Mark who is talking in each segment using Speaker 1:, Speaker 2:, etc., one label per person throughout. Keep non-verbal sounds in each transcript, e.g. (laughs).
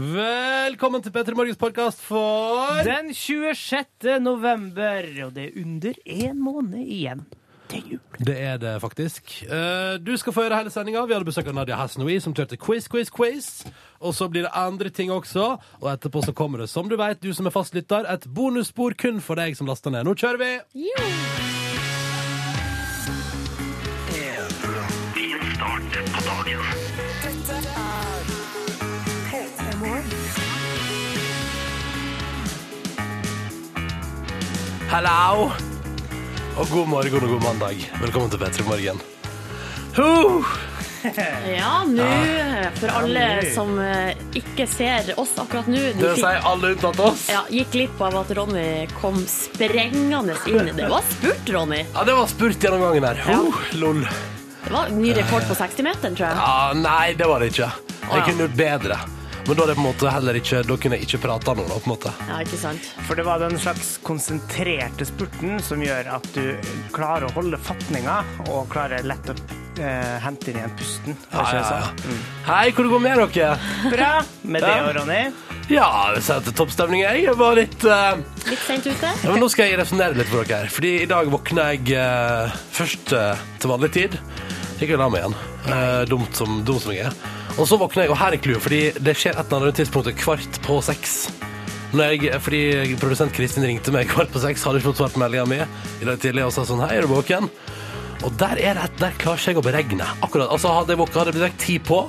Speaker 1: Velkommen til Petter Morgens podkast for
Speaker 2: Den 26. november, og det er under én måned igjen til jul.
Speaker 1: Det er det, faktisk. Eh, Du skal få høre hele sendinga. Vi hadde besøk av Nadia Hasnoui, som kjørte quiz, quiz, quiz. Og så blir det andre ting også. Og etterpå så kommer det, som du veit, du som er fastlytter, et bonusspor kun for deg som laster ned. Nå kjører vi! Hallo! Og god morgen og god mandag. Velkommen til P3 Morgen. Huh!
Speaker 3: Ja, nå, for alle som eh, ikke ser oss akkurat nå de fikk-
Speaker 1: alle unntatt oss.
Speaker 3: ja, Gikk glipp av at Ronny kom sprengende inn. Det var spurt, Ronny.
Speaker 1: Ja, det var spurt gjennom gangen her.
Speaker 3: Ja.
Speaker 1: Huh, lol.
Speaker 3: Det var ny rekord på 60-meteren, tror jeg.
Speaker 1: Ja, nei, det var det ikke.
Speaker 3: Å,
Speaker 1: Jeg
Speaker 3: ja.
Speaker 1: kunne gjort bedre. Men da, er det på en måte heller ikke, da kunne jeg ikke prata nå, da, på en måte.
Speaker 3: Ja, ikke sant?
Speaker 2: For det var den slags konsentrerte spurten som gjør at du klarer å holde fatninga, og klarer lett å eh, hente inn igjen pusten. Er
Speaker 1: Ja,
Speaker 2: ikke
Speaker 1: ja,
Speaker 2: det
Speaker 1: ja.
Speaker 2: sant?
Speaker 3: Mm.
Speaker 1: Hei, hvordan går det med
Speaker 3: (laughs)
Speaker 1: dere?
Speaker 2: Bra med det,
Speaker 1: Ja.
Speaker 2: Ronny.
Speaker 1: Ja, jeg vil si at det er toppstemning. Jeg Jeg var litt eh,
Speaker 3: Litt sent ute.
Speaker 1: ja, men Nå skal jeg resonnere litt for dere her. Fordi i dag våkna jeg eh, først eh, til vanlig tid. Gikk og la meg igjen. Eh, dumt, som, dum som jeg er. Og så våkna jeg, og her er clouet, fordi det skjer et eller annet tidspunkt kvart på seks. Når jeg, fordi produsent Kristin ringte meg kvart på seks, hadde ikke fått svart på meldinga mi i dag tidlig, og sa sånn Hei, er du våken? Og der er det, der klarer ikke jeg å beregne. Akkurat, altså Hadde jeg våknet, hadde jeg blitt vekt ti på,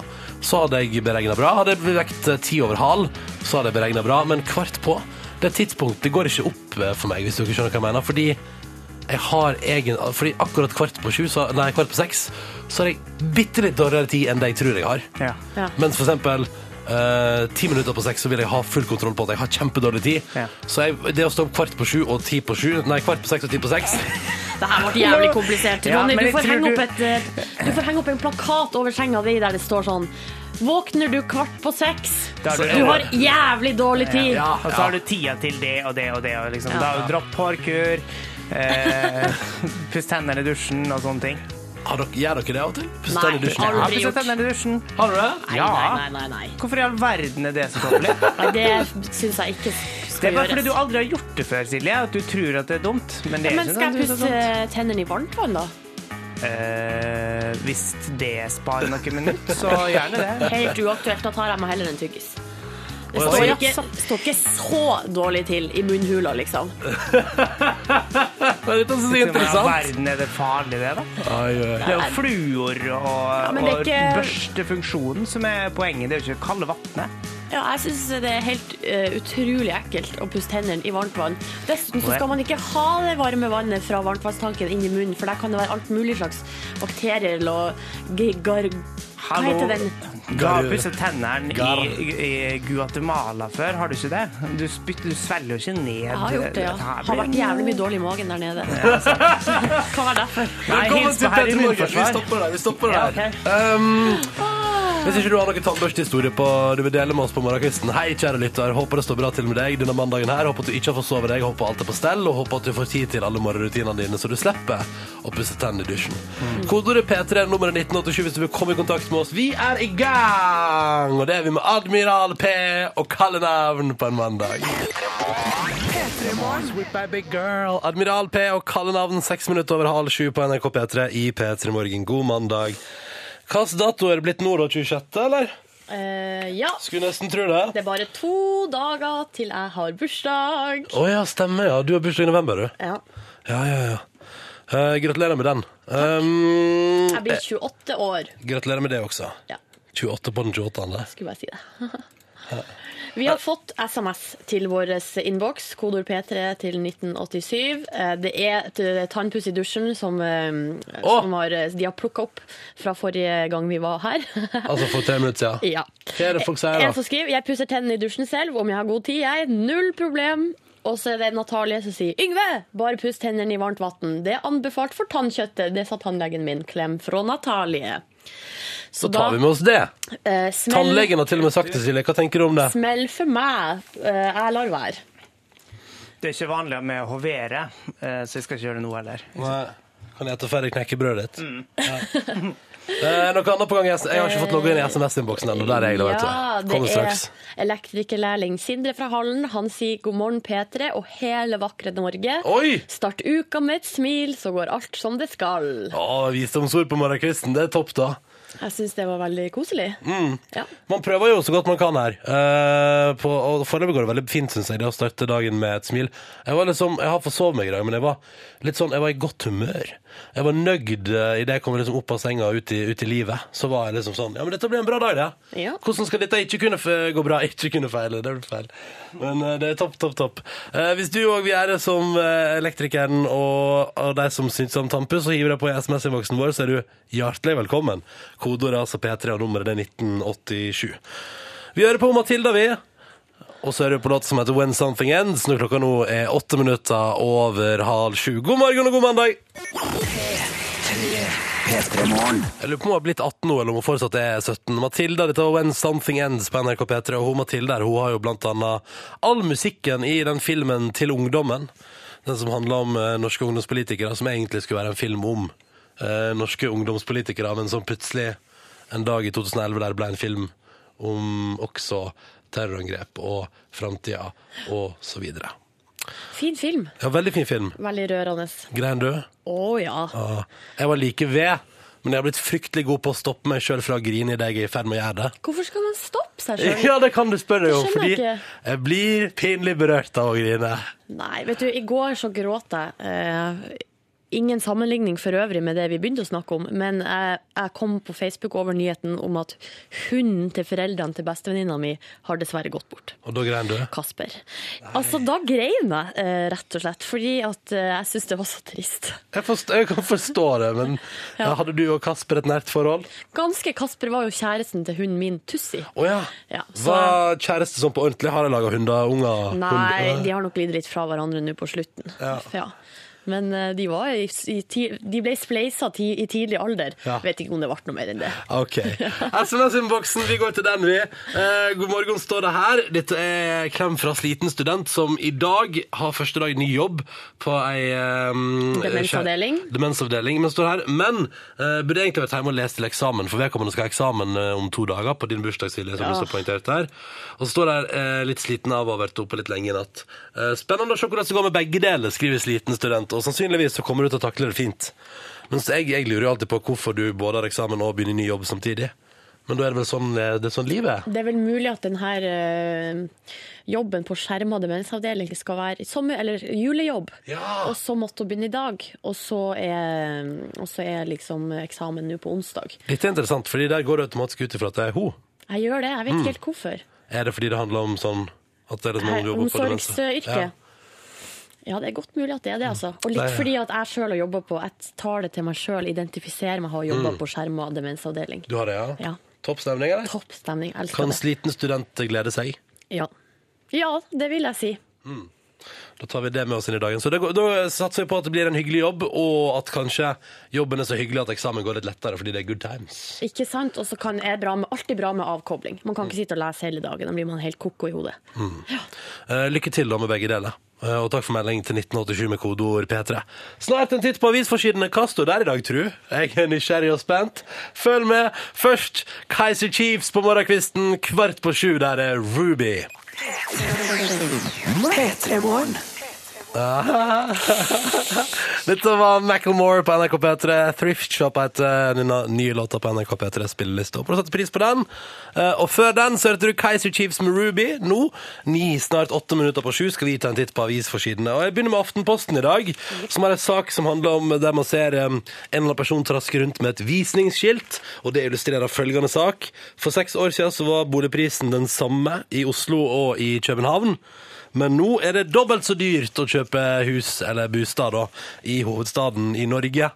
Speaker 1: så hadde jeg beregna bra. Hadde jeg blitt vekt eh, ti over halv, så hadde jeg beregna bra. Men kvart på, det tidspunktet går ikke opp eh, for meg, hvis dere skjønner hva jeg mener. Fordi jeg har egen Fordi akkurat kvart på sju, så, nei, kvart på seks, så har jeg bitte litt dårligere tid enn det jeg tror jeg har.
Speaker 2: Ja.
Speaker 3: Ja.
Speaker 1: Mens for eksempel eh, ti minutter på seks så vil jeg ha full kontroll på at jeg har kjempedårlig tid.
Speaker 2: Ja.
Speaker 1: Så jeg, det å stå opp kvart på sju og ti på sju Nei, kvart på seks og ti på seks
Speaker 3: Det her ble jævlig komplisert.
Speaker 2: Ja,
Speaker 3: Ronny,
Speaker 2: men
Speaker 3: du
Speaker 2: jeg
Speaker 3: får,
Speaker 2: tror du-
Speaker 3: henge opp et, eh, du får henge opp en plakat over senga di der det står sånn Våkner du kvart på seks?
Speaker 2: Da har du-
Speaker 3: Du har jævlig dårlig tid.
Speaker 1: Ja,
Speaker 2: Og så har du tida til det og det og det. Og liksom.
Speaker 3: Ja.
Speaker 2: Da, dropp hårkur, eh, (laughs) pust hendene i dusjen og sånne ting.
Speaker 1: Har dere, gjør dere det av og til? Puster dere
Speaker 3: Nei,
Speaker 1: i dusjen?
Speaker 3: aldri.
Speaker 2: Ja, pust
Speaker 3: gjort.
Speaker 2: hendene i dusjen.
Speaker 1: Har du det?
Speaker 3: Nei,
Speaker 2: Ja.
Speaker 3: nei, nei, nei, nei.
Speaker 2: Hvorfor i all verden er det så dårlig?
Speaker 3: Nei, Det syns jeg ikke
Speaker 2: Det er
Speaker 3: skal
Speaker 2: bare fordi du
Speaker 3: gjøres.
Speaker 2: aldri har gjort det før, Silje, at du tror at det er dumt. Men det er sånn.
Speaker 3: Men
Speaker 2: ikke
Speaker 3: skal jeg
Speaker 2: nødvendigvis så
Speaker 3: pusse
Speaker 2: dumt.
Speaker 3: tennene i varmt vann, da?
Speaker 2: Eh, hvis det sparer noen minutter,
Speaker 3: (laughs)
Speaker 2: så gjerne det.
Speaker 3: Helt uaktuelt. Da tar jeg meg heller en tyggis. Det
Speaker 1: Oi.
Speaker 3: står
Speaker 1: Oi.
Speaker 3: ikke, står ikke så dårlig til i munnhula, liksom.
Speaker 1: Det er litt sånn
Speaker 2: I all
Speaker 1: interessant.
Speaker 2: verden er det farlig, det, da.
Speaker 1: Oi, oi.
Speaker 2: Det er jo fluor og,
Speaker 3: men det er ikke-
Speaker 2: og børstefunksjonen som er poenget. Det er jo ikke det kalde vannet.
Speaker 3: Ja, jeg syns det er helt eh, utrolig ekkelt å pusse tennene i varmt vann. Dessuten så skal man ikke ha det varme vannet fra varmtvannstanken inn i munnen, for der kan det være alt mulig slags bakterier og g- gar... Hva
Speaker 2: Hallo.
Speaker 3: heter den?
Speaker 2: Du har pusset tennene
Speaker 1: Gar.
Speaker 2: i, i Guatemala før, har du ikke det? Du, spytter, du svelger jo ikke ned
Speaker 3: Jeg har gjort det, ja.
Speaker 2: Dette her
Speaker 3: Har vært
Speaker 2: blir-
Speaker 3: jævlig
Speaker 2: (laughs)
Speaker 3: mye dårlig i magen der nede. Kan være derfor.
Speaker 2: Nei,
Speaker 1: Velkommen
Speaker 2: hils
Speaker 1: til
Speaker 2: på herre
Speaker 1: Petter Morgen. Vi
Speaker 2: immunforsvar.
Speaker 1: stopper der. vi stopper
Speaker 2: Ja,
Speaker 1: der. Um, hvis ikke du har noen tannbørstehistorie på du vil dele med oss på morgenkvisten, hei, kjære lytter. Håper det står bra til med deg denne mandagen her. Håper at du ikke har forsovet deg, håper alt er på stell, og håper at du får tid til alle morgenrutinene dine, så du slipper å pusse tennene i dusjen. Kodeordet P3, nummeret 1987 hvis du vil komme i kontakt med oss. Vi er i gang! Og det er vi med Admiral P og kallenavn på en mandag. Sweet baby girl. Admiral P og kallenavn seks minutter over halv sju på NRK P3 i P3 Morgen. God mandag. Hvilken dato er det blitt nå, da? 26., eller?
Speaker 3: Eh, ja.
Speaker 1: Skulle nesten tro det.
Speaker 3: Det er bare to dager til jeg har bursdag.
Speaker 1: Å ja, stemmer, ja. Du har bursdag i november, du.
Speaker 3: Ja.
Speaker 1: Ja, ja, ja. Eh, gratulerer med den. Um,
Speaker 3: Jeg blir 28 år.
Speaker 1: eh, gratulerer med det også.
Speaker 3: Ja,
Speaker 1: 28 på den 28.
Speaker 3: skulle bare si det. (laughs) Vi har fått SMS til vår innboks, kodord P3 til 1987. Eh, Det er et eh, tannpuss i dusjen som, eh,
Speaker 1: Å!
Speaker 3: som har, eh, de har plukka opp fra forrige gang vi var her.
Speaker 1: Altså for tre minutter siden.
Speaker 3: (laughs) ja.
Speaker 1: Hva er det folk sier,
Speaker 3: En
Speaker 1: da?
Speaker 3: som skriver Jeg pusser tennene i dusjen selv om jeg har god tid, jeg. Null problem. Og så er det Natalie som sier Yngve, bare puss tennene i varmt vann. Det er anbefalt for tannkjøttet. Det sa tannlegen min. Klem fra Natalie.
Speaker 1: Så tar vi med oss det.
Speaker 3: eh, smell,
Speaker 1: Tannlegen har til og med sagt det, Silje. Hva tenker du om det?
Speaker 3: Smell for meg. Eh, jeg lar være.
Speaker 2: Det er ikke vanlig med å hovere, eh, så jeg skal ikke gjøre det nå heller.
Speaker 1: Nei. Kan jeg ta ferdig knekkebrødet ditt? Ja. Eh, noe annet på gang? Jeg jeg har ikke fått logge inn i SMS-innboksen ennå. Der er jeg, da, vet
Speaker 3: Ja,
Speaker 1: du.
Speaker 3: det
Speaker 1: Kommer
Speaker 3: er
Speaker 1: straks.
Speaker 3: elektrikerlærling Sindre fra Hallen. Han sier god morgen, P3 og hele vakre Norge.
Speaker 1: Oi!
Speaker 3: Start uka med et smil, så går alt som det skal.
Speaker 1: Å, visdomsord på morgenkvisten. Det er topp, da.
Speaker 3: Jeg syns det var veldig koselig.
Speaker 1: Mm.
Speaker 3: Ja.
Speaker 1: Man prøver jo så godt man kan her. Eh, på, og Foreløpig går det veldig fint, syns jeg, det å starte dagen med et smil. Jeg var liksom, jeg har forsovet meg i dag, men jeg var litt sånn, jeg var i godt humør. Jeg var nøyd eh, idet jeg kom liksom opp av senga og ut i, ut i livet. Så var jeg liksom sånn Ja, men dette blir en bra dag, det.
Speaker 3: Ja.
Speaker 1: Hvordan skal dette ikke kunne f- gå bra? (laughs) Ikke kunne feile. Det blir feil. Men eh, det er topp, topp, topp. Eh, hvis du òg vil gjøre det som eh, elektrikeren og, og de som syns om Tampus, og hiver deg på i SMS-innboksen vår, så er du hjertelig velkommen. Kodeordet er altså P3, og nummeret er 1987. Vi hører på Matilda, vi. Og så er det på låt som heter When Something Ends, når klokka nå er åtte minutter over halv sju. God morgen og god mandag! Jeg lurer på om hun har blitt 18 nå, eller om hun fortsatt er 17. Matilda, dette var When Something Ends på NRK P3, og hun Matilda hun har jo blant annet all musikken i den filmen Til ungdommen, den som handler om eh, norske ungdomspolitikere, som egentlig skulle være en film om eh, norske ungdomspolitikere, men som plutselig en dag i 2011 der ble en film om også terrorangrep og framtida og så videre.
Speaker 3: Fin film.
Speaker 1: Ja, veldig fin film.
Speaker 3: Veldig rørende.
Speaker 1: Grein du?
Speaker 3: Å ja.
Speaker 1: Ja. Ah, Jeg var like ved, men jeg har blitt fryktelig god på å stoppe meg sjøl fra å grine idet jeg er i ferd med å gjøre det.
Speaker 3: Hvorfor skal man stoppe seg sjøl?
Speaker 1: (laughs) Ja, det kan du spørre om,
Speaker 3: Det skjønner
Speaker 1: fordi
Speaker 3: jeg ikke.
Speaker 1: jeg blir pinlig berørt av å grine.
Speaker 3: Nei, vet du, i går så gråt jeg. Eh, ingen sammenligning for øvrig med det vi begynte å snakke om, men jeg, jeg kom på Facebook over nyheten om at hunden til foreldrene til bestevenninna mi har dessverre gått bort.
Speaker 1: Og da grein du.
Speaker 3: Kasper. Altså, da grein jeg, eh, rett og slett, fordi at eh, jeg syns det var så trist.
Speaker 1: Jeg, forst- jeg kan forstå det, men
Speaker 3: (laughs)
Speaker 1: ja, hadde du og Kasper et nært forhold?
Speaker 3: Ganske Kasper var jo kjæresten til hunden min, Tussi.
Speaker 1: Å ja.
Speaker 3: Ja, så-
Speaker 1: Var kjæreste sånn på ordentlig? Har jeg laga hunder? Unger?
Speaker 3: Nei, de har nok lidd litt fra hverandre nå på slutten.
Speaker 1: Ja.
Speaker 3: Men eh, de, var i, i, ti- de ble spleisa ti, i tidlig alder.
Speaker 1: Ja.
Speaker 3: Vet ikke om det ble noe mer enn det.
Speaker 1: Ok. SMS-innboksen, vi går til den, vi. Eh, god morgen, står det her. Dette er klem fra sliten student som i dag har første dag i ny jobb på ei eh,
Speaker 3: Demensavdeling.
Speaker 1: skje- Demensavdeling, men står her. Men eh, burde egentlig vært hjemme og lest til eksamen, for vedkommende skal ha eksamen eh, om to dager på din bursdag, Silje, som du så poengtert her. Og så står det her eh, litt sliten av å ha vært oppe litt lenge i natt. Eh, spennende å se hvordan det går med begge deler, skriver sliten student, og sannsynligvis så kommer du til å takle det fint. Mens jeg, jeg lurer jo alltid på hvorfor du både har eksamen og begynner ny jobb samtidig. Men da er det vel sånn, eh, det er sånn livet er?
Speaker 3: Det er vel mulig at denne jobben på skjerma demensavdeling skal være sommer- eller julejobb.
Speaker 1: Ja.
Speaker 3: Og så måtte hun begynne i dag, og så er, og så er liksom eksamen nå på onsdag.
Speaker 1: Dette er interessant, fordi der går det automatisk ut ifra at det er ho.
Speaker 3: Jeg gjør det, jeg vet ikke helt hvorfor.
Speaker 1: Er det fordi det handler om sånn at Mm. det er noen
Speaker 3: Her-
Speaker 1: som jobber på demens?
Speaker 3: Omsorgsyrke. Ja, det er godt mulig at det er det, altså. Og litt
Speaker 1: Nei, ja.
Speaker 3: fordi at jeg sjøl har jobba på Jeg tar det til meg sjøl, identifiserer meg, har jobba på skjerma demensavdeling.
Speaker 1: Mm. Du har det, ja?
Speaker 3: Ja.
Speaker 1: Topp stemning, eller?
Speaker 3: Topp stemning. jeg Elsker
Speaker 1: Kan
Speaker 3: det.
Speaker 1: sliten student glede seg?
Speaker 3: Ja. ja, det vil jeg si.
Speaker 1: Da tar vi det med oss inn i dagen. Så det går, da satser vi på at det blir en hyggelig jobb, og at kanskje jobben er så hyggelig at eksamen går litt lettere fordi det er good times.
Speaker 3: Ikke sant? Og så kan- er bra med, alltid bra med avkobling. Man kan ikke sitte og lese hele dagen, da blir man helt koko i hodet.
Speaker 1: Eh, lykke til da med begge deler. Eh, og takk for melding til 1987 med kodeord P3. Snart en titt på avisforsidene. Hva står der i dag, tru? Jeg er nysgjerrig og spent. Følg med. Først Kaiser Chiefs på morgenkvisten. Kvart på sju, der er Ruby. Ah. (laughs) Dette var Macklemore på NRK P3. Thrift Shop heter den nye låta på NRK P3 spilleliste. Håper du setter pris på den. Eh, Og før den så hørte du Kaiser Chiefs med Ruby. Nå, ni, snart åtte minutter på sju, skal vi ta en titt på avisforsidene. Og jeg begynner med Aftenposten i dag, som har en sak som handler om der man ser eh, en eller annen person traske rundt med et visningsskilt, og det illustrerer følgende sak. For seks år siden så var boligprisen den samme i Oslo og i København. Men nå er det dobbelt så dyrt å kjøpe hus eller bostad da, i hovedstaden i Norge.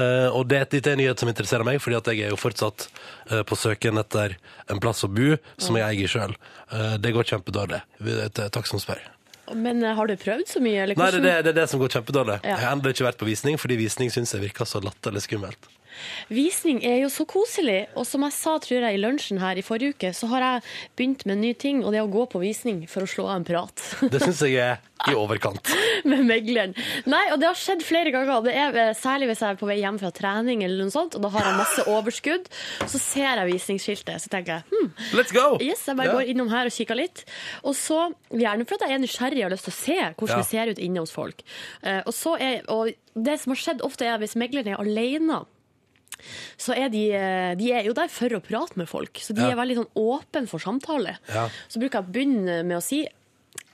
Speaker 1: Eh, og det, dette er en nyhet som interesserer meg, fordi at jeg er jo fortsatt eh, på søken etter en plass å bo som jeg eier sjøl. det går kjempedårlig. Eh, Takk som spør.
Speaker 3: Men eh, har du prøvd så mye, eller
Speaker 1: Nei,
Speaker 3: hvordan?
Speaker 1: det, er det, det er det som går kjempedårlig.
Speaker 3: Ja.
Speaker 1: Jeg har ennå ikke vært på visning, fordi visning syns jeg virker så latterlig skummelt.
Speaker 3: Visning er jo så koselig, og som jeg sa tror jeg i lunsjen her i forrige uke, så har jeg begynt med en ny ting, og det er å gå på visning for å slå av en prat. (laughs)
Speaker 1: Det syns jeg er i overkant.
Speaker 3: med megleren. Nei, og det har skjedd flere ganger. Det er eh, Særlig hvis jeg er på vei hjem fra trening, eller noe sånt, og da har jeg masse overskudd. Så ser jeg visningsskiltet, så tenker jeg hm,
Speaker 1: Let's go!
Speaker 3: (laughs) yes, jeg bare
Speaker 1: Ja.
Speaker 3: går innom her og kikker litt. Og så, gjerne for at jeg er nysgjerrig og har lyst til å se hvordan
Speaker 1: Ja.
Speaker 3: det ser ut inne hos folk. Eh, og, så er, og det som har skjedd ofte, er hvis megleren er alene, så er de, eh, de er jo der for å prate med folk. Så de
Speaker 1: Ja.
Speaker 3: er veldig sånn åpen for samtale.
Speaker 1: Ja.
Speaker 3: Så bruker jeg å begynne med å si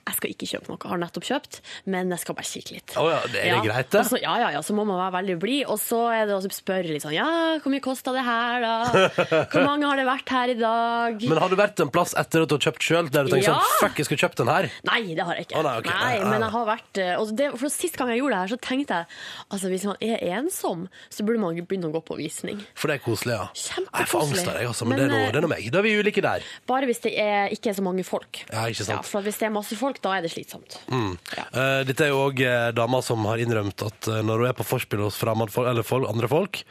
Speaker 3: jeg skal ikke kjøpe noe, jeg har nettopp kjøpt, men jeg skal bare kikke litt.
Speaker 1: Å ja, det er greit, det.
Speaker 3: Og Så, ja, ja, ja, så må man være veldig blid. Og så er det å spørre litt sånn Ja, hvor mye kosta det her,
Speaker 1: (laughs)
Speaker 3: da? Hvor mange har det vært her i dag?
Speaker 1: Men har du vært en plass etter at du har kjøpt sjøl, der du tenker
Speaker 3: Ja.
Speaker 1: sånn Fuck, jeg skulle kjøpt den her.
Speaker 3: Nei, det har jeg ikke.
Speaker 1: Å, nei, ok.
Speaker 3: nei,
Speaker 1: Nei, nei,
Speaker 3: Men
Speaker 1: nei.
Speaker 3: jeg har vært eh, og det, For Sist gang jeg gjorde det her, så tenkte jeg Altså, hvis man er ensom, så burde man begynne å gå på visning.
Speaker 1: For det er koselig, ja.
Speaker 3: Kjempekoselig.
Speaker 1: Jeg får angst av deg, altså. Men,
Speaker 3: Men,
Speaker 1: det, er
Speaker 3: eh,
Speaker 1: noe, det er noe meg. Da er vi ulike der.
Speaker 3: Bare hvis det er, ikke er så mange folk.
Speaker 1: Ja, ikke sant.
Speaker 3: Ja, for Hvis det er masse folk, da er det slitsomt. Ja.
Speaker 1: Eh, dette er jo òg eh, dama som har innrømt at eh, når hun er på forspill hos fremmed fol- eller fol- andre folk,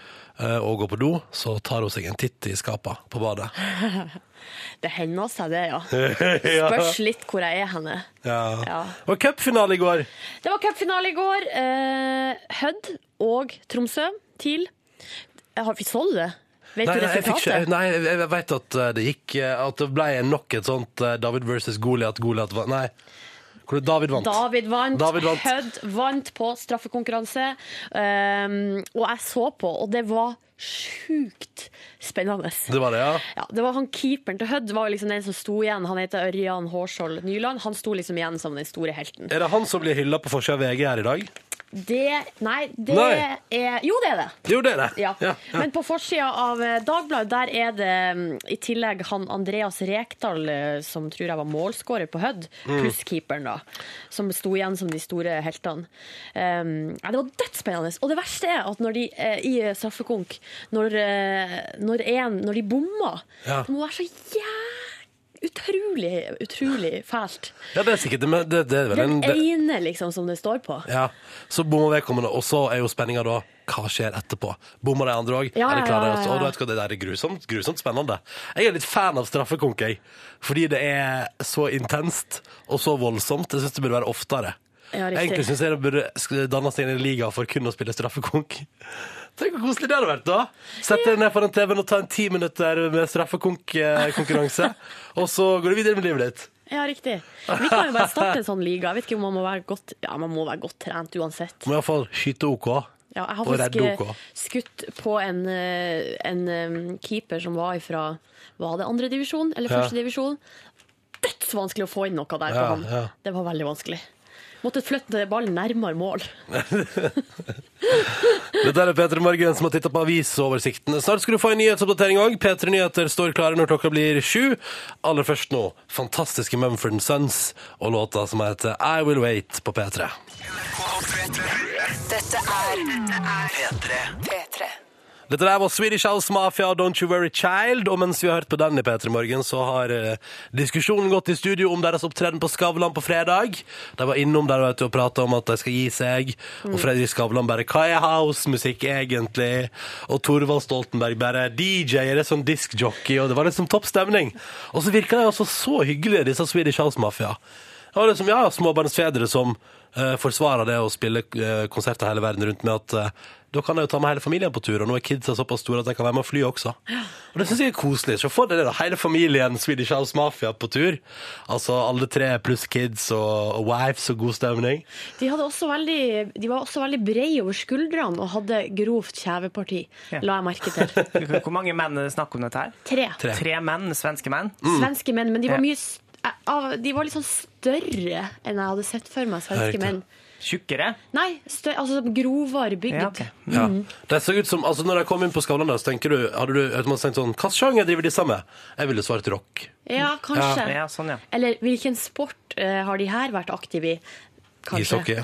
Speaker 1: eh, og går på do, så tar hun seg en titt i skapa på badet.
Speaker 3: Det hender seg, det, (laughs) ja.
Speaker 1: ja.
Speaker 3: Spørs litt hvor jeg er henne.
Speaker 1: Ja.
Speaker 3: Ja.
Speaker 1: Og cupfinale i går.
Speaker 3: Det var cupfinale i går. Eh, Hødd og Tromsø TIL. Jeg har- Så du det? Vet
Speaker 1: Nei,
Speaker 3: du
Speaker 1: nei, jeg, fikk ikke,
Speaker 3: resultatet?
Speaker 1: nei, jeg- jeg vet at eh, det gikk eh, At det ble nok et sånt eh, David versus Goliat. Goliat vant Nei. Hvor det- David vant.
Speaker 3: David vant.
Speaker 1: David vant.
Speaker 3: Hødd vant på straffekonkurranse. Um, og jeg så på, og det var sjukt spennende.
Speaker 1: Det var det, ja.
Speaker 3: Ja, det var han Keeperen til Hødd var jo liksom den som sto igjen. Han heter Ørjan Hårskjold Nyland. Han sto liksom igjen som den store helten.
Speaker 1: Er det han som blir hylla på forsida av VG her i dag?
Speaker 3: Det Nei, det
Speaker 1: Nei.
Speaker 3: er Jo, det er det.
Speaker 1: Jo, det er det.
Speaker 3: (laughs) Ja. Men på forsida av eh, Dagbladet der er det mm, i tillegg han Andreas Rekdal, eh, som tror jeg var målskårer på Hødd,
Speaker 1: Mm.
Speaker 3: pluss keeperen, da, som sto igjen som de store heltene. Um, ja, det var dødsspennende. Og det verste er at når de eh, i eh, straffekonk, når, eh, når, en, når de bommer
Speaker 1: Ja.
Speaker 3: Det må være så jævlig Utrolig, utrolig
Speaker 1: (laughs)
Speaker 3: fælt.
Speaker 1: Ja, det er sikkert det, men det, det er vel en
Speaker 3: Den
Speaker 1: det,
Speaker 3: ene, liksom, som det står på.
Speaker 1: ja. Så bommer vedkommende, og så er jo spenninga da hva skjer etterpå? Bommer de andre òg?
Speaker 3: Ja,
Speaker 1: er det klart,
Speaker 3: ja, ja,
Speaker 1: altså?
Speaker 3: ja.
Speaker 1: Og da vet du hva, det der er grusomt, grusomt spennende. Jeg er litt fan av straffekonk, jeg. Fordi det er så intenst og så voldsomt. Jeg syns det burde være oftere.
Speaker 3: Ja, riktig.
Speaker 1: Egentlig syns jeg det burde sk- danne seg en liga for kun å spille straffekonk. Tenk hvor koselig det hadde vært, da! Sette deg ned foran TV-en og ta en ti minutter med straffekonk-konkurranse.
Speaker 3: (laughs)
Speaker 1: og så går du videre med livet ditt.
Speaker 3: Ja, riktig. Vi kan jo bare starte en sånn liga. Jeg vet ikke om man må være godt, ja, man må være godt trent uansett.
Speaker 1: Du må iallfall skyte OK.
Speaker 3: Ja, jeg har
Speaker 1: Og
Speaker 3: faktisk
Speaker 1: redde OK.
Speaker 3: eh, skutt på en, eh, en eh, keeper som var ifra Var det andre divisjon eller
Speaker 1: Ja.
Speaker 3: første divisjon? Dødsvanskelig å få inn noe der på
Speaker 1: Ja,
Speaker 3: ham.
Speaker 1: ja.
Speaker 3: Det var veldig vanskelig. Måtte flytte ballen nærmere mål.
Speaker 1: Dette er Petre Morgen som har tittet på avisoversikten. Snart skal du få en nyhetsoppdatering òg. P3 Nyheter står klare når klokka blir sju. Aller først nå, fantastiske Mumford Sons og låta som heter I Will Wait på P3.
Speaker 4: Dette er P3. P3.
Speaker 1: Dette der var Swedish House Mafia og Don't You Worry Child. Og mens vi har hørt på den i P3 Morgen, så har eh, diskusjonen gått i studio om deres opptreden på Skavlan på fredag. De var innom der vet du, og prata om at de skal gi seg. Og Fredrik Skavlan bare Hva er housemusikk egentlig? Og Torvald Stoltenberg bare DJ-er er sånn diskjockey, og det var liksom topp stemning. Og så virka de altså så hyggelige, disse Swedish House Mafia. Det var liksom, ja, småbarnsfedre som eh, forsvarer det å spille eh, konserter hele verden rundt med at eh, da kan jeg jo ta med hele familien på tur, og nå er kidsa såpass store at de kan være med og fly også. Og det synes jeg er koselig. Så få deg det da, hele familien Swedish House Mafia på tur. Altså alle tre pluss kids og, og wives og god stemning.
Speaker 3: De, hadde også veldig, de var også veldig brede over skuldrene og hadde grovt kjeveparti,
Speaker 2: Ja.
Speaker 3: la jeg merke
Speaker 1: (laughs)
Speaker 3: til.
Speaker 2: Hvor mange menn er det snakk om dette her?
Speaker 3: Tre.
Speaker 1: Tre. Mm.
Speaker 2: Tre menn, svenske menn.
Speaker 3: svenske menn, men de var
Speaker 2: Ja.
Speaker 3: mye s- av- De var litt sånn større enn jeg hadde sett for meg
Speaker 1: Ja, riktig.
Speaker 3: svenske menn.
Speaker 2: Tjukkere.
Speaker 3: Nei, større, altså grovere bygd.
Speaker 2: Ja, ok.
Speaker 1: Ja. Det så ut som, altså når jeg kom inn på Skavlan der, så tenker du, hadde du automatisk tenkt sånn, hva sjanger driver de sammen? Jeg ville svart rock.
Speaker 3: Ja, kanskje.
Speaker 2: Ja, sånn, ja.
Speaker 3: Eller hvilken sport eh, har de her vært aktive i?
Speaker 1: Ishockey.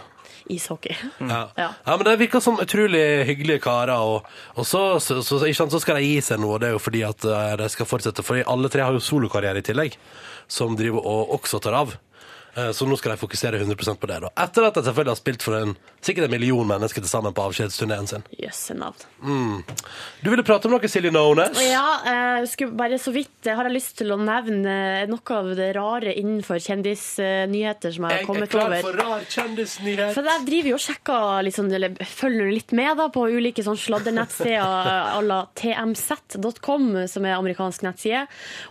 Speaker 3: Ishockey. (laughs)
Speaker 1: Ja.
Speaker 3: Ja.
Speaker 1: ja, men det virker som utrolig hyggelige karer. Og, og så, så, så, ikke sant, så skal de gi seg nå, og det er jo fordi at eh, de skal fortsette. For alle tre har jo solokarriere i tillegg, som driver og også tar av. Eh, Så nå skal de fokusere 100 på det. da. Etter at de selvfølgelig har spilt for en, sikkert en million mennesker til sammen på avskjedsturneen sin.
Speaker 3: Jøsse navn.
Speaker 1: Du ville prate om noe, Silje Nones.
Speaker 3: Ja, eh, skulle bare så vidt eh, har jeg lyst til å nevne eh, noe av det rare innenfor kjendisnyheter som jeg har
Speaker 1: Jeg er
Speaker 3: kommet
Speaker 1: klar
Speaker 3: over.
Speaker 1: for rar kjendisnyhet.
Speaker 3: For jeg driver jo og sjekker litt sånn, eller følger litt med da, på ulike sånn sladdernettsteder (laughs) à la tmz.com, som er amerikansk nettside.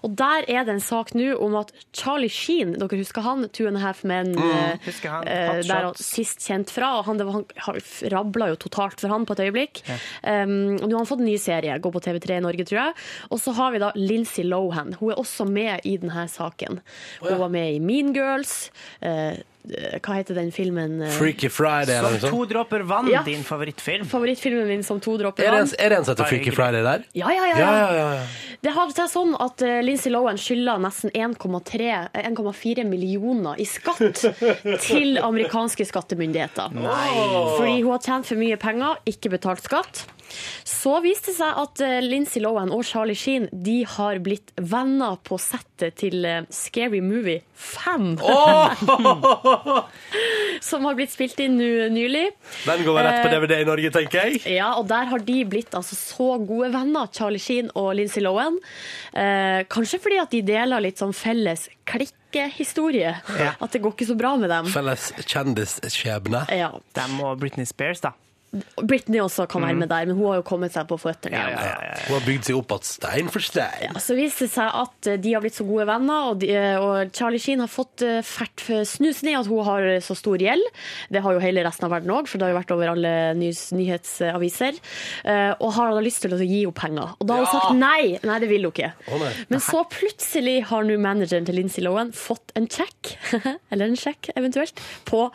Speaker 3: Og der er det en sak nå om at Charlie Sheen, dere husker han, Two and a Half Men, eh,
Speaker 2: Mm, husker han,
Speaker 3: eh,
Speaker 2: Hot
Speaker 3: der han
Speaker 2: Shots.
Speaker 3: sist kjent fra, og han, det var, han rabla jo totalt for han på et øyeblikk. Um, og nå har han fått en ny serie, går på TV3 i Norge, tror jeg. Og så har vi da Lindsay Lohan. Hun er også med i denne saken. Hun var med i Mean Girls. eh, hva heter den filmen? eh,
Speaker 1: Freaky Friday eller
Speaker 2: Som
Speaker 1: noe sånt.
Speaker 2: to dropper vann,
Speaker 3: Ja.
Speaker 2: din favorittfilm.
Speaker 3: favorittfilmen min som to dropper
Speaker 1: Er det
Speaker 3: vann.
Speaker 1: en- er det en som heter
Speaker 2: Bare
Speaker 1: Freaky
Speaker 2: hyggelig.
Speaker 1: Friday der?
Speaker 3: Ja, ja,
Speaker 1: Ja,
Speaker 3: ja.
Speaker 1: ja,
Speaker 3: ja.
Speaker 1: ja. ja.
Speaker 3: Det har seg sånn at eh, Lindsay Lohan skylder nesten 1,3 eh, 1,4 millioner i
Speaker 1: (laughs)
Speaker 3: skatt til amerikanske skattemyndigheter. Fordi hun har tjent for mye penger, ikke betalt skatt. Så viste det seg at eh, Lindsay Lohan og Charlie Sheen de har blitt venner på settet til eh, Scary Movie 5. (laughs) Som har blitt spilt inn nå nylig.
Speaker 1: Den går vel rett
Speaker 3: Eh,
Speaker 1: på DVD i Norge, tenker jeg.
Speaker 3: Ja, og der har de blitt altså, så gode venner, Charlie Sheen og Lindsay Lohan. Eh, kanskje fordi at de deler litt sånn felles klikkehistorie.
Speaker 2: Ja.
Speaker 3: At det går ikke så bra med dem.
Speaker 1: Felles kjendisskjebne.
Speaker 3: Ja.
Speaker 2: Dem og Britney Spears, da.
Speaker 3: Britney også kan være med der, men hun har jo kommet seg på føttene igjen.
Speaker 2: Mm. ja, ja.
Speaker 1: Hun har bygd seg opp igjen stein for stein.
Speaker 3: Så viste det seg at eh, de har blitt så gode venner, og, de, eh, og Charlie Sheen har fått eh, fælt for snusen i at hun har så stor gjeld. Det har jo hele resten av verden òg, for det har jo vært over alle nys, nyhetsaviser. Eh, Og har da lyst til å gi henne penger. Og da har hun sagt nei! Nei, det vil hun ikke.
Speaker 1: Å, nei.
Speaker 3: Men så plutselig har nå manageren til Lindsay Lohan fått en check, (laughs) eller en sjekk eventuelt, på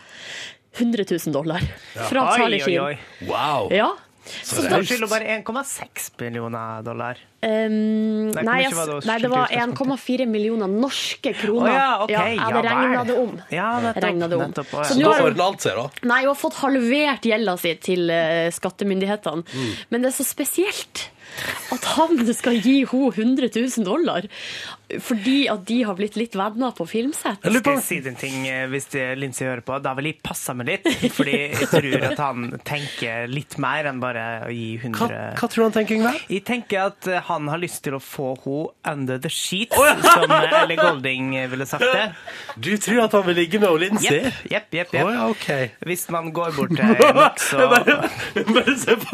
Speaker 3: 100 000 dollar fra Charlie Sheen.
Speaker 1: Wow.
Speaker 3: Ja.
Speaker 1: Så
Speaker 3: Så
Speaker 1: det er
Speaker 2: Da
Speaker 3: da,
Speaker 1: jo-
Speaker 2: skylder hun bare 1,6 millioner dollar.
Speaker 3: ehm,
Speaker 2: hvor
Speaker 3: nei,
Speaker 2: mye
Speaker 3: ass-
Speaker 2: var det å
Speaker 3: nei, det
Speaker 2: skylde
Speaker 3: var
Speaker 2: i utgangspunktet?
Speaker 3: 1,4 millioner norske
Speaker 2: Å
Speaker 3: kroner.
Speaker 2: ja, OK.
Speaker 3: jeg hadde
Speaker 2: vel.
Speaker 3: regnet det om.
Speaker 2: Ja, nettopp.
Speaker 3: Regnet det om.
Speaker 2: nettopp. Å, ja.
Speaker 3: Så
Speaker 1: Så
Speaker 3: nå
Speaker 1: da
Speaker 3: har hun-
Speaker 1: ordner alt seg, da.
Speaker 3: Nei, hun har fått halvert gjelda si til eh, skattemyndighetene.
Speaker 2: Mm.
Speaker 3: Men det er så spesielt at han (laughs) skal gi henne 100 000 dollar fordi at de har blitt litt venner på filmsett.
Speaker 1: Jeg lurer på
Speaker 2: Skal jeg si den ting eh, hvis det- Lindsay hører på? Da vil jeg passe meg litt, fordi jeg tror at han tenker litt mer enn bare å gi 100
Speaker 1: hva, hva tror du han tenker, Yngve?
Speaker 2: Jeg tenker at eh, han har lyst til å få henne under the sheets, som eh, Ellie Golding eh, ville sagt det.
Speaker 1: (laughs) Du tror at han vil ligge med hun Lindsay?
Speaker 2: Jepp, jepp, jepp.
Speaker 1: Å
Speaker 2: jepp.
Speaker 1: ja, OK.
Speaker 2: Hvis man går
Speaker 1: (laughs)
Speaker 2: bort til Nick, så
Speaker 1: bare, bare se på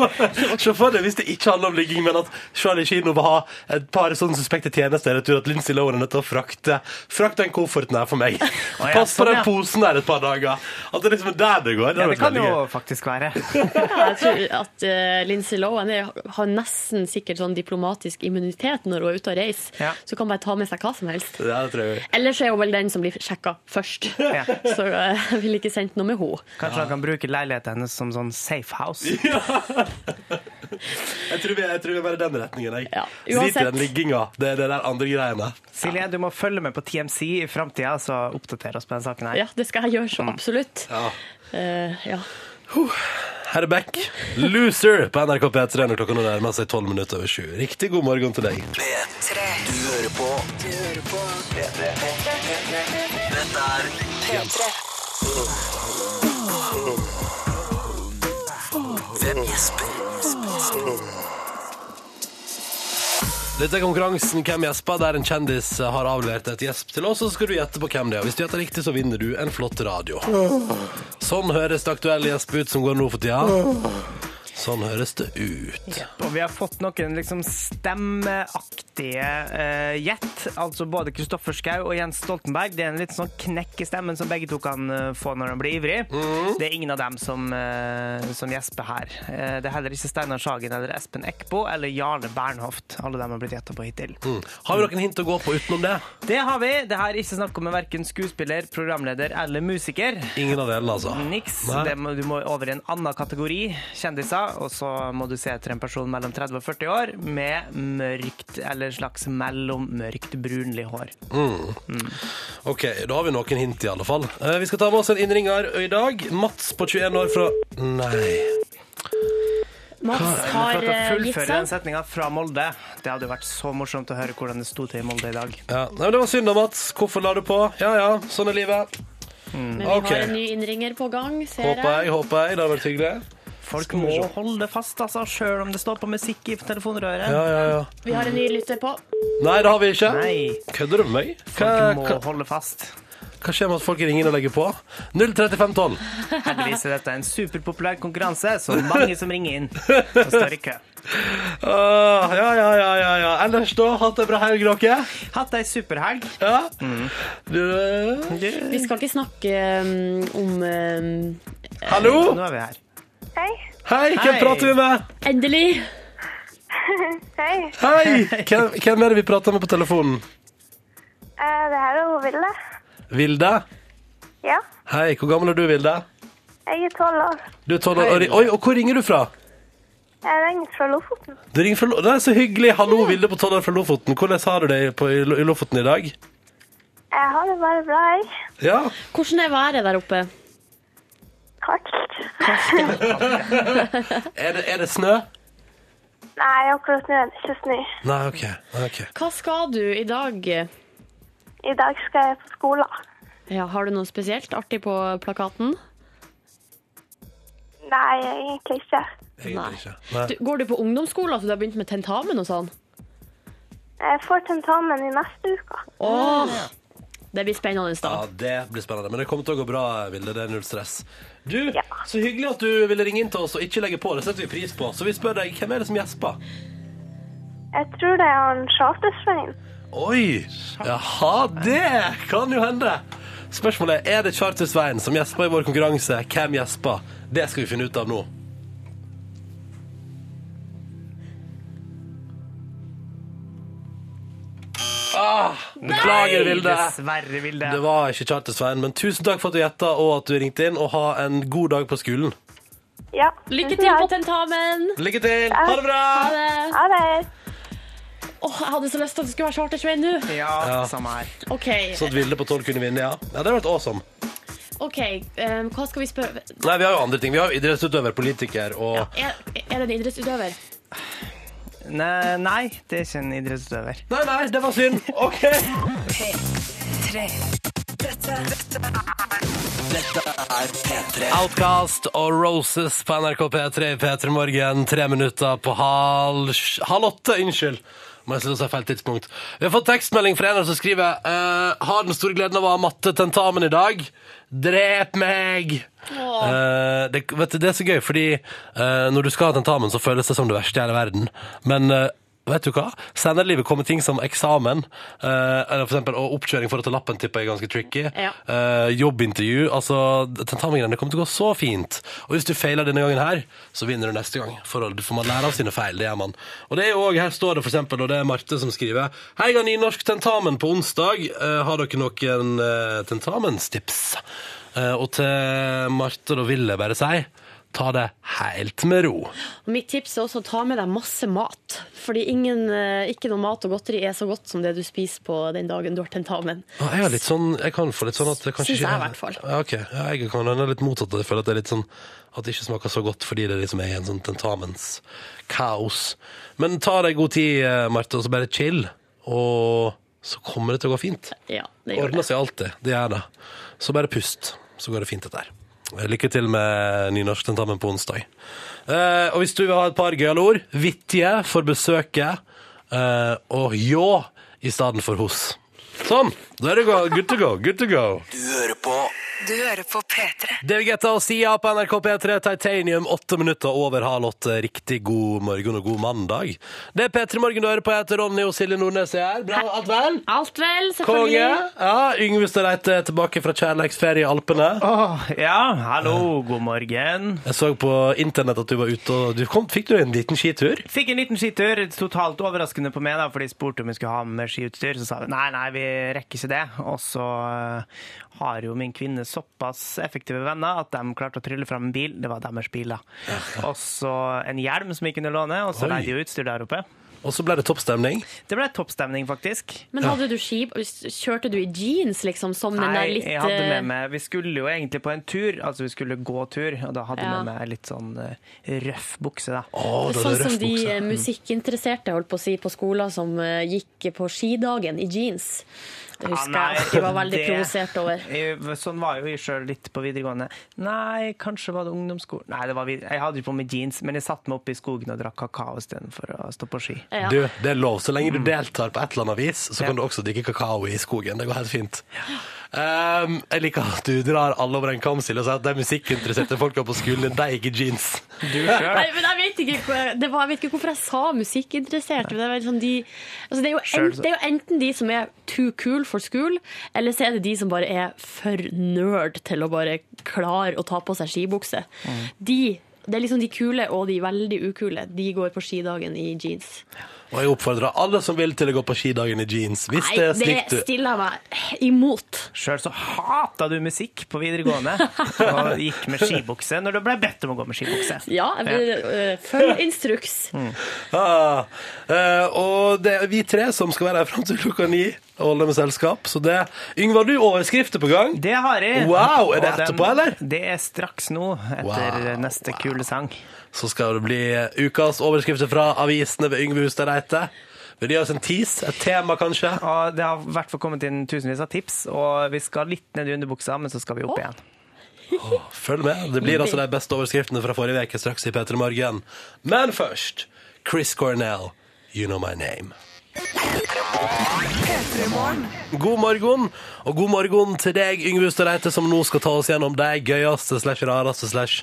Speaker 1: Se for deg hvis det ikke handler om ligging, men at Charlie Kino vil ha et par sånne suspekte tjenester. Jeg tror at Lindsay Lohan er nødt til å frakte Frakt den kofferten her for meg.
Speaker 2: ja,
Speaker 1: Pass på
Speaker 2: sånn,
Speaker 1: den
Speaker 2: ja.
Speaker 1: posen der et par dager. At det liksom er der det går.
Speaker 2: ja,
Speaker 1: hadde
Speaker 2: det
Speaker 1: vært
Speaker 2: kan
Speaker 1: veldig gøy.
Speaker 2: jo faktisk være.
Speaker 3: Jeg tror at eh, Lindsay Lohan er, har nesten sikkert sånn diplomatisk immunitet når hun er ute og reiser.
Speaker 2: Ja.
Speaker 3: Så hun kan bare ta med seg hva som helst.
Speaker 1: Ja, det tror jeg.
Speaker 3: Ellers er hun vel den som blir sjekka først.
Speaker 2: Ja.
Speaker 3: Så eh, jeg ville ikke sendt noe med henne.
Speaker 2: Kanskje han kan bruke leiligheten hennes som sånn safe house.
Speaker 1: Jeg tror vi, jeg tror vi er bare i den retningen, jeg.
Speaker 3: Ja,
Speaker 1: Drit i
Speaker 3: uansett.
Speaker 1: den ligginga. Det er det der andre greiene.
Speaker 2: Silje, du må følge med på TMC i framtida, så oppdater oss på den saken her.
Speaker 3: Ja, det skal jeg gjøre så absolutt.
Speaker 1: Mm. Ja.
Speaker 3: Eh, ja.
Speaker 1: Her er Beck. Loser på NRK P3 når klokka nå nærmer seg tolv minutter over sju. Riktig god morgen til deg.
Speaker 4: P3. Du hører på Du hører på P3. Dette er P3. Hvem gjesper?
Speaker 1: Dette er konkurransen Hvem gjesper, der en kjendis har avlevert et gjesp til oss, og så skal du gjette på hvem det er. Hvis du gjetter riktig, så vinner du en flott radio. Sånn høres det aktuelle gjesp ut som går nå for tida. Sånn høres det ut.
Speaker 2: Og vi har fått noen liksom stemmeaktige eh, gjett. Altså både Kristoffer Schau og Jens Stoltenberg. Det er en litt sånn knekk i stemmen som begge to kan eh, få når de blir ivrig. Det er ingen av dem som, eh, som gjesper her. Eh, det er heller ikke Steinar Sagen eller Espen Eckbo eller Jarle Bernhoft. Alle dem har blitt gjetta på hittil.
Speaker 1: Mm. Har vi noen hint å gå på utenom det?
Speaker 2: Det har vi. Det her er ikke snakk om verken skuespiller, programleder eller musiker.
Speaker 1: Ingen av delene, altså.
Speaker 2: Niks.
Speaker 1: Nei.
Speaker 2: Det må, du må over i en annen kategori, kjendiser, og så må du se etter en person mellom 30 og 40 år med mørkt eller slags mellommørkt brunlig hår.
Speaker 1: Ok, da har vi noen hint i alle fall. Eh, vi skal ta med oss en innringer i dag. Mats på 21 år fra Nei.
Speaker 3: Mats
Speaker 2: For å
Speaker 3: har eh, gitt
Speaker 2: fullføre den
Speaker 3: seg.
Speaker 2: setninga fra Molde. Det hadde jo vært så morsomt å høre hvordan det sto til i Molde i dag.
Speaker 1: Ja. Nei, men det var synd da, Mats. Hvorfor la du på? Ja ja, sånn er livet.
Speaker 3: Men vi
Speaker 1: Ok.
Speaker 3: har en ny innringer på gang, ser
Speaker 1: Håper jeg,
Speaker 3: jeg.
Speaker 1: håper jeg. Det hadde vært hyggelig.
Speaker 2: Folk
Speaker 1: Skal vi
Speaker 2: må
Speaker 1: se.
Speaker 2: holde fast, altså, sjøl om det står på musikk i telefonrøret.
Speaker 1: Ja, ja, ja.
Speaker 3: Vi har en ny lytter på.
Speaker 1: Nei, det har vi ikke.
Speaker 2: Nei,
Speaker 1: Kødder du med meg? Hva,
Speaker 2: folk må
Speaker 1: hva,
Speaker 2: holde fast.
Speaker 1: hva skjer med at folk ringer inn og legger på? 03512.
Speaker 2: Heldigvis er dette en superpopulær konkurranse, så
Speaker 1: (laughs)
Speaker 2: mange som ringer inn, og står i kø.
Speaker 1: Åh, Ah, ja, ja, ja, ja, ja. Ellers da, hatt det bra helg, dere.
Speaker 2: Hatt ei superhelg.
Speaker 1: Ja. Du, eh,
Speaker 3: Vi skal ikke snakke um, om um,
Speaker 1: hallo?
Speaker 2: Nå er vi her.
Speaker 5: Hei. (laughs)
Speaker 1: Hei, hvem
Speaker 2: Hei.
Speaker 1: prater vi med?
Speaker 3: Endelig!
Speaker 5: Hei.
Speaker 1: Hei! (laughs) Hvem, hvem er det vi prater med på telefonen?
Speaker 5: Eh, det her er hun Vilde.
Speaker 1: Vilde?
Speaker 5: Ja.
Speaker 1: Hei, hvor gammel er du, Vilde?
Speaker 5: Jeg er tolv år.
Speaker 1: Du er 12 år. og ri- Oi, og hvor ringer du fra?
Speaker 5: Jeg ringer fra Lofoten.
Speaker 1: Du ringer fra Lo- Det er så hyggelig. Hallo, Vilde på 12 år fra Lofoten. Hvordan har du det på, i Lo- i Lofoten i dag?
Speaker 5: Jeg har det bare bra, jeg.
Speaker 1: Ja.
Speaker 3: Hvordan er været der oppe?
Speaker 5: Kaldt.
Speaker 1: Er det, er det snø?
Speaker 5: Nei, akkurat nå er det ikke snø.
Speaker 1: Nei, OK. Nei, ok.
Speaker 3: Hva skal du i dag?
Speaker 5: I dag skal jeg på skolen.
Speaker 3: Ja, har du noe spesielt artig på plakaten?
Speaker 5: Nei, egentlig ikke.
Speaker 3: Nei.
Speaker 1: Egentlig ikke. Nei.
Speaker 3: Du, går du på ungdomsskolen, så du har begynt med tentamen og sånn?
Speaker 5: Jeg får tentamen i neste uke.
Speaker 3: Åh, det blir spennende da.
Speaker 1: Ah, Ja, det blir spennende. Men det kommer til å gå bra, Vilde. Det er null stress. Du,
Speaker 5: Ja.
Speaker 1: så hyggelig at du ville ringe inn til oss og ikke legge på. Det setter vi pris på. Så vi spør deg, hvem er det som gjesper?
Speaker 5: Jeg tror det er han Charter-Svein.
Speaker 1: Oi! Jaha, det kan jo hende. Spørsmålet er er det Charter-Svein som gjesper i vår konkurranse. Hvem gjesper? Det skal vi finne ut av nå. Ah, beklager, Vilde.
Speaker 2: Dessverre, Vilde.
Speaker 1: Det var ikke Charter-Svein, men tusen takk for at du gjetta og at du ringte inn. Og ha en god dag på skolen.
Speaker 5: Ja.
Speaker 3: Lykke til på tentamen!
Speaker 1: Lykke til! Ha det bra!
Speaker 3: Ha det!
Speaker 5: Ha det.
Speaker 3: Åh, jeg hadde så lyst til at det skulle være chartersveien nå.
Speaker 2: Ja,
Speaker 1: Ja.
Speaker 2: samme her.
Speaker 3: Ok,
Speaker 1: Sånn at Vilde på 12 kunne vinne, ja. ja det hadde vært awesome.
Speaker 3: ok, um, hva skal vi spørre?
Speaker 1: Nei, vi har jo andre ting. Vi har jo idrettsutøver, politiker og
Speaker 3: Er, er det en idrettsutøver?
Speaker 2: Nei, nei, det er ikke en idrettsutøver.
Speaker 1: Nei, nei, det var synd. (laughs) OK. Outcast og Roses på NRK P3 i P3 Morgen. Tre minutter på halv, halv åtte. Unnskyld. Må jeg slutte å si feil tidspunkt. Vi har fått tekstmelding fra en som skriver eh, Har den store gleden av å ha mattetentamen i dag. Drep meg! Eh, det, vet du, det er så gøy, fordi eh, når du skal ha tentamen, så føles det som det verste i hele verden. Men eh, vet du hva? Senere i livet kommer ting som eksamen eh, eller for eksempel, og oppkjøring for å ta lappen, tipper jeg er ganske tricky.
Speaker 3: Ja.
Speaker 1: Eh, jobbintervju. Altså, tentamengreiene kommer til å gå så fint. Og hvis du feiler denne gangen her, så vinner du neste gang. For å- for man lærer av sine feil, det gjør man. Og det er jo også, her står det for eksempel, og det er Marte som skriver Hei, jeg har nynorsk tentamen på onsdag. Eh, har dere noen eh, tentamenstips? Eh, og til Marte, da vil jeg bare si Ta det helt med ro.
Speaker 3: Og Mitt tips er også å ta med deg masse mat. Fordi ingen, eh, ikke noe mat og godteri er så godt som det du spiser på den dagen du har tentamen.
Speaker 1: Ja, Jeg, har litt sånn, jeg kan få litt sånn at det kanskje
Speaker 3: Synes jeg
Speaker 1: ikke-
Speaker 3: i hvert fall.
Speaker 1: Ja, ok. ja, jeg kan hende litt motsatt. at Jeg føler at det, er litt sånn, at det ikke smaker så godt fordi det liksom er en sånn tentamenskaos. Men ta deg god tid, eh, Marte, og så bare chill. Og så kommer det til å gå fint.
Speaker 3: Ja, det gjør
Speaker 1: Ordner
Speaker 3: det.
Speaker 1: seg alltid. Det gjør det. Så bare pust, så går det fint dette her. Lykke til med nynorsktentamen på onsdag. Eh, og hvis du vil ha et par gøyale ord, vittige for besøket, eh, og ljå i stedet for hos. Sånn! Da er det go- good to go. Good to go.
Speaker 4: Du hører på
Speaker 6: Du hører på P3.
Speaker 1: David Guetta og Sia på NRK P3 Titanium, åtte minutter over halv åtte. Riktig god morgen og god mandag. Det er P3 Morgen du hører på. Jeg heter Ronny og Silje Nordnes er her. Bra, alt vel?
Speaker 3: Alt vel, selvfølgelig.
Speaker 1: Konge. Ja, Yngve Stareite er eh, tilbake fra kjærleiksferie i Alpene.
Speaker 2: Åh, ja, hallo, god morgen.
Speaker 1: Jeg så på internett at du var ute og du kom, Fikk du en liten skitur?
Speaker 2: Fikk en liten skitur, totalt overraskende på meg, da, for de spurte om jeg skulle ha med skiutstyr. Så sa de nei, nei, vi rekker ikke det. Og så eh, har jo min kvinne såpass effektive venner at de klarte å trylle fram en bil. Det var deres bil, da. Og så en hjelm som jeg kunne låne, og så
Speaker 1: Oi.
Speaker 2: leide jeg utstyr der oppe.
Speaker 1: Og så ble det toppstemning.
Speaker 2: Det ble toppstemning, faktisk.
Speaker 3: Men hadde du ski, kjørte du i jeans, liksom, som den der
Speaker 2: Nei,
Speaker 3: litt
Speaker 2: jeg hadde
Speaker 3: eh,
Speaker 2: med meg Vi skulle jo egentlig på en tur, altså vi skulle gå tur, og da hadde jeg
Speaker 3: Ja.
Speaker 2: med meg litt sånn eh, røff bukse, da.
Speaker 1: Å, da
Speaker 3: Sånn
Speaker 1: er det
Speaker 3: som
Speaker 1: røff
Speaker 3: de
Speaker 1: bukse.
Speaker 3: eh, musikkinteresserte holdt på å si på skoler som eh, gikk på skidagen i jeans. Det husker
Speaker 2: Ja, Ah, nei,
Speaker 3: jeg at du var veldig
Speaker 2: det-
Speaker 3: provosert over.
Speaker 2: (laughs) Jeg- Sånn var jo jeg sjøl litt på videregående. Nei, kanskje var det ungdomsskolen Nei, det var vid jeg hadde jo på meg jeans, men jeg satte meg opp i skogen og drakk kakao istedenfor å stå på ski.
Speaker 3: Ja.
Speaker 1: Du, det er lov. Så lenge du deltar på et eller annet vis, så
Speaker 2: Ja.
Speaker 1: kan du også drikke kakao i skogen. Det går helt fint. Ehm, jeg liker at du drar alle over en kam, Silje, og sier at de musikkinteresserte folka på skolen, de gikk i jeans.
Speaker 3: Nei, men jeg vet, ikke, hvor- det var, jeg vet ikke hvorfor jeg sa musikkinteressert. men Det er, vel sånn de, altså det, er jo
Speaker 2: Selv
Speaker 3: en,
Speaker 2: så-
Speaker 3: det er jo enten de som er too cool for school, eller så er det de som bare er for nerd til å bare klare å ta på seg skibukse.
Speaker 2: Mm.
Speaker 3: De, det er liksom de kule og de veldig ukule. De går på skidagen i jeans.
Speaker 1: Og jeg oppfordrer alle som vil, til å gå på skidagen i jeans. Hvis
Speaker 3: Nei,
Speaker 1: det er
Speaker 3: det
Speaker 1: slikt du
Speaker 3: stiller jeg meg imot.
Speaker 2: Sjøl så hata du musikk på
Speaker 3: (laughs)
Speaker 2: videregående og gikk med skibukse når du ble bedt om å gå med skibukse.
Speaker 3: Ja, jeg blir, øh, følg instruks.
Speaker 1: ah. Eh, Og det er vi tre som skal være her fram til klokka ni og holde med selskap. Så det Yngvar, har du overskrifter på gang?
Speaker 2: Det har jeg.
Speaker 1: Wow, er det
Speaker 2: Og den-
Speaker 1: etterpå, eller?
Speaker 2: Det er straks nå, etter
Speaker 1: Wow,
Speaker 2: neste kule sang.
Speaker 1: Så skal det bli eh, ukas overskrifter fra avisene ved Yngve Hustad Reite. Vil de gi oss altså en tease? Et tema, kanskje?
Speaker 2: Og det har i hvert fall kommet inn tusenvis av tips, og vi skal litt ned i underbuksa, men så skal vi opp igjen.
Speaker 1: Følg med. Det blir altså de beste overskriftene fra forrige uke straks i P3 Morgen. Men først Chris Cornell, You Know My Name. God morgen, og god morgen til deg, Yngve Hustad Reite, som nå skal ta oss gjennom de gøyeste slash rareste slash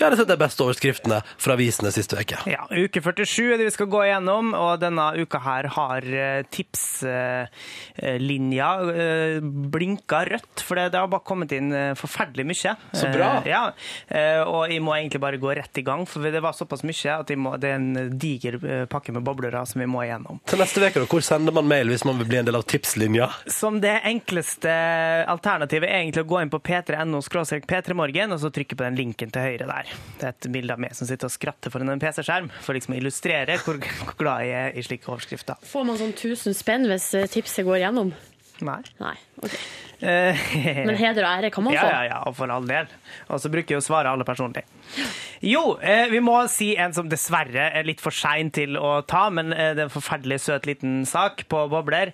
Speaker 1: Ja, rett og slett de beste overskriftene fra avisene siste uke.
Speaker 2: Ja, Uke 47 er det vi skal gå igjennom, og denne uka her har eh, tipslinja eh, blinka rødt. For det det har bare kommet inn eh, forferdelig mye.
Speaker 1: Så bra.
Speaker 2: Eh, Ja, eh, Og jeg må egentlig bare gå rett i gang, for det var såpass mye at jeg må, det er en diger eh, pakke med boblere som vi må igjennom.
Speaker 1: Til neste uke, da. Hvor sender man mail hvis man vil bli en del av tipslinja?
Speaker 2: som det enkleste alternativet er egentlig å gå inn på p3.no p3morgen, og så trykke på den linken til høyre der. Det er et bilde av meg som sitter og skratter foran en PC-skjerm, for liksom å illustrere hvor, hvor glad jeg er i slike overskrifter.
Speaker 3: Får man sånn 1000 spenn hvis eh, tipset går gjennom?
Speaker 2: Nei.
Speaker 3: Nei. ok.
Speaker 2: Eh, (laughs)
Speaker 3: Men sånn. heder og ære kan man
Speaker 2: Ja,
Speaker 3: få.
Speaker 2: ja, ja, og for all del. Og så bruker jeg å svare alle personlig. Jo, eh, vi må si en som dessverre er litt for sein til å ta, men eh, det er en forferdelig søt liten sak på bobler.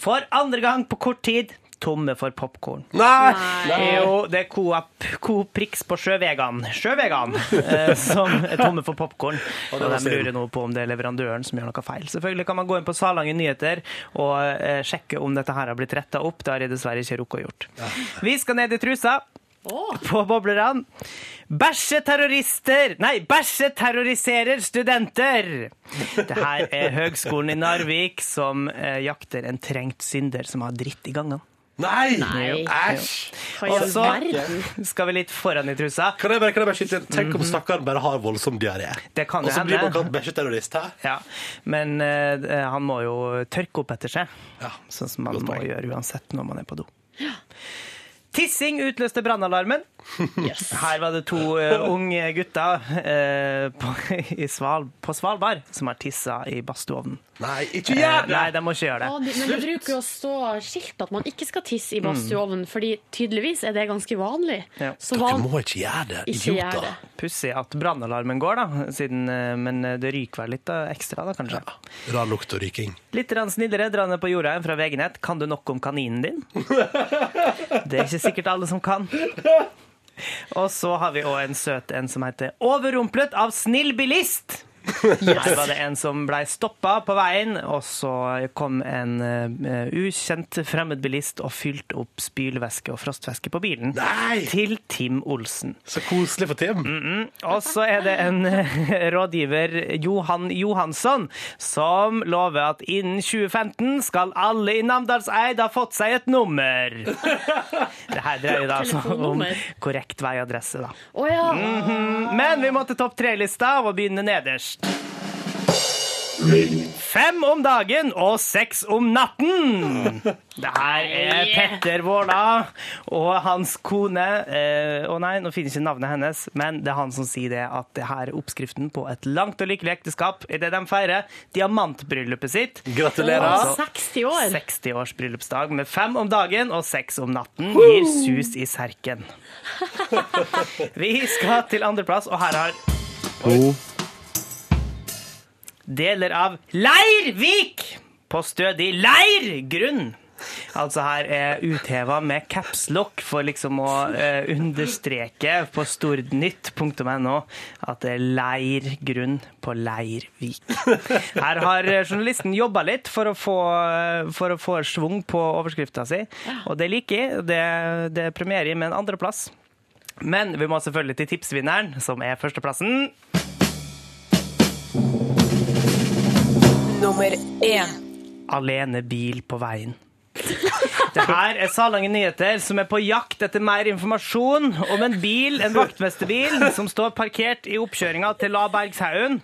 Speaker 2: For andre gang på kort tid, tomme for popkorn.
Speaker 1: Nei!
Speaker 2: Det
Speaker 1: Eh.
Speaker 2: er jo Eh, det er Coop, Coop Prix på Sjøvegan, Sjøvegan eh, som er tomme for popkorn. Og
Speaker 1: det var
Speaker 2: de
Speaker 1: synd.
Speaker 2: lurer nå på om det er leverandøren som gjør noe feil. Selvfølgelig kan man gå inn på Salangen Nyheter og eh, sjekke om dette her har blitt retta opp. Det har jeg dessverre ikke rukket å gjort. Vi skal ned i trusa.
Speaker 3: Åh.
Speaker 2: På boblerne. Bæsjeterrorister Nei, bæsjeterroriserer studenter! Det her er Høgskolen i Narvik som eh, jakter en trengt synder som har dritt i gangene.
Speaker 1: Nei!
Speaker 3: Nei.
Speaker 1: Æsj!
Speaker 3: Hva i all
Speaker 2: Og så
Speaker 3: verden?
Speaker 2: skal vi litt foran i trusa.
Speaker 1: Kan jeg bare, kan jeg bare skyte inn? Tenk om stakkaren bare har voldsom diaré.
Speaker 2: Mhm. Det kan
Speaker 1: Og
Speaker 2: jo
Speaker 1: så blir
Speaker 2: hende.
Speaker 1: man kalt bæsjeterrorist. hæ?
Speaker 2: Ja, Men eh, han må jo tørke opp etter seg,
Speaker 1: Ja.
Speaker 2: sånn som man
Speaker 1: Godt
Speaker 2: må
Speaker 1: poeng.
Speaker 2: gjøre uansett når man er på do. Tissing utløste brannalarmen. (laughs) Her var det to eh, unge gutter eh, på, (laughs) i Sval, på Svalbard som har tissa i badstueovnen.
Speaker 1: Nei, ikke
Speaker 2: Eh,
Speaker 1: gjør det!
Speaker 2: nei, de må ikke gjøre
Speaker 3: Ja,
Speaker 2: det.
Speaker 3: de- Men det bruker jo å stå skilt at man ikke skal tisse i badstueovnen, fordi tydeligvis er det ganske vanlig.
Speaker 2: Ja.
Speaker 3: Så
Speaker 1: Du
Speaker 3: van
Speaker 1: må ikke gjøre det,
Speaker 3: ikke gjør
Speaker 1: idioter.
Speaker 3: det.
Speaker 2: Pussig at brannalarmen går, da, siden, eh, men det ryker vel litt da, ekstra, da, kanskje.
Speaker 1: Rar lukt og ryking.
Speaker 2: Litt rann snillere dra ned på jorda enn fra VG-nett. Kan du nok om kaninen din? Det er ikke sikkert alle som kan. Og så har vi òg en søt en som heter 'Overrumplet av snill bilist'. Her var det en som blei stoppa på veien, og så kom en eh, ukjent fremmed bilist og fylte opp spylevæske og frostvæske på bilen.
Speaker 1: Nei!
Speaker 2: Til Tim Olsen.
Speaker 1: Så koselig for Tim.
Speaker 2: Og så er det en (laughs) eh, rådgiver, Johan Johansson, som lover at innen 2015 skal alle i Namdalseid ha fått seg et nummer. Det her dreier da altså om
Speaker 3: Telefonnummer.
Speaker 2: korrekt vei og adresse, da.
Speaker 3: Å ja. Mhm.
Speaker 2: Men vi må til topp tre-lista og begynne nederst. Fem om dagen og seks om natten. Det her er Petter Våla og hans kone eh, Å nei, nå finner jeg ikke navnet hennes, men det er han som sier det at det her er oppskriften på et langt og lykkelig ekteskap idet de feirer diamantbryllupet sitt.
Speaker 1: Gratulerer.
Speaker 2: Altså,
Speaker 3: Å, 60 år.
Speaker 2: 60 års bryllupsdag med fem om dagen og seks om natten gir sus i serken. Vi skal til andreplass, og her har Deler av Leirvik på stødig leirgrunn. altså her er utheva med caps lock for liksom å eh, understreke på stordnytt.no at det er leirgrunn på Leirvik. Her har eh, journalisten jobba litt for å få, eh, for å få svung på overskrifta si, og det liker jeg. Det, det er premiere i med en andreplass. Men vi må selvfølgelig til tipsvinneren, som er førsteplassen.
Speaker 6: Nummer én.
Speaker 2: alene bil på veien. Det her er Salangen Nyheter, som er på jakt etter mer informasjon om en bil, en vaktmesterbil, som står parkert i oppkjøringa til La Bergshaugen.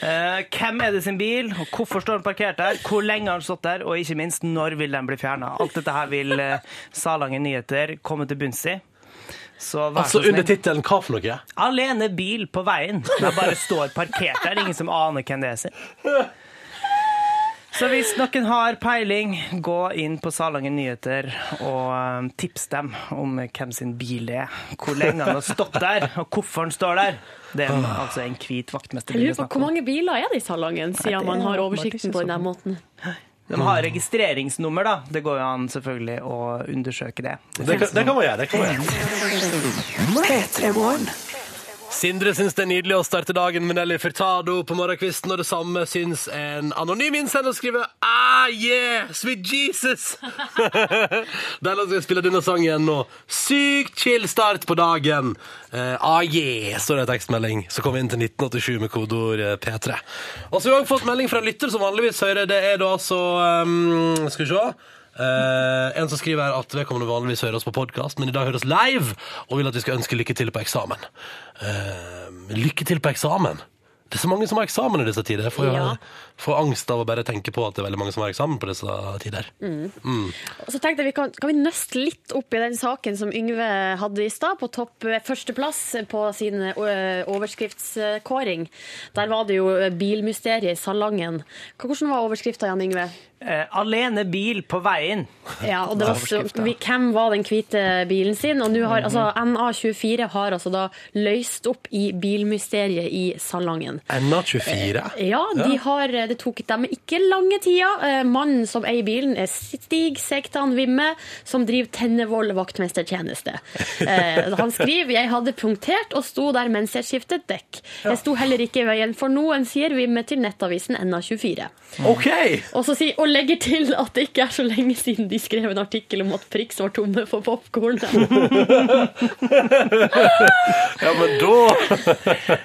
Speaker 2: Eh, hvem er det sin bil, og hvorfor står den parkert der, hvor lenge har den stått der, og ikke minst, når vil den bli fjerna? Alt dette her vil eh, Salangen Nyheter komme til bunns i. Så vær så
Speaker 1: Altså under
Speaker 2: snill.
Speaker 1: tittelen 'Hva for noe'?
Speaker 2: Alene bil på veien. Den bare står parkert der. Ingen som aner hvem det er sin. Så hvis noen har peiling, gå inn på Salangen Nyheter og eh, tips dem om hvem sin bil det er. Hvor lenge han har stått der, og hvorfor han står der. Det er en, altså en hvit
Speaker 3: Jeg
Speaker 2: vaktmesterbil.
Speaker 3: lurer på Hvor mange biler er liksom sånn. det i Salangen, siden man har oversikten på den måten?
Speaker 2: De har registreringsnummer, da. Det går jo an selvfølgelig å undersøke det.
Speaker 1: Det kan, det kan man gjøre. det kan man gjøre.
Speaker 6: P3morgen.
Speaker 1: Sindre syns det er nydelig å starte dagen med Nelly Furtado på morgenkvisten, og det samme syns en anonym innsender skriver Ah, yeah, sweet Jesus! (laughs) Deilig at vi spiller denne sangen nå. Sykt chill start på dagen. Eh, ah, yeah, står det i tekstmelding. Så kom vi inn til 1987 med kodeord eh, P3. Og så har vi også fått melding fra en lytter som vanligvis hører. Det er da altså ehm, Skal vi se. Eh, en som skriver her at vedkommende vanligvis hører oss på podkast, men i dag hører oss live og vil at vi skal ønske lykke til på eksamen. Eh, lykke til på eksamen! Det er så mange som har eksamen i disse tider. Jeg får, jo-
Speaker 3: Ja.
Speaker 1: får angst av å bare tenke på at det er veldig mange som har eksamen på disse tider.
Speaker 3: Og så tenkte jeg vi kan, kan vi nøste litt opp i den saken som Yngve hadde i stad, på topp eh, førsteplass på sin eh, ø- overskriftskåring. Der var det jo eh, bilmysteriet i Salangen. Hva- Hvordan var overskrifta igjen, Yngve?
Speaker 2: Eh, alene bil på veien.
Speaker 3: Ja, og det var så,
Speaker 2: Overskriften.
Speaker 3: vi, Hvem var den hvite bilen sin? Og nå har altså NA24 har altså da løst opp i bilmysteriet i Salangen.
Speaker 1: NA24.
Speaker 3: Ja, de har, eh, det tok dem ikke lange tida. Eh, Mannen som eier bilen er Stig Sektan Vimme, som driver Tennevoll vaktmestertjeneste. Eh, Han skriver jeg hadde punktert og sto der mens jeg skiftet dekk. Jeg sto heller ikke i veien for noen, sier Vimme til nettavisen NA24.
Speaker 1: OK!
Speaker 3: Og, så si, og legger til at det ikke er så lenge siden de skrev en artikkel om at Prix var tomme for
Speaker 1: (laughs)
Speaker 3: popkorn.
Speaker 1: Ja, men da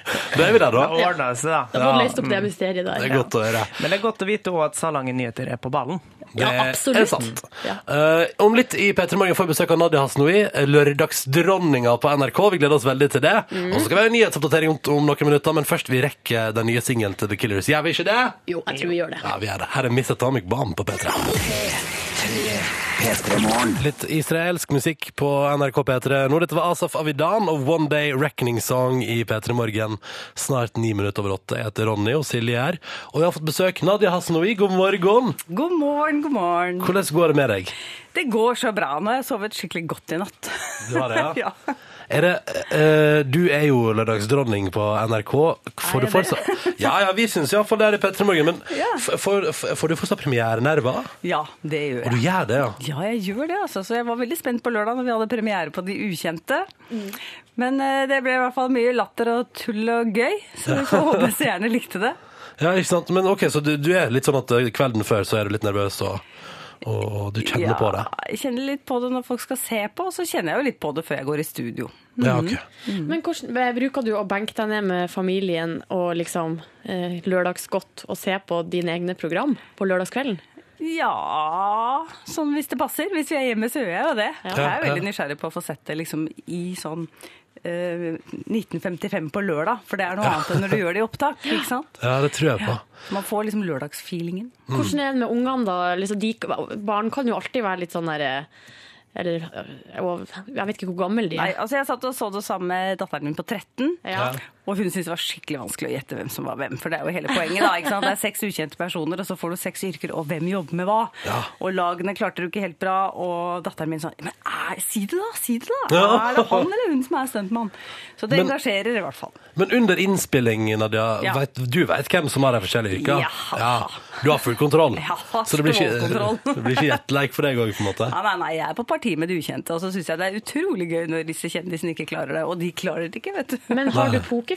Speaker 1: (laughs) Da er vi der, da.
Speaker 2: Det ordna seg, da.
Speaker 3: Da får vi løst opp det mysteriet der.
Speaker 1: Det er godt å høre.
Speaker 2: Men det er godt å vite også at Salangen Nyheter er på ballen.
Speaker 1: Det
Speaker 3: Ja, absolutt.
Speaker 1: er sant.
Speaker 3: Ja.
Speaker 1: Eh, om litt i P3 Morgen får vi besøk av Nadia Hasnoui, lørdagsdronninga på NRK. Vi gleder oss veldig til det.
Speaker 3: Mhm.
Speaker 1: Og så skal vi ha en nyhetsoppdatering om, om noen minutter, men først vi rekker den nye singelen til The Killers. Gjør vi ikke det?
Speaker 3: Jo, jeg tror vi gjør det.
Speaker 1: Ja, vi gjør det. Her er Miss Atomic Bomb på P3. Litt israelsk musikk på NRK P3 nå. Dette var Asaf Avidan og One Day Reckoning Song i P3 Morgen. Snart ni minutter over åtte. Jeg heter Ronny, og Silje er her. Og vi har fått besøk. Nadia Hasnoui, god morgen.
Speaker 7: God morgen, god morgen.
Speaker 1: Hvordan går det med deg?
Speaker 7: Det går så bra. Nå har jeg sovet skikkelig godt i natt.
Speaker 1: Du har det, ja?
Speaker 7: (laughs) ja.
Speaker 1: Er det, eh, du er jo lørdagsdronning på NRK. Får du fortsatt Ja, ja, vi syns iallfall det er i P3 Morgen, men
Speaker 7: Ja.
Speaker 1: f- får f- får du fortsatt premierenerver?
Speaker 7: Ja, det gjør
Speaker 1: Og du
Speaker 7: jeg.
Speaker 1: gjør det, ja?
Speaker 7: Ja, jeg gjør det, altså. Så jeg var veldig spent på lørdag når vi hadde premiere på De ukjente. Men eh, det ble i hvert fall mye latter og tull og gøy, så vi (laughs) får håpe seerne likte det.
Speaker 1: Ja, ikke sant? Men ok, så du, du er litt sånn at eh, kvelden før så er du litt nervøs, og, og du kjenner på det?
Speaker 7: Jeg kjenner litt på det når folk skal se på, og så kjenner jeg jo litt på det før jeg går i studio.
Speaker 1: Ja,
Speaker 7: Mhm.
Speaker 1: ok.
Speaker 3: Men hvordan eh, bruker du å benke deg ned med familien og liksom eh, lørdagsgodt og se på dine egne program på lørdagskvelden?
Speaker 7: Ja Sånn hvis det passer. Hvis vi er hjemme, så gjør jeg jo det. Jeg er jo
Speaker 1: Ja, ja.
Speaker 7: veldig nysgjerrig på å få sett det liksom i sånn eh, 1955 på lørdag, for det er noe annet enn når du gjør det i opptak. ikke sant?
Speaker 1: Ja, det tror jeg på.
Speaker 7: Man får liksom lørdagsfeelingen.
Speaker 1: Mm.
Speaker 3: Hvordan er det med ungene, da? Liksom, de, barn kan jo alltid være litt sånn der eh, eller, eh, og- Jeg vet ikke hvor gammel de
Speaker 7: Nei,
Speaker 3: er.
Speaker 7: altså Jeg satt og så det sammen med datteren min på 13.
Speaker 3: Ja.
Speaker 7: Og hun syntes det var skikkelig vanskelig å gjette hvem som var hvem. For det er jo hele poenget, da. ikke sant? Det er seks ukjente personer, og så får du seks yrker, og hvem jobber med hva?
Speaker 1: Ja.
Speaker 7: Og lagene klarte du ikke helt bra, og datteren min sånn Men er, si det, da! Si det, da!
Speaker 1: Ja.
Speaker 7: Er det han eller hun som er stuntmann? Så det
Speaker 1: Men-
Speaker 7: engasjerer i hvert fall.
Speaker 1: Men under innspilling, Nadia,
Speaker 7: Ja.
Speaker 1: vet, du vet hvem som har de forskjellige yrkene?
Speaker 7: Ja.
Speaker 1: Du har full kontroll?
Speaker 7: Jeg har
Speaker 1: Så det blir ikke,
Speaker 7: stålkontroll.
Speaker 1: (laughs) det blir ikke jetlag for deg òg, på en måte?
Speaker 7: Nei, nei, nei, jeg er på parti med det ukjente, og så syns jeg det er utrolig gøy når disse kjendisene ikke klarer det. Og de klarer det ikke, vet du.
Speaker 3: Men har
Speaker 7: (laughs)
Speaker 3: du pokerfjes?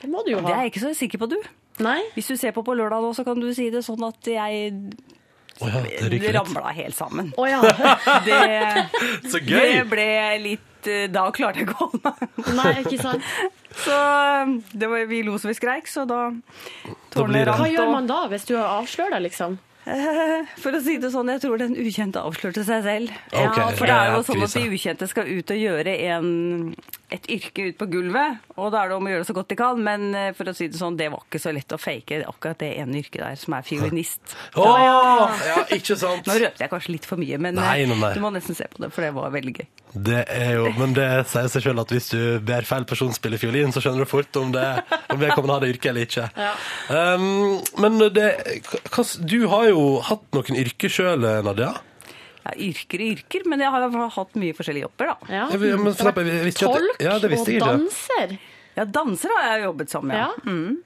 Speaker 3: Det må du jo
Speaker 7: det
Speaker 3: ha.
Speaker 7: er jeg ikke så sikker på, du.
Speaker 3: Nei?
Speaker 7: Hvis du ser på på lørdag nå, så kan du si det sånn at jeg
Speaker 1: Å ja, det ryker litt.
Speaker 7: ramla helt sammen.
Speaker 3: Å
Speaker 7: (laughs)
Speaker 3: ja.
Speaker 1: (laughs)
Speaker 7: Det,
Speaker 1: Så gøy!
Speaker 7: det ble litt eh, Da klarte jeg ikke å holde meg. (laughs)
Speaker 3: Nei, ikke sant.
Speaker 7: Så eh, det var, vi lo så vi skreik, så da
Speaker 1: Da
Speaker 7: (laughs)
Speaker 1: blir det-
Speaker 7: tårnet rant.
Speaker 3: Hva
Speaker 7: og-
Speaker 3: gjør man da, hvis du avslører deg, liksom?
Speaker 7: Eh, For å si det sånn, jeg tror den ukjente avslørte seg selv.
Speaker 1: Ok,
Speaker 7: ja, for det er jo
Speaker 1: det er
Speaker 7: sånn at
Speaker 1: krise.
Speaker 7: de ukjente skal ut og gjøre en, et yrke ut på gulvet, og da er det om å gjøre det så godt de kan, men eh, for å si det sånn, det var ikke så lett å fake akkurat det ene yrket der, som er fiolinist.
Speaker 1: Å, ja, ikke sant?
Speaker 7: Nå røpte jeg kanskje litt for mye, men eh,
Speaker 1: Nei, nei, nei.
Speaker 7: du må nesten se på det, for det var veldig gøy.
Speaker 1: Det er jo, men det sier seg selv at hvis du ber feil person spille fiolin, så skjønner du fort om, det, om vedkommende har det yrket eller ikke. Um, men det, hva, du har jo hatt noen yrker sjøl, Nadia.
Speaker 7: Ja, yrker og yrker, men jeg har i hvert fall hatt mye forskjellige jobber, da.
Speaker 3: Ja.
Speaker 1: Jeg vil- men for eksempel, jeg visste ikke at-
Speaker 3: Tolk
Speaker 1: ja, det visste
Speaker 3: og
Speaker 1: jeg ikke.
Speaker 3: danser.
Speaker 7: Ja, danser har jeg jobbet som, ja. Mm.
Speaker 3: Ja.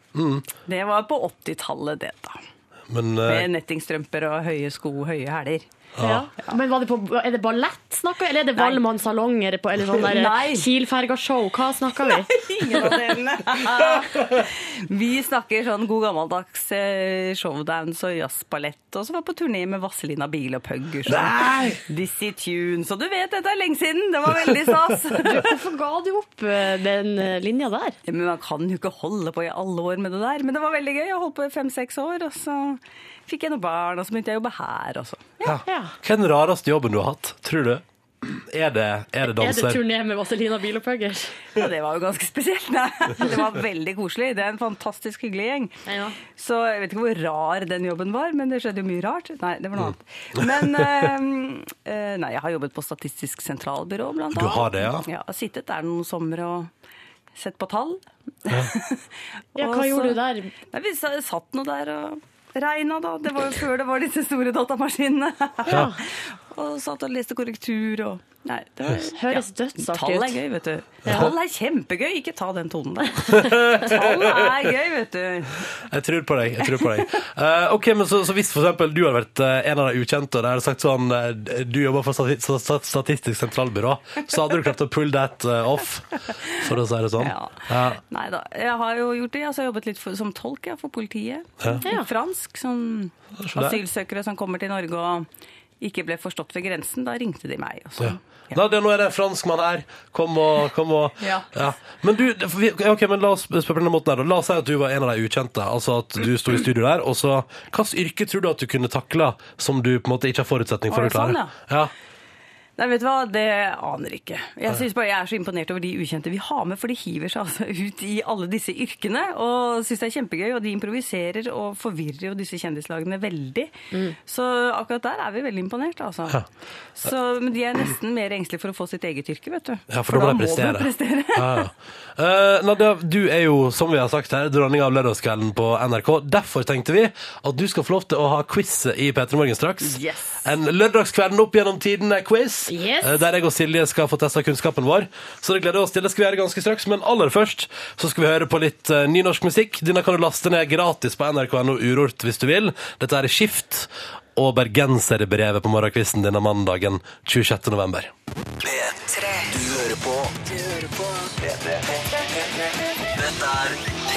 Speaker 7: Det var på 80-tallet, det da.
Speaker 1: Men
Speaker 7: Med
Speaker 1: eh,
Speaker 7: nettingstrømper og høye sko, høye
Speaker 3: (laughs)
Speaker 7: hæler.
Speaker 3: Ja. Men var det på, er det ballett snakker vi, eller er det
Speaker 7: Nei.
Speaker 3: Valmann salong eller, på- eller sånn
Speaker 7: Nei.
Speaker 3: der Kielferga-show? Hva snakker vi?
Speaker 7: Ingen av delene. (laughs) Vi snakker sånn god gammeldags eh, showdance og jazzballett, og så var jeg på turné med Vazelina Biel og Puggers.
Speaker 1: Nei!
Speaker 7: Dizzie Tunes, og du vet, dette er lenge siden! Det var veldig stas!
Speaker 3: Hvorfor ga (laughs) du opp eh, den eh, linja der?
Speaker 7: Ja, (laughs) Men man kan jo ikke holde på i alle år med det der. Men det var veldig gøy. Jeg holdt på i fem-seks år, og så fikk jeg noen barn, og så begynte jeg å jobbe her, og så.
Speaker 1: ja.
Speaker 3: Ja.
Speaker 1: Hva er den rareste jobben du har hatt, tror du? Er det, er det
Speaker 3: Er det
Speaker 1: danser?
Speaker 3: turné med Vazelina Bilopphuggers?
Speaker 7: Ja, det var jo ganske spesielt. Nei, det var veldig koselig. Det er en fantastisk hyggelig gjeng.
Speaker 3: Ja.
Speaker 7: Så jeg vet ikke hvor rar den jobben var, men det skjedde jo mye rart. Nei, det var
Speaker 1: Mm.
Speaker 7: noe annet. Men eh, eh, nei, jeg har jobbet på Statistisk sentralbyrå, blant
Speaker 1: Du
Speaker 7: annet.
Speaker 1: har det, ja?
Speaker 7: Ja, og sittet der noen somre og sett på tall. (laughs)
Speaker 3: Ja,
Speaker 7: Og
Speaker 3: hva
Speaker 7: så-
Speaker 3: gjorde du der?
Speaker 7: Nei, vi sa- satt nå der og regna, da. Det var jo før det var disse store datamaskinene.
Speaker 1: Ja.
Speaker 7: (laughs) og satt og leste korrektur og Nei, det var
Speaker 3: Høres dødsartig
Speaker 7: Tall er
Speaker 3: ut.
Speaker 7: gøy, vet du.
Speaker 3: Ja.
Speaker 7: Tall er kjempegøy. Ikke ta den tonen der. Tall er gøy, vet du.
Speaker 1: Jeg tror på deg. jeg tror på deg. Eh, ok, men så, så hvis for eksempel du hadde vært eh, en av de ukjente, og de hadde sagt sånn eh, Du jobber for Stati- Sta- Sta- Statistisk sentralbyrå, så hadde du klart å pull that eh, off, for å si det sånn.
Speaker 7: Ja. Nei da. Jeg har jo gjort det. Altså, jeg har jobbet litt for, som tolk ja, for politiet.
Speaker 3: Ja.
Speaker 7: Litt fransk. Som
Speaker 1: så der.
Speaker 7: asylsøkere som kommer til Norge og ikke ble forstått ved grensen. Da ringte de meg. Og sånn. så.
Speaker 1: Ja. Nadia, nå er det en franskmann her. Kom og kom og
Speaker 7: Ja.
Speaker 1: Men du, det- vi- ok, men la oss spørre på denne måten her. da. La oss si at du var en av de ukjente. Altså at du sto i studio der, og så Hvilket yrke tror du at du kunne takla som du på en måte ikke har forutsetning for
Speaker 7: Var
Speaker 1: å
Speaker 7: det sånn,
Speaker 1: klare? ja.
Speaker 7: Nei, vet du hva, det aner jeg ikke. Jeg synes bare jeg er så imponert over de ukjente vi har med, for de hiver seg altså ut i alle disse yrkene, og synes det er kjempegøy, og de improviserer og forvirrer jo disse kjendislagene veldig. Så akkurat der er vi veldig imponert, altså.
Speaker 1: Mm. Ja.
Speaker 7: Så, men de er nesten mer engstelige for å få sitt eget yrke, vet du.
Speaker 1: Ja, for da må de prestere. (laughs) Ja, ja. Eh, Nadia, du er jo, som vi har sagt her, dronning av lørdagskvelden på NRK. Derfor tenkte vi at du skal få lov til å ha quiz i P3 Morgen straks.
Speaker 3: Yes.
Speaker 1: En lørdagskvelden opp gjennom tidene-quiz,
Speaker 3: Yes.
Speaker 1: der jeg og Silje skal få testa kunnskapen vår. Så det gleder vi oss til. Det skal vi gjøre ganske straks, men aller først så skal vi høre på litt eh, nynorsk musikk. Denne kan du laste ned gratis på nrk.no Urort hvis du vil. Dette er Skift og bergenserbrevet på morgenkvisten denne mandagen 26. november.
Speaker 4: P3 Du hører på Du hører på P3 Dette er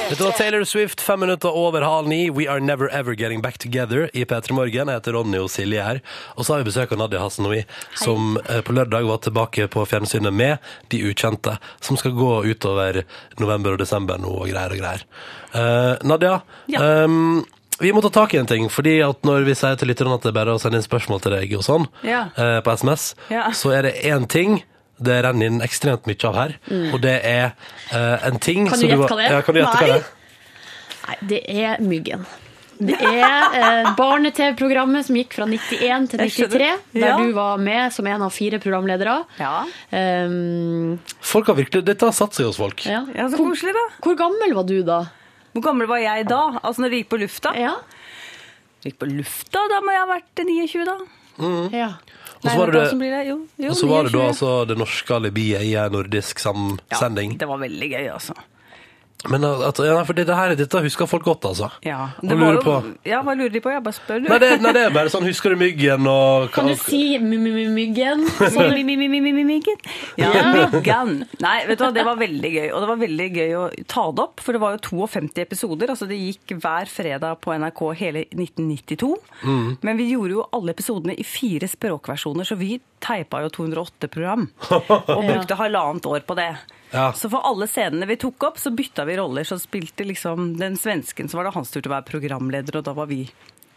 Speaker 1: Dette var Taylor Swift, fem minutter over halv ni. We are never ever getting back together i P3 Morgen. Jeg heter Ronny og Silje her. Og så har vi besøk av Nadia Hasanoui, som eh, på lørdag var tilbake på fjernsynet med De ukjente, som skal gå utover november og desember nå og greier og greier. Eh, Nadia,
Speaker 7: Ja.
Speaker 1: ehm, vi må ta tak i en ting, fordi at når vi sier til lytterne at det er bare å sende inn spørsmål til deg og sånn,
Speaker 7: Ja.
Speaker 1: eh, på SMS,
Speaker 7: Ja.
Speaker 1: så er det én ting det renner inn ekstremt mye av her,
Speaker 7: Mm.
Speaker 1: og det er eh, en ting
Speaker 3: Kan
Speaker 1: som
Speaker 3: du gjette
Speaker 1: var-
Speaker 3: hva det er?
Speaker 1: Ja, kan du gjette hva
Speaker 3: Nei.
Speaker 1: det er?
Speaker 3: Nei, det er myggen. Det er eh, barne-TV-programmet som gikk fra 91 til
Speaker 7: Jeg skjønner.
Speaker 3: 93, der
Speaker 7: Ja.
Speaker 3: du var med som en av fire programledere.
Speaker 7: Ja.
Speaker 3: Um,
Speaker 1: Folk har virkelig, Dette har satt seg hos folk.
Speaker 3: ja.
Speaker 7: (laughs) ja, så
Speaker 3: Hvor,
Speaker 7: koselig, da.
Speaker 3: hvor gammel var du da?
Speaker 7: Hvor gammel var jeg da? Altså når det gikk på lufta?
Speaker 3: Ja.
Speaker 7: Gikk på lufta, Da må jeg ha vært 29, da.
Speaker 3: ja.
Speaker 1: Og så var det,
Speaker 7: hva som blir det? Jo, jo,
Speaker 1: og så var det da
Speaker 7: 29.
Speaker 1: altså det norske alibiet i en nordisk samsending.
Speaker 7: Ja, det var veldig gøy, altså.
Speaker 1: Men eh, at, ja, for det, det her, dette husker folk godt, altså.
Speaker 7: Ja,
Speaker 1: Og
Speaker 7: det var
Speaker 1: lurer
Speaker 7: jo-
Speaker 1: på
Speaker 7: Ja, hva lurer de på? Jeg bare spør, du.
Speaker 1: nei det, nei, det er bare sånn Husker du myggen og
Speaker 3: Kan du si myggen?
Speaker 7: Sånn mi, mi, mi, mi, mi, mi, myggen.
Speaker 1: (laughs)
Speaker 7: Ja, myggen. Nei, vet du hva, det var veldig gøy. Og det var veldig gøy å ta det opp, for det var jo 52 episoder. Altså det gikk hver fredag på NRK hele 1992.
Speaker 1: Mm.
Speaker 7: Men vi gjorde jo alle episodene i fire språkversjoner, så vi teipa jo 208
Speaker 1: (laughs)
Speaker 7: program. Og brukte halvannet år på det.
Speaker 1: Ja.
Speaker 7: Så for alle scenene vi tok opp, så bytta vi roller. Så spilte liksom den svensken, så var det hans tur til å være programleder, og da var vi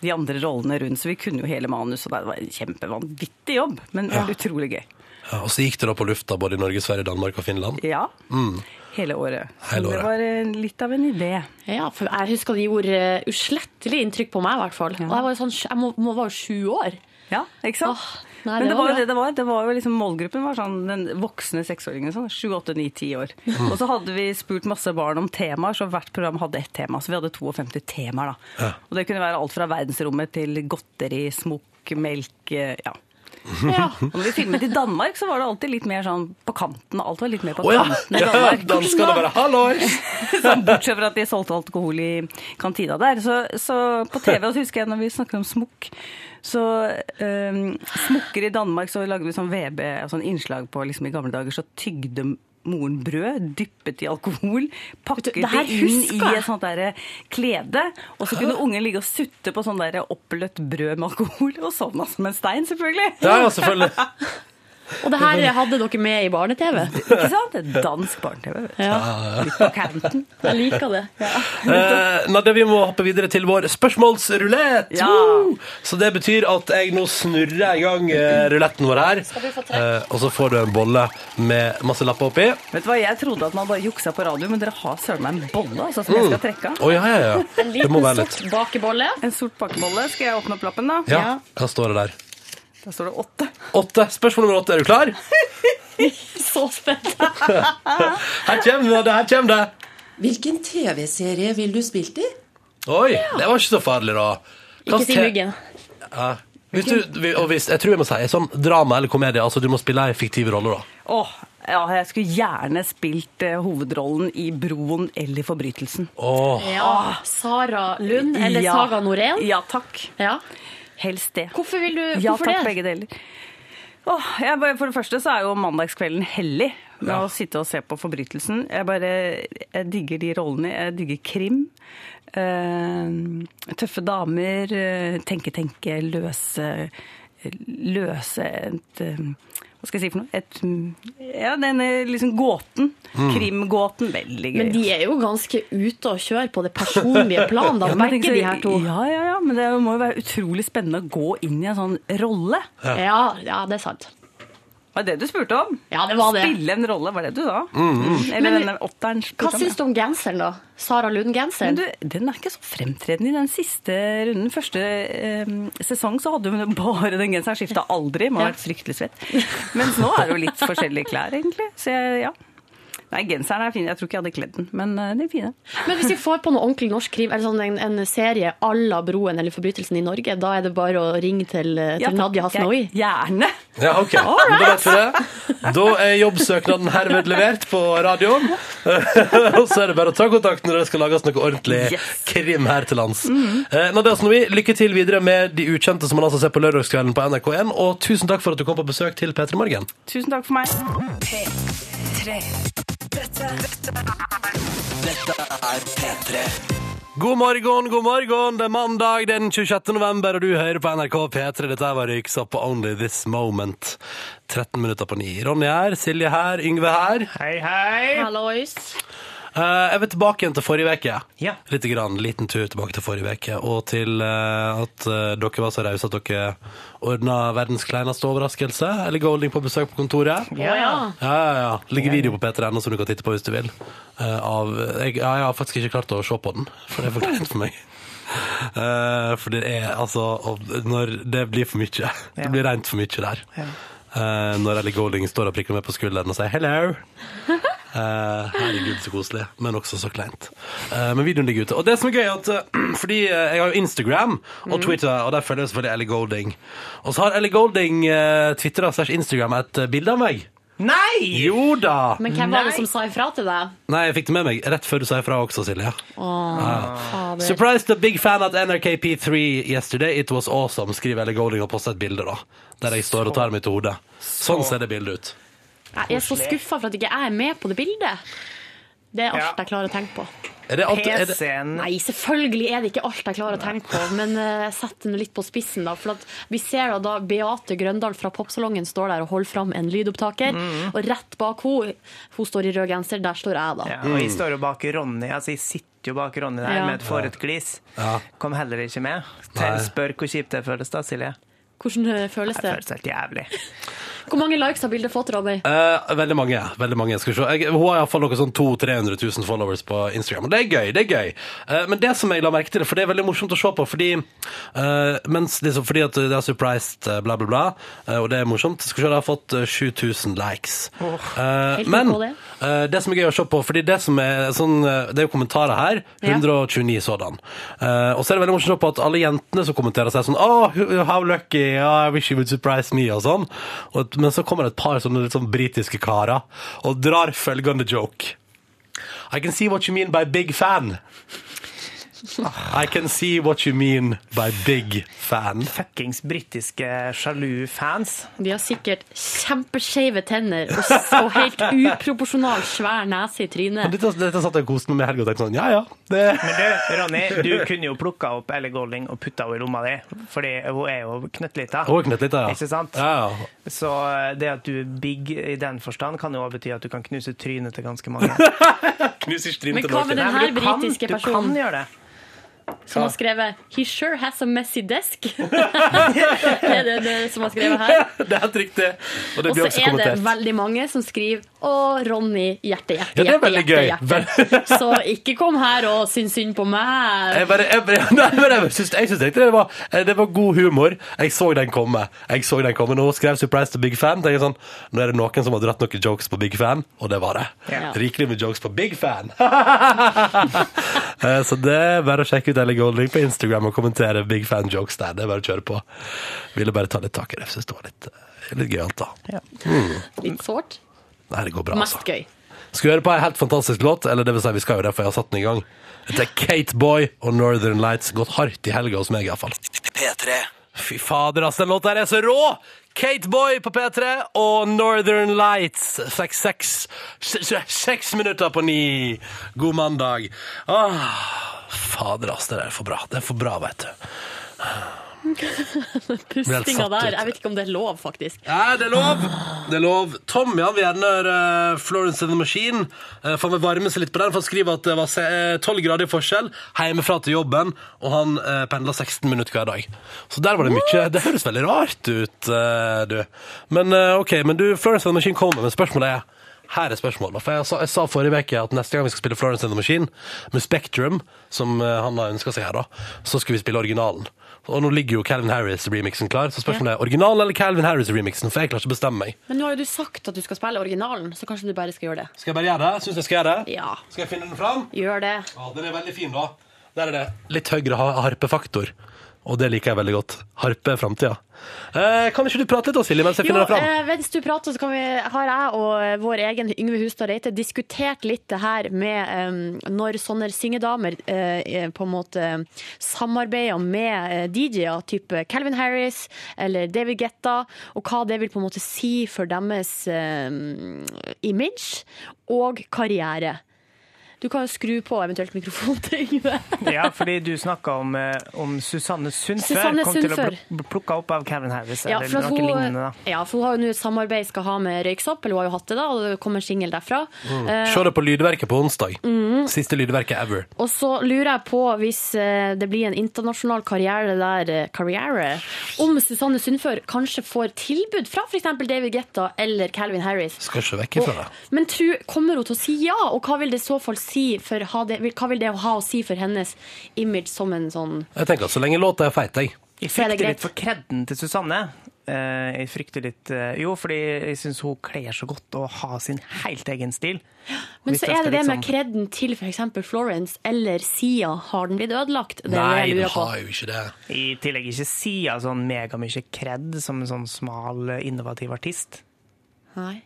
Speaker 7: de andre rollene rundt, så vi kunne jo hele manus, og det var en kjempevanvittig jobb, men utrolig gøy.
Speaker 1: Ja, Og så gikk det da på lufta både i Norge, Sverige, Danmark og Finland.
Speaker 7: Ja. Hele året.
Speaker 1: Mm.
Speaker 7: Så
Speaker 1: Hele året.
Speaker 7: det var eh, litt av en idé.
Speaker 3: Ja, for jeg husker det gjorde eh, uslettelig inntrykk på meg, i hvert fall. Og jeg var jo sånn, jeg må, må var jo sju år.
Speaker 7: Ja, ikke sant?
Speaker 3: Åh, nei,
Speaker 7: Men
Speaker 3: det
Speaker 7: det
Speaker 3: var
Speaker 7: var jo
Speaker 3: bra.
Speaker 7: det det var. Det var jo liksom, målgruppen var sånn den voksne seksåringen. Sånn, sju, åtte, ni, ti år.
Speaker 1: Mm.
Speaker 7: Og så hadde vi spurt masse barn om temaer, så hvert program hadde ett tema. Så vi hadde 52 temaer, da. Og det kunne være alt fra verdensrommet til godteri, smokk, melk, eh, ja.
Speaker 3: Ja.
Speaker 7: Og når vi filmet i Danmark, så var det alltid litt mer sånn på kanten. Alt var litt mer på
Speaker 1: Å ja!
Speaker 7: kanten i
Speaker 1: ja
Speaker 7: Danmark.
Speaker 1: (laughs) Danskene bare 'hallois'!
Speaker 7: (laughs) Sånn, bortsett fra at de solgte alkohol i kantina der. Så, så på TV også husker jeg når vi snakker om smokk. Så um, smokker i Danmark, så lagde vi sånn VB, sånn innslag på liksom i gamle dager, så tygde moren brød, dyppet i alkohol, pakket
Speaker 3: det her
Speaker 7: det inn i
Speaker 3: husker jeg.
Speaker 7: et sånt der eh, klede, og så kunne ungen ligge og sutte på sånn der oppløtt brød med alkohol, og sovna som en stein, selvfølgelig.
Speaker 1: Ja, ja, selvfølgelig.
Speaker 3: Og det her hadde dere med i barne-TV.
Speaker 7: Ikke sant? Det er Dansk barne-TV, vet du.
Speaker 3: Ja,
Speaker 7: Litt på kanten.
Speaker 3: jeg liker det.
Speaker 1: Eh, Nadia, vi må hoppe videre til vår spørsmålsrulett.
Speaker 7: Ja.
Speaker 1: Woo! Så det betyr at jeg nå snurrer i gang eh, ruletten vår her.
Speaker 3: du få trekk?
Speaker 1: Eh, og så får du en bolle med masse lapper oppi.
Speaker 7: Vet du hva, Jeg trodde at man bare juksa på radio, men dere har søren meg en bolle altså, som jeg
Speaker 3: Mm.
Speaker 7: skal trekke av.
Speaker 1: Å, ja, ja, ja.
Speaker 3: (laughs) En
Speaker 1: Det må
Speaker 3: liten
Speaker 1: være litt.
Speaker 3: sort bakebolle.
Speaker 7: En sort pakkebolle. Skal jeg åpne opp lappen, da?
Speaker 1: Ja, hva står det der?
Speaker 7: Da står det åtte.
Speaker 1: Åtte. Spørsmål nummer åtte. Er du klar?
Speaker 3: Så spent.
Speaker 1: Her kommer det! her kommer det
Speaker 8: Hvilken TV-serie vil du spilt i?
Speaker 1: Oi, det var ikke så farlig, da.
Speaker 3: Ikke
Speaker 1: Hva
Speaker 3: si
Speaker 1: te-
Speaker 3: myggen.
Speaker 1: Ja. Hvis du, og hvis, jeg tror jeg må si sånn drama eller komedie. Altså, du må spille ei fiktiv rolle, da.
Speaker 7: Åh, ja, jeg skulle gjerne spilt eh, hovedrollen i Broen eller Forbrytelsen.
Speaker 1: Åh.
Speaker 3: Ja. Sara Lund eller
Speaker 7: Ja.
Speaker 3: Saga Norén.
Speaker 7: Ja takk.
Speaker 3: Ja.
Speaker 7: Helst det.
Speaker 3: Hvorfor vil du (laughs)
Speaker 7: Ja
Speaker 3: Hvorfor
Speaker 7: takk,
Speaker 3: det?
Speaker 7: begge deler. Åh, jeg bare, for det første så er jo mandagskvelden hellig med å sitte og se på Forbrytelsen. Jeg bare jeg digger de rollene. Jeg digger krim. eh, tøffe damer. eh, tenke, tenke, løse Løse et eh, Hva skal jeg si for noe? Et, mm, ja, denne liksom gåten. Krimgåten. Veldig gøy.
Speaker 3: Men
Speaker 7: altså.
Speaker 3: de er jo ganske ute og kjører på det personlige plan, da.
Speaker 7: Men tenk
Speaker 3: Merker
Speaker 7: så-
Speaker 3: de her to.
Speaker 7: Ja, ja, ja. Men det må jo være utrolig spennende å gå inn i en sånn rolle.
Speaker 3: Ja, ja, det er sant.
Speaker 7: Var det det du spurte om?
Speaker 3: Ja, det var det.
Speaker 7: Spille en rolle, var det du sa? Eller
Speaker 3: Men
Speaker 7: denne åtteren
Speaker 3: Hva
Speaker 7: spurte om.
Speaker 3: syns du om genseren, da? Sara
Speaker 7: Men
Speaker 3: Lund-genseren?
Speaker 7: du, den er ikke så fremtredende i den siste runden. Første eh, sesong så hadde hun bare den genseren, skifta aldri. Man har vært fryktelig svett. Mens nå er det jo litt forskjellige klær, egentlig. Så jeg, ja. Nei, genseren er fin. Jeg tror ikke jeg hadde kledd den, men eh, de er fine.
Speaker 3: Men hvis vi får på noe ordentlig norsk krim, eller sånn en, en serie à la Broen eller Forbrytelsen i Norge, da er det bare å ringe til, eh, til
Speaker 7: Ja,
Speaker 3: Nadia
Speaker 7: takk.
Speaker 3: Hasnoi?
Speaker 7: Jeg- Gjerne!
Speaker 1: Ja, ok. Men Da vet vi det. Da er jobbsøknaden herved levert på radioen. (laughs) Og så er det bare å ta kontakt når det skal lages noe ordentlig
Speaker 7: Yes.
Speaker 1: krim her til lands. Eh, Nadia Snowi, lykke til videre med De ukjente som man altså ser på lørdagskvelden på NRK1. Og tusen takk for at du kom på besøk til P3 Morgen.
Speaker 7: Tusen takk for meg.
Speaker 6: P3. Dette, dette
Speaker 4: Dette er P3.
Speaker 1: God morgen, god morgen. Det er mandag det er den 26. november, og du hører på NRK P3. Dette her var Røyksopp på Only This Moment. 13 minutter på ni. Ronny her, Silje her, Yngve her.
Speaker 2: Hei, hei!
Speaker 3: Hallois.
Speaker 1: Eh, jeg vil tilbake igjen til forrige uke.
Speaker 2: Ja.
Speaker 1: Litt grann, liten tur tilbake til forrige uke, og til eh, at eh, dere var så rause at dere ordna verdens kleineste overraskelse. Eller Golding på besøk på kontoret.
Speaker 3: Å ja.
Speaker 1: Ja, ja, ja. Ligger video på P3.no som du kan titte på hvis du vil. Eh, av, jeg, ja, jeg har faktisk ikke klart å se på den, for det er for kleint for meg. (laughs) Eh, for det er altså og Når det blir for mye. Det blir rent for mye der. Eh, når Ellie Golding står og prikker meg på skulderen og sier 'hello'. Eh, herregud, så koselig, men også så kleint. Eh, men videoen ligger ute. Og det som er gøy, er at eh, fordi eh, jeg har jo Instagram og Twitter, og der følger jeg selvfølgelig Ellie Golding. Og så har Ellie Golding uh, Twitter slash Instagram et eh, bilde av meg.
Speaker 2: Nei!
Speaker 1: Jo da!
Speaker 3: Men hvem var det som sa ifra til deg?
Speaker 1: Nei, jeg fikk det med meg rett før du sa ifra også, Silje.
Speaker 3: Fader.
Speaker 1: Surprised a big fan at NRK P3 yesterday. It was awesome. Skriver Ellie Golding og poster et bilde, da. Der jeg står og tar meg til hodet. Sånn ser det bildet ut.
Speaker 3: Jeg er så skuffa for at ikke jeg er med på det bildet. Det er alt
Speaker 2: Ja. Mm.
Speaker 3: jeg klarer å tenke på.
Speaker 1: Er det alt, er det,
Speaker 2: PC-en
Speaker 3: Nei, selvfølgelig er det ikke alt jeg klarer å tenke på, men eh, jeg setter det litt på spissen. da, for at Vi ser da, da Beate Grøndal fra Popsalongen står der og holder fram en lydopptaker. Og rett bak henne, hun står i rød genser, der står jeg, da.
Speaker 2: Ja,
Speaker 1: Mm.
Speaker 2: og jeg står jo bak Ronny. Altså, jeg sitter jo bak Ronny der
Speaker 3: Ja.
Speaker 2: med et forut glis.
Speaker 1: Ja.
Speaker 2: Kom heller ikke med.
Speaker 1: Nei.
Speaker 2: Tell, spør hvor kjipt det føles da, Silje.
Speaker 3: Hvordan eh, føles
Speaker 2: Det
Speaker 3: det?
Speaker 2: føles helt jævlig.
Speaker 3: Hvor mange likes har bildet fått, Ronny?
Speaker 1: Eh, veldig mange. veldig mange, skal vi se. Jeg, Hun har iallfall noe sånn 200 000-300 000 followers på Instagram. Og det er gøy. det er gøy. Eh, men det som jeg la merke til, for det er veldig morsomt å se på fordi eh, mens liksom, fordi at det er surprised, eh, bla, bla, bla, eh, og det er morsomt Skal vi se, det har fått eh, 7000 likes. Eh,
Speaker 3: Helt
Speaker 1: men
Speaker 3: ok, det.
Speaker 1: eh, det som er gøy å se på, fordi det som er sånn eh, Det er jo kommentarer her.
Speaker 3: Ja.
Speaker 1: 129 sådan. Eh, og så er det veldig morsomt å se på at alle jentene som kommenterer, sier sånn Oh, how lucky. ah, I wish you would surprise me. Og sånn. Og, men så kommer det et par sånne litt sånn britiske karer og drar følgende joke. I can see what you mean by big fan. I can see what you mean by big fan.
Speaker 2: Fuckings britiske sjalu fans.
Speaker 3: De har sikkert kjempeskeive tenner og, s- og helt uproporsjonal svær nese i trynet.
Speaker 1: Dette, dette satt jeg og koste meg med i helga og tenkte sånn, ja ja. Det,
Speaker 2: Du, Ronny, du
Speaker 1: (laughs)
Speaker 2: kunne jo plukka opp Ellie Golding og putta henne i lomma di, fordi hun er jo knøttlita.
Speaker 1: Hun er knøttlita, ja.
Speaker 2: Ikke sant?
Speaker 1: Ja, ja.
Speaker 2: Så eh, det at du er big i den forstand, kan jo også bety at du kan knuse trynet til ganske
Speaker 3: (laughs)
Speaker 2: mange.
Speaker 1: Knuser strinn
Speaker 3: Men hva med
Speaker 2: Nei,
Speaker 3: den
Speaker 2: men
Speaker 3: her
Speaker 2: du kan,
Speaker 3: britiske
Speaker 2: du kan
Speaker 3: personen
Speaker 2: gjøre det.
Speaker 3: som har skrevet 'He sure has a messy desk'? (laughs) det er det, det som har skrevet her.
Speaker 1: (laughs) Det er helt riktig. Og det
Speaker 3: Og
Speaker 1: blir
Speaker 3: så
Speaker 1: også
Speaker 3: er det
Speaker 1: kommentert.
Speaker 3: veldig mange som skriver 'Å, Ronny, hjerte, hjerte,
Speaker 1: Ja, det er
Speaker 3: hjerte'.
Speaker 1: veldig
Speaker 3: hjerte,
Speaker 1: gøy.
Speaker 3: hjerte. Så ikke kom her og syns synd på meg.
Speaker 1: Jeg, bare, jeg, bare, (laughs) nei, men jeg, syns- jeg syns egentlig det var, eh, det var god humor. Jeg så den komme. Jeg så den komme. Når hun skrev 'Surprise to Big Fan', tenkte jeg sånn Nå er det noen som har dratt noen jokes på Big Fan, og det var det.
Speaker 3: Ja.
Speaker 1: Rikelig med jokes på Big Fan. (laughs) Eh, Så det er bare å sjekke ut Ellie Golding på Instagram og kommentere Big Fan jokes der. Det er bare å kjøre på. Ville bare ta litt tak i det. Jeg syns det var litt, eh, litt gøyalt, da.
Speaker 3: Litt sårt.
Speaker 1: Nei, det går bra, altså.
Speaker 3: Mest gøy.
Speaker 1: Skal vi høre på en helt fantastisk låt, eller det vil si vi skal jo det, for jeg har satt den i gang. Dette er Kate Boy og Northern Lights. Gått hardt i helga hos meg, iallfall.
Speaker 4: P3
Speaker 1: Fy fader, ass, den låta her er så rå! Kate Boy på P3 og Northern Lights. Seks, seks, seks, seks minutter på ni. God mandag. Åh, fader, ass, det der er for bra. Det er for bra, veit du. helt
Speaker 3: Pustinga
Speaker 1: satt
Speaker 3: der.
Speaker 1: ut.
Speaker 3: Jeg vet ikke om det er lov, faktisk.
Speaker 1: Ja, det er lov. Det er lov. Tom ja, vil gjerne høre eh, Florence and the Machine. Eh, For han vil varme seg litt på den, for han skriver at det var se- eh, 12 grader i forskjell hjemmefra til jobben, og han eh, pendler 16 minutter hver dag. Så der var det mye. Det høres veldig rart ut, eh, du. Men eh, ok, men du, Florence and the Machine kommer, men spørsmålet er her er spørsmålet. For jeg sa, jeg sa forrige uke at neste gang vi skal spille Florence and the Machine med Spectrum, som eh, han har ønska seg her, da, så skal vi spille originalen. Og nå ligger jo Calvin Harris-remixen klar, så spørsmålet er originalen eller Calvin Harris-remixen, for jeg klarer ikke å bestemme meg.
Speaker 3: Men nå har jo du sagt at du skal spille originalen, så kanskje du bare skal gjøre det.
Speaker 1: Skal jeg bare gjøre det? Syns jeg skal gjøre det?
Speaker 3: Ja,
Speaker 1: Skal jeg finne den fram?
Speaker 3: gjør det.
Speaker 1: Ja, den er veldig fin, da. Der er det. Litt høyere ha- harpefaktor. Og det liker jeg veldig godt. Harpe er framtida. Eh, kan ikke du prate litt da, Silje, mens jeg
Speaker 3: Jo,
Speaker 1: finner den fram?
Speaker 3: eh, mens du prater, så kan vi, har jeg og eh, vår egen Yngve Hustad Reite diskutert litt det her med eh, når sånne syngedamer eh, eh, på en måte eh, samarbeider med eh, DJ-er, type Calvin Harris eller David Guetta, og hva det vil på en måte si for deres eh, image og karriere. Du kan jo skru på eventuelt mikrofonen til Yngve.
Speaker 2: Ja, fordi du snakka om, eh, om Susanne Sundfør.
Speaker 3: Susanne
Speaker 2: kom
Speaker 3: Sundfør.
Speaker 2: til å bl- bl- plukke opp av Kevin Harris
Speaker 3: Ja, for,
Speaker 2: eller
Speaker 3: at
Speaker 2: noe lignende.
Speaker 3: hun,
Speaker 2: da.
Speaker 3: ja, for hun har jo nå et samarbeid skal ha med Røyksopp, eller hun har jo hatt det da, og det kommer en singel derfra. Eh, Mhm.
Speaker 1: Se det på lydverket på onsdag. Siste lydverket ever.
Speaker 3: Og så lurer jeg på, hvis eh, det blir en internasjonal karriere der, eh, karriere, om Susanne Sundfør kanskje får tilbud fra f.eks. David Guetta eller Calvin Harris.
Speaker 1: Skal ikke vekk ifra det.
Speaker 3: Men tro, kommer hun til å si ja, og hva vil det i så fall si for ha det, hva vil det ha å si for hennes image som en sånn
Speaker 1: Jeg tenker at Så lenge låta er feit, jeg.
Speaker 2: Jeg
Speaker 3: Så er det
Speaker 2: frykter
Speaker 3: greit.
Speaker 2: litt for kredden til Susanne. Eh, jeg frykter litt eh, Jo, fordi jeg syns hun kler så godt å ha sin helt egen stil.
Speaker 3: Men
Speaker 2: Hvis
Speaker 3: så
Speaker 2: jeg
Speaker 3: er
Speaker 2: skal
Speaker 3: det det med
Speaker 2: liksom-
Speaker 3: kredden til f.eks. Florence eller Sia. Har den blitt ødelagt? Det er det
Speaker 1: Nei,
Speaker 3: jeg
Speaker 1: den
Speaker 3: lurer på.
Speaker 1: har jo ikke det.
Speaker 2: I tillegg ikke Sia sånn megamye kred som en sånn smal, innovativ artist.
Speaker 3: Nei.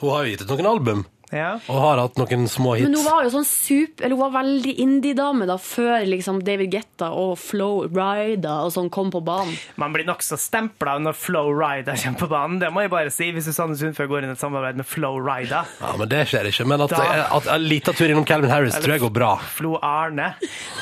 Speaker 1: Hun har jo gitt ut noen album,
Speaker 2: Ja.
Speaker 1: og har hatt noen små hits.
Speaker 3: Men hun var jo sånn super, eller hun var veldig indie-dame da, før liksom David Guetta og Flo Rida og sånn kom på banen.
Speaker 2: Man blir nokså stempla når Flow Rida kommer på banen. Det må jeg bare si, hvis Susanne Sundfør går inn i et samarbeid med Flow Rida.
Speaker 1: Ja, men Det skjer ikke. Men at, eh,
Speaker 2: Da-
Speaker 1: at en liten tur innom Calvin Harris tror jeg går bra.
Speaker 2: Flo Arne.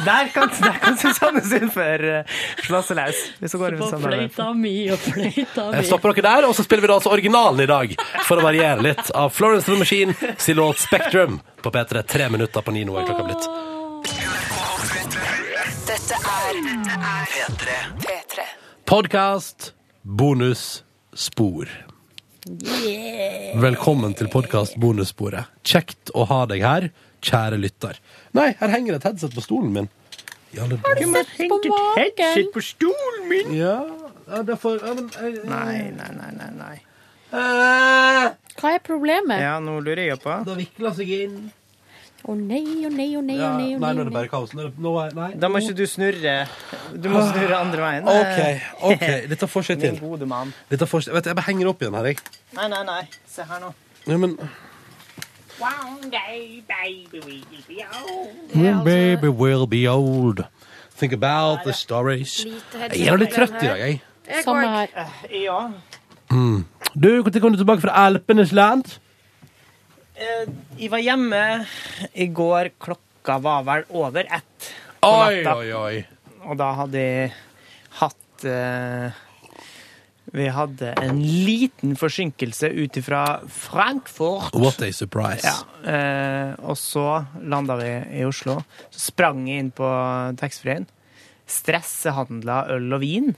Speaker 2: Der kan, der kan Susanne Sundfør eh, slå seg løs. Hvis hun går inn i et
Speaker 1: Sånn
Speaker 3: På
Speaker 2: samarbeid.
Speaker 3: fløyta mi og fløyta
Speaker 1: Jeg
Speaker 3: mi.
Speaker 1: stopper dere der, og Eh, så spiller vi da altså originalen i dag. For å variere litt av Florence and the Machine sin låt 'Spectrum' på P3. Tre minutter på ni nå er klokka blitt.
Speaker 6: Dette er
Speaker 4: P3
Speaker 6: P3.
Speaker 1: Podkast, bonus, spor. Velkommen til podkast bonussporet. Kjekt å ha deg her, kjære lytter. Nei, her henger et headset på stolen min. I alle dager.
Speaker 2: Sett på magen. på stolen min.
Speaker 1: Ja, ja, derfor ja, men, jeg,
Speaker 2: Nei, nei, nei, nei, nei.
Speaker 1: eh,
Speaker 3: Hva er problemet? Å
Speaker 2: Ja, nå lurer jeg på.
Speaker 1: Det vikler seg inn.
Speaker 3: nei, å nei, å nei, å
Speaker 1: Ja, nei,
Speaker 3: nei. å
Speaker 1: nå er
Speaker 3: nei,
Speaker 1: det
Speaker 3: å nei.
Speaker 1: bare kaos. Nå er det- Nå er, nei.
Speaker 2: Da må ikke du snurre. Du må snurre andre veien. Eh,
Speaker 1: OK, ok, dette får seg
Speaker 2: Min
Speaker 1: (laughs) til.
Speaker 2: gode mann.
Speaker 1: Dette får seg, vet du, jeg bare henger opp igjen her, jeg.
Speaker 2: Nei, nei, nei. Se her nå.
Speaker 1: Ja, men,
Speaker 9: altså-
Speaker 1: Baby will be old. Think about the stories. Jeg er litt trøtt i dag, jeg.
Speaker 3: Samme her.
Speaker 2: Ja.
Speaker 1: Du, når kom du tilbake fra Alpenes land?
Speaker 2: eh, Jeg var hjemme i går. Klokka var vel over ett.
Speaker 1: Oi,
Speaker 2: natta.
Speaker 1: oi, oi.
Speaker 2: Og da hadde jeg hatt eh, Vi hadde en liten forsinkelse ut ifra Frankfurt.
Speaker 1: What a surprise.
Speaker 2: Ja. Eh, og så landa vi i Oslo. Så sprang jeg inn på taxfree-en. Stressehandla øl og vin.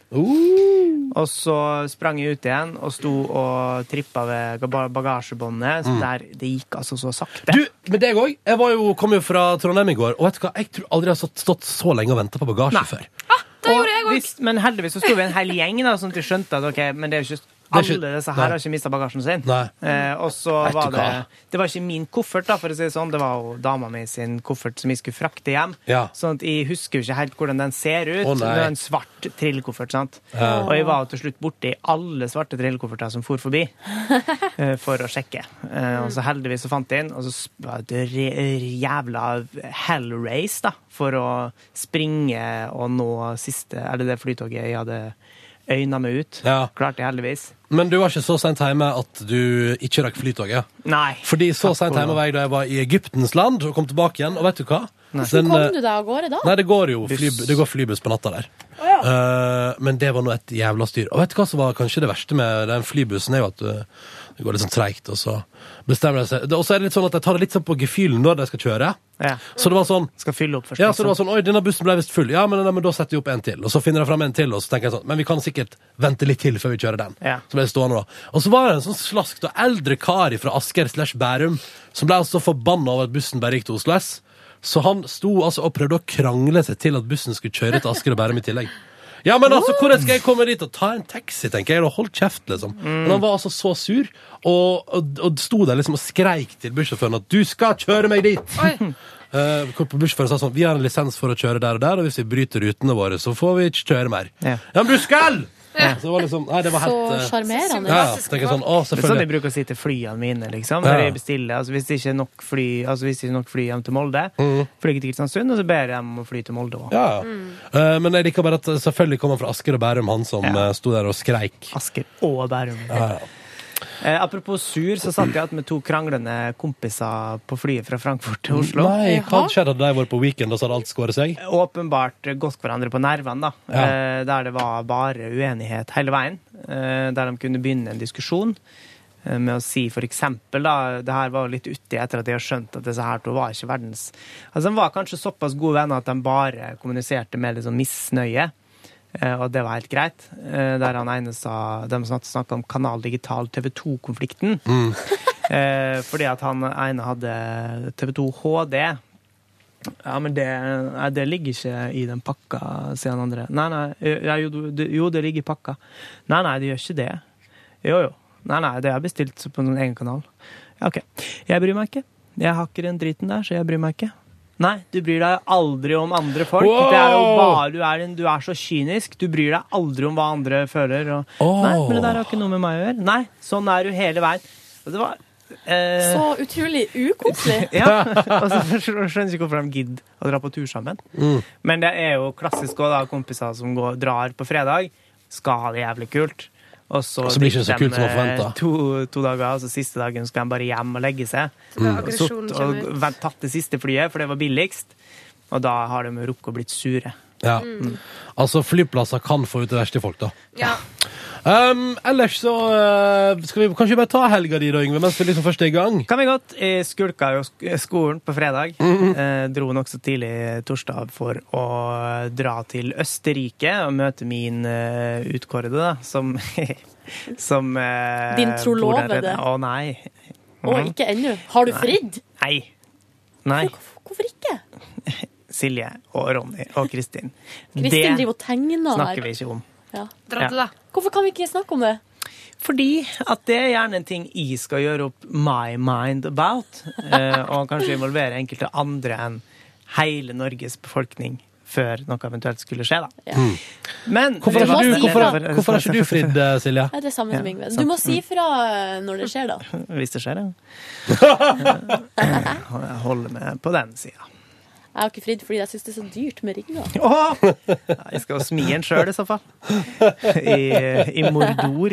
Speaker 2: Og så sprang jeg ut igjen og sto og trippa ved ga- bagasjebåndet. Så der, det gikk altså så sakte.
Speaker 1: Du, med deg òg. Jeg var jo, kom jo fra Trondheim i går, og vet du hva? jeg tror aldri jeg har stått, stått så lenge og venta på bagasje før.
Speaker 2: og hvis- men heldigvis så sto vi en hel gjeng, da, sånn at de skjønte at ok, men det er jo ikke
Speaker 1: er ikke-
Speaker 2: alle disse
Speaker 1: Nei.
Speaker 2: her har ikke mista bagasjen sin.
Speaker 1: Nei.
Speaker 2: Eh, og så
Speaker 1: Vet du
Speaker 2: var det
Speaker 1: hva?
Speaker 2: Det var ikke min koffert, da, for å si det sånn. Det var jo dama mi sin koffert som jeg skulle frakte hjem.
Speaker 1: Ja.
Speaker 2: Sånn at jeg husker jo ikke helt hvordan den ser ut.
Speaker 1: Å,
Speaker 2: det
Speaker 1: nei.
Speaker 2: er en svart trillekoffert, sant. Og jeg var jo til slutt borti alle svarte trillekofferter som for forbi, eh, for å sjekke. Eh, og så heldigvis så fant jeg inn, og så sp- var det et re- jævla hell race, da, for å springe og nå siste Eller det flytoget jeg hadde øyna meg ut.
Speaker 1: Ja.
Speaker 2: Klarte jeg heldigvis.
Speaker 1: Men du var ikke så seint hjemme at du ikke rakk flytoget?
Speaker 2: Nei.
Speaker 1: Fordi så
Speaker 2: Takk
Speaker 1: seint
Speaker 2: for
Speaker 1: hjemme
Speaker 2: det.
Speaker 1: var jeg da jeg var i Egyptens land og kom tilbake igjen, og vet du hva? Den,
Speaker 3: Hvordan
Speaker 1: eh,
Speaker 3: kom du deg av gårde da?
Speaker 1: Nei, det går jo fly, det går flybuss på natta der. Eh, men det var nå et jævla styr. Og vet du hva som var kanskje det verste med den flybussen? er jo at eh, det går litt sånn treigt, og så bestemmer de seg. Det- Og så er det litt sånn at de tar det litt sånn på gefühlen når de skal kjøre.
Speaker 2: Ja.
Speaker 1: Så det var sånn
Speaker 2: Skal fylle opp først. liksom.
Speaker 1: ja, så det var sånn, oi, denne bussen ble visst full. Ja, men, nei, men da setter vi opp en til. Og så finner jeg fram en til, og så tenker jeg sånn, men vi kan sikkert vente litt til før vi kjører den.
Speaker 2: Ja.
Speaker 1: Så ble jeg stående da. Og så var det en sånn slaskt og eldre kar fra Asker slash Bærum, som ble altså forbannet over at bussen bare gikk til Oslo S. Så han sto altså og prøvde å krangle seg til at bussen skulle kjøre til Asker og Bærum i tillegg. Ja, men altså, hvordan skal jeg komme dit og ta en taxi, tenker jeg, og hold kjeft, liksom.
Speaker 2: Mm.
Speaker 1: Men han var altså så sur, og, og, og sto der liksom og skreik til bussjåføren at du skal kjøre meg dit! Eh, hvor bussjåføren sa sånn Vi har en lisens for å kjøre der og der, og hvis vi bryter rutene våre, så får vi ikke kjøre mer.
Speaker 2: Ja.
Speaker 1: men du skal! Så det var liksom Nei, det var
Speaker 3: Så
Speaker 1: helt eh,
Speaker 3: sjarmerende.
Speaker 1: ja, ja, så tenker jeg sånn, å,
Speaker 2: Det er sånn jeg
Speaker 1: selvfølgelig.
Speaker 2: bruker å si til flyene mine. liksom,
Speaker 1: Ja.
Speaker 2: når jeg bestiller. Altså, Hvis det ikke er nok fly altså, hvis det ikke er nok fly hjem til Molde,
Speaker 1: Mm.
Speaker 2: flyr jeg til Kristiansund, og så ber jeg dem om å fly til Molde òg.
Speaker 1: Ja, ja.
Speaker 3: Mm.
Speaker 1: Eh, men jeg liker bare at eh, selvfølgelig kom han fra Asker og Bærum, han som
Speaker 2: Ja.
Speaker 1: eh, sto der og skreik.
Speaker 2: Asker og Bærum.
Speaker 1: Ja, ja.
Speaker 2: Eh, apropos sur, så satt jeg igjen med to kranglende kompiser på flyet fra Frankfurt til Oslo.
Speaker 1: Nei, hva
Speaker 3: Jaha.
Speaker 1: hadde skjedd hadde de vært på weekend, og så hadde alt skåret seg?
Speaker 2: Åpenbart gått hverandre på nervene, da.
Speaker 1: Ja.
Speaker 2: Eh, der det var bare uenighet hele veien. Eh, der de kunne begynne en diskusjon eh, med å si for eksempel, da Det her var jo litt uti etter at jeg har skjønt at disse her to var ikke verdens Altså, de var kanskje såpass gode venner at de bare kommuniserte med liksom misnøye. Eh, Og det var helt greit. Eh, Der han ene sa De snakka om Kanal Digital Eh, TV (laughs) 2-konflikten. Fordi at han ene hadde TV 2 HD Ja, men det, nei, det ligger ikke i den pakka, sier han andre. Nei, nei, ja, jo, du- det- jo, det ligger i pakka. Nei, nei, det gjør ikke det. Jo, jo. Nei, nei, det er bestilt på noen egen kanal. Ja, OK. Jeg bryr meg ikke. Jeg har ikke den driten der, så jeg bryr meg ikke. Nei, du bryr deg aldri om andre folk.
Speaker 1: Wow!
Speaker 2: Det er jo bare, du, er en, du er så kynisk. Du bryr deg aldri om hva andre føler. Og,
Speaker 1: Åh.
Speaker 2: Nei, men det der har ikke noe med meg å gjøre. Nei, sånn er du hele veien. Og det var... eh,
Speaker 1: Sånn.
Speaker 3: Så utrolig
Speaker 1: (laughs)
Speaker 3: ukoselig.
Speaker 2: ja, (laughs) og så skjønner jeg ikke hvorfor de gidder å dra på tur sammen.
Speaker 1: Mm.
Speaker 2: Men det er jo klassisk også, da, kompiser som går, drar på fredag, skal ha det jævlig kult. Og så,
Speaker 1: Og så blir det ikke så
Speaker 2: drikker de,
Speaker 1: kult som man forventet.
Speaker 2: eh, To, to dager, og så siste dagen skal de bare hjem og legge seg.
Speaker 1: Mm.
Speaker 2: Og, sutt,
Speaker 9: aggresjonen
Speaker 2: og
Speaker 9: kommer ut.
Speaker 2: vent- tatt det siste flyet, for det var billigst. Og da har de rukket å blitt sure.
Speaker 1: Ja.
Speaker 3: Mm.
Speaker 1: Altså, flyplasser kan få ut det verste i folk, da.
Speaker 9: Ja.
Speaker 1: Um, ellers så eh, skal vi kanskje bare ta helga di, da, Yngve, mens vi liksom først er i gang.
Speaker 2: Kan vi godt. Jeg skulka jo sk- skolen på fredag. eh, dro nokså tidlig torsdag for å dra til Østerrike og møte min eh, utkårede, da, som (laughs) som eh,
Speaker 3: Din trolovede.
Speaker 2: bor der. Å nei.
Speaker 3: Og ikke ennå. Har du fridd?
Speaker 2: Nei. Nei.
Speaker 3: Hvorfor ikke?
Speaker 2: Silje og Ronny og Kristin.
Speaker 3: Kristin driver og tegner
Speaker 2: snakker vi
Speaker 3: her.
Speaker 2: ikke om.
Speaker 9: Dra til, da.
Speaker 3: Hvorfor kan vi ikke snakke om det?
Speaker 2: Fordi at det er gjerne en ting jeg skal gjøre opp my mind about, eh, og kanskje involvere enkelte andre enn hele Norges befolkning før noe eventuelt skulle skje, da.
Speaker 3: Ja.
Speaker 2: Men
Speaker 1: Mm. Hvorfor
Speaker 3: Det
Speaker 1: har ikke
Speaker 3: var
Speaker 1: du, hvorfor,
Speaker 3: Silje,
Speaker 1: har- hvorfor har ikke du fridd, eh, Silje?
Speaker 3: Det er det samme som Yngve. Du
Speaker 2: sant.
Speaker 3: må
Speaker 1: Mm.
Speaker 3: si fra eh, når det skjer, da.
Speaker 2: (laughs) Hvis
Speaker 1: (laughs)
Speaker 2: det skjer, ja. Jeg holder med på den sida.
Speaker 3: Jeg har ikke fridd fordi jeg syns det er så dyrt med ringer.
Speaker 2: Jeg skal smi en sjøl, i så fall. I, i Mordor.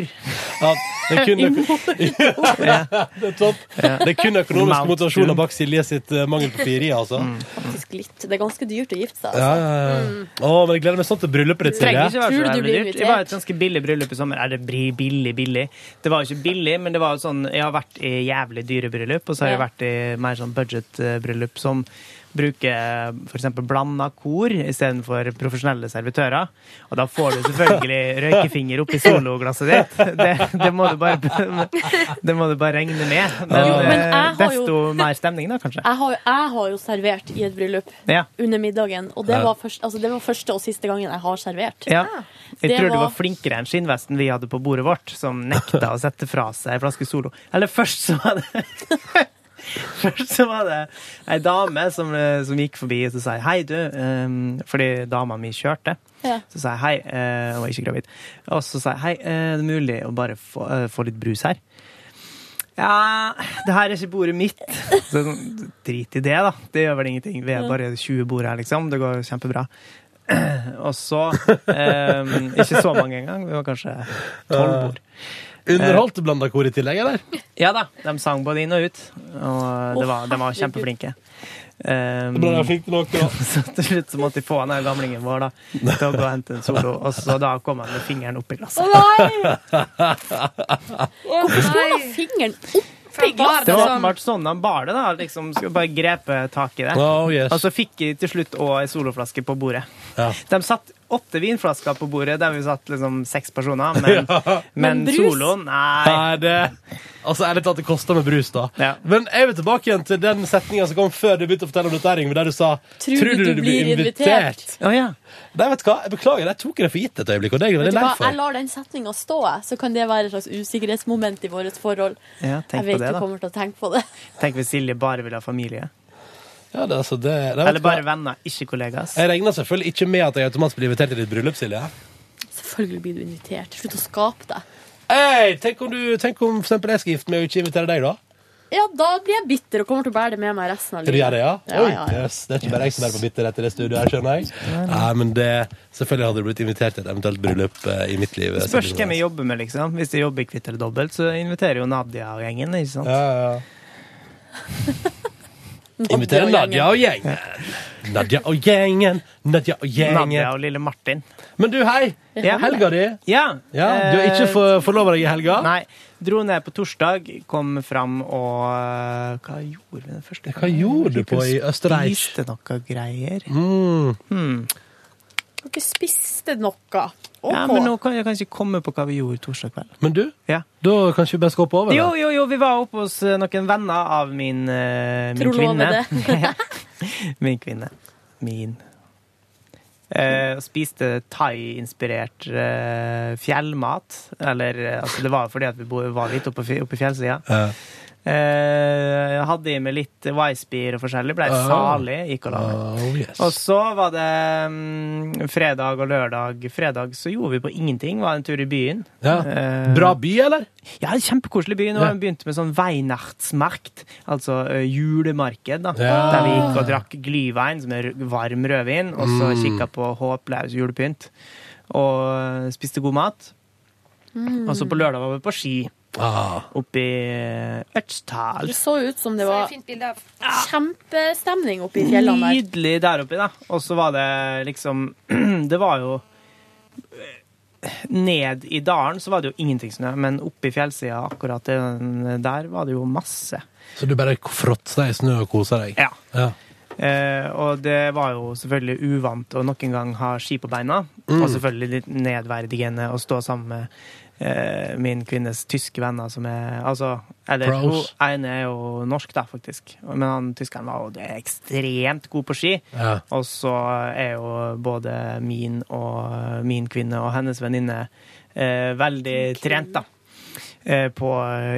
Speaker 1: Ja, det er kun, (laughs) det er topp. Det er kun økonomiske
Speaker 2: Mount
Speaker 1: motivasjoner
Speaker 2: Doom.
Speaker 1: bak Silje sitt eh, mangel på frieri, altså.
Speaker 3: Faktisk litt. Det er ganske dyrt å gifte seg.
Speaker 1: Ja,
Speaker 3: Altså.
Speaker 1: ja, ja. Å, men jeg gleder meg sånn til bryllupet ditt,
Speaker 2: trenger
Speaker 1: Silje.
Speaker 2: ikke være
Speaker 3: Tror du
Speaker 2: så
Speaker 3: du
Speaker 2: jævlig
Speaker 3: blir
Speaker 2: dyrt. Det var et
Speaker 3: invitert?
Speaker 2: ganske billig bryllup i sommer. Er det blir billig, billig? Det var jo ikke billig, men det var jo sånn Jeg har vært i jævlig dyre bryllup, og så har jeg
Speaker 3: Ja.
Speaker 2: vært i mer sånn budgetbryllup som bruker f.eks. blanda kor istedenfor profesjonelle servitører. Og da får du
Speaker 3: (laughs)
Speaker 2: selvfølgelig røykefinger oppi sologlasset ditt. Det, det, må du bare, (laughs) det må du bare regne med. Men,
Speaker 3: Jo, men jeg
Speaker 2: eh,
Speaker 3: har jo-
Speaker 2: desto mer stemning, da, kanskje.
Speaker 3: Jeg, har, jo- jeg har jo servert i et bryllup
Speaker 2: Ja.
Speaker 3: under middagen, og det var, først, altså, det var første og siste gangen jeg har servert.
Speaker 2: Ja. Jeg
Speaker 3: Ah. Det
Speaker 2: tror du
Speaker 3: var-
Speaker 2: var flinkere enn skinnvesten vi hadde på bordet vårt, som nekta å sette fra seg en flaske Solo. Eller først så var det (laughs) Først så var det ei dame som, eh, som gikk forbi og så sa jeg, hei, du, ehm, fordi dama mi kjørte.
Speaker 3: Ja.
Speaker 2: Så sa jeg hei, eh, hun var ikke gravid. Og så sa jeg hei, eh, er det mulig å bare få, eh, få litt brus her? Ja, det her er ikke bordet mitt. Så jeg sånn, drit i det, da. Det gjør vel ingenting. Vi er bare 20 bord her, liksom. Det går kjempebra. Og så ehm, Ikke så mange engang. Vi var kanskje tolv bord.
Speaker 1: Eh. Underholdt blanda kor i tillegg, eller?
Speaker 2: Ja da, de sang både inn og ut, og det var, de var kjempeflinke. Ehm,
Speaker 1: Bra, jeg er flink til noe, (laughs) da.
Speaker 2: (laughs) så til slutt så måtte jeg få han her gamlingen vår da, til å gå og hente en solo, og så da kom han med fingeren opp i glasset.
Speaker 9: Hvorfor
Speaker 3: Hun har fingeren oppi glasset! liksom.
Speaker 2: Det var åpenbart sånn han bar det, da. Liksom, skulle bare grepe tak i det.
Speaker 1: Oh, yes.
Speaker 2: Og så fikk jeg til slutt òg ei soloflaske på bordet.
Speaker 1: Ja.
Speaker 2: De satt åtte vinflasker på bordet, der vi satt liksom seks personer, men, men,
Speaker 3: Men brus?
Speaker 2: soloen Nei.
Speaker 1: Nei, det Altså, ærlig talt, det koster med brus, da.
Speaker 2: Ja.
Speaker 1: Men jeg vil tilbake igjen til den setninga som kom før du begynte å fortelle om dette, her, Yngve, der du sa
Speaker 3: Tror du du blir invitert?
Speaker 2: Å ja.
Speaker 1: Nei, vet du hva, jeg beklager, jeg tok det for gitt et øyeblikk, og det er jeg
Speaker 3: Vet
Speaker 1: veldig
Speaker 3: du
Speaker 1: lei
Speaker 3: hva, jeg
Speaker 1: for.
Speaker 3: lar den setninga stå, jeg, så kan det være et slags usikkerhetsmoment i vårt forhold.
Speaker 2: ja.
Speaker 3: Jeg
Speaker 2: Tenk på
Speaker 3: vet
Speaker 2: det,
Speaker 3: du
Speaker 2: da.
Speaker 3: kommer til å tenke på det. (laughs)
Speaker 2: Tenk hvis Silje bare ville ha familie.
Speaker 1: Ja, det, er altså, det, nei, vet
Speaker 2: Eller
Speaker 1: du hva?
Speaker 2: bare venner, ikke kollegas.
Speaker 1: Jeg regner selvfølgelig ikke med at jeg automatisk blir invitert til ditt bryllup, Silje.
Speaker 3: Selvfølgelig blir du invitert. Slutt å skape deg.
Speaker 1: Hey, tenk om, du, tenk om for eksempel jeg skal gifte meg og ikke invitere deg, da?
Speaker 3: Ja, da blir jeg bitter og kommer til å bære det med meg resten av
Speaker 1: Skal du gjøre
Speaker 3: livet.
Speaker 1: det, ja?
Speaker 3: Ja,
Speaker 1: Oi,
Speaker 3: ja, ja.
Speaker 1: Yes, det er ikke bare jeg som er på bitterhet i det studioet her, skjønner jeg. Nei, men det, selvfølgelig hadde du blitt invitert til et eventuelt bryllup eh, i mitt liv. eh,
Speaker 2: Spørs
Speaker 1: Silje
Speaker 2: hvem jeg
Speaker 1: Nordnes.
Speaker 2: jobber med, liksom. Hvis jeg jobber kvitt eller dobbelt, så inviterer jo Nadia og gjengen, ikke sant?
Speaker 1: Ja, ja, ja.
Speaker 3: Nadia og
Speaker 1: Invitere Nadia
Speaker 3: gjengen.
Speaker 1: og gjengen. Nadia og gjengen, Nadia og
Speaker 2: Nadia
Speaker 1: gjengen.
Speaker 2: og lille Martin.
Speaker 1: Men du, hei!
Speaker 2: Ja.
Speaker 1: Helga di.
Speaker 2: Ja.
Speaker 1: Ja, du har ikke
Speaker 2: eh,
Speaker 1: for- forlova deg i helga?
Speaker 2: Nei. Dro ned på torsdag, kom fram og eh, Hva gjorde vi den første
Speaker 1: Hva gjorde du på i Østerreich?
Speaker 2: Spiste noe greier.
Speaker 1: Mm.
Speaker 3: Dere spiste noe. OK.
Speaker 2: Ja, men nå kan jeg kanskje komme på hva vi gjorde torsdag kveld.
Speaker 1: Men du,
Speaker 2: Ja.
Speaker 1: da kanskje vi best gå på over?
Speaker 2: Jo,
Speaker 1: da?
Speaker 2: jo, jo, vi var oppe hos eh, noen venner av min, eh, min (laughs)
Speaker 3: Trolovede.
Speaker 2: kvinne. Min kvinne. Min. Eh, og spiste thai-inspirert eh, fjellmat. Eller eh, altså, det var jo fordi at vi bo- var litt oppe, på fj- oppe i fjellsida.
Speaker 1: Ja.
Speaker 2: Eh, hadde i meg litt Wisebeer og forskjellig. Blei salig. Gikk og la meg.
Speaker 1: Oh, yes.
Speaker 2: Og så var det mm, fredag og lørdag. Fredag så gjorde vi på ingenting. Var en tur i byen.
Speaker 1: Ja.
Speaker 2: Eh,
Speaker 1: Bra by, eller?
Speaker 2: Ja, en kjempekoselig by. Nå
Speaker 1: Ja.
Speaker 2: har vi begynt med sånn Weihnachtsmarkt, altså ø, julemarked, da.
Speaker 1: Ja.
Speaker 2: Der vi gikk og drakk glyvein, som er r- varm rødvin, og så
Speaker 1: Mm.
Speaker 2: kikka på håpløs julepynt. Og ø, spiste god mat. Og så på lørdag var vi på ski
Speaker 1: Ah.
Speaker 2: oppe i Ørtsdal.
Speaker 3: Det så ut som det
Speaker 6: Det
Speaker 3: var
Speaker 6: er fint bilde av.
Speaker 3: kjempestemning oppe i fjellene der.
Speaker 2: Nydelig der oppe, da. Og så var det liksom (clears throat) Det var jo Ned i dalen så var det jo ingenting snø, men oppe i fjellsida akkurat den der var det jo masse.
Speaker 1: Så du bare fråtser deg i snø og koser deg?
Speaker 2: Ja.
Speaker 1: Ja.
Speaker 2: Eh, og det var jo selvfølgelig uvant å nok en gang ha ski på beina. Og selvfølgelig litt nedverdigende å stå sammen med eh, min kvinnes tyske venner som er altså, Eller hun
Speaker 1: Pros.
Speaker 2: ene er jo norsk, da, faktisk. Men han tyskeren var jo ekstremt god på ski.
Speaker 1: Ja.
Speaker 2: Og så er jo både min og min kvinne og hennes venninne eh, veldig trent, da. eh, På,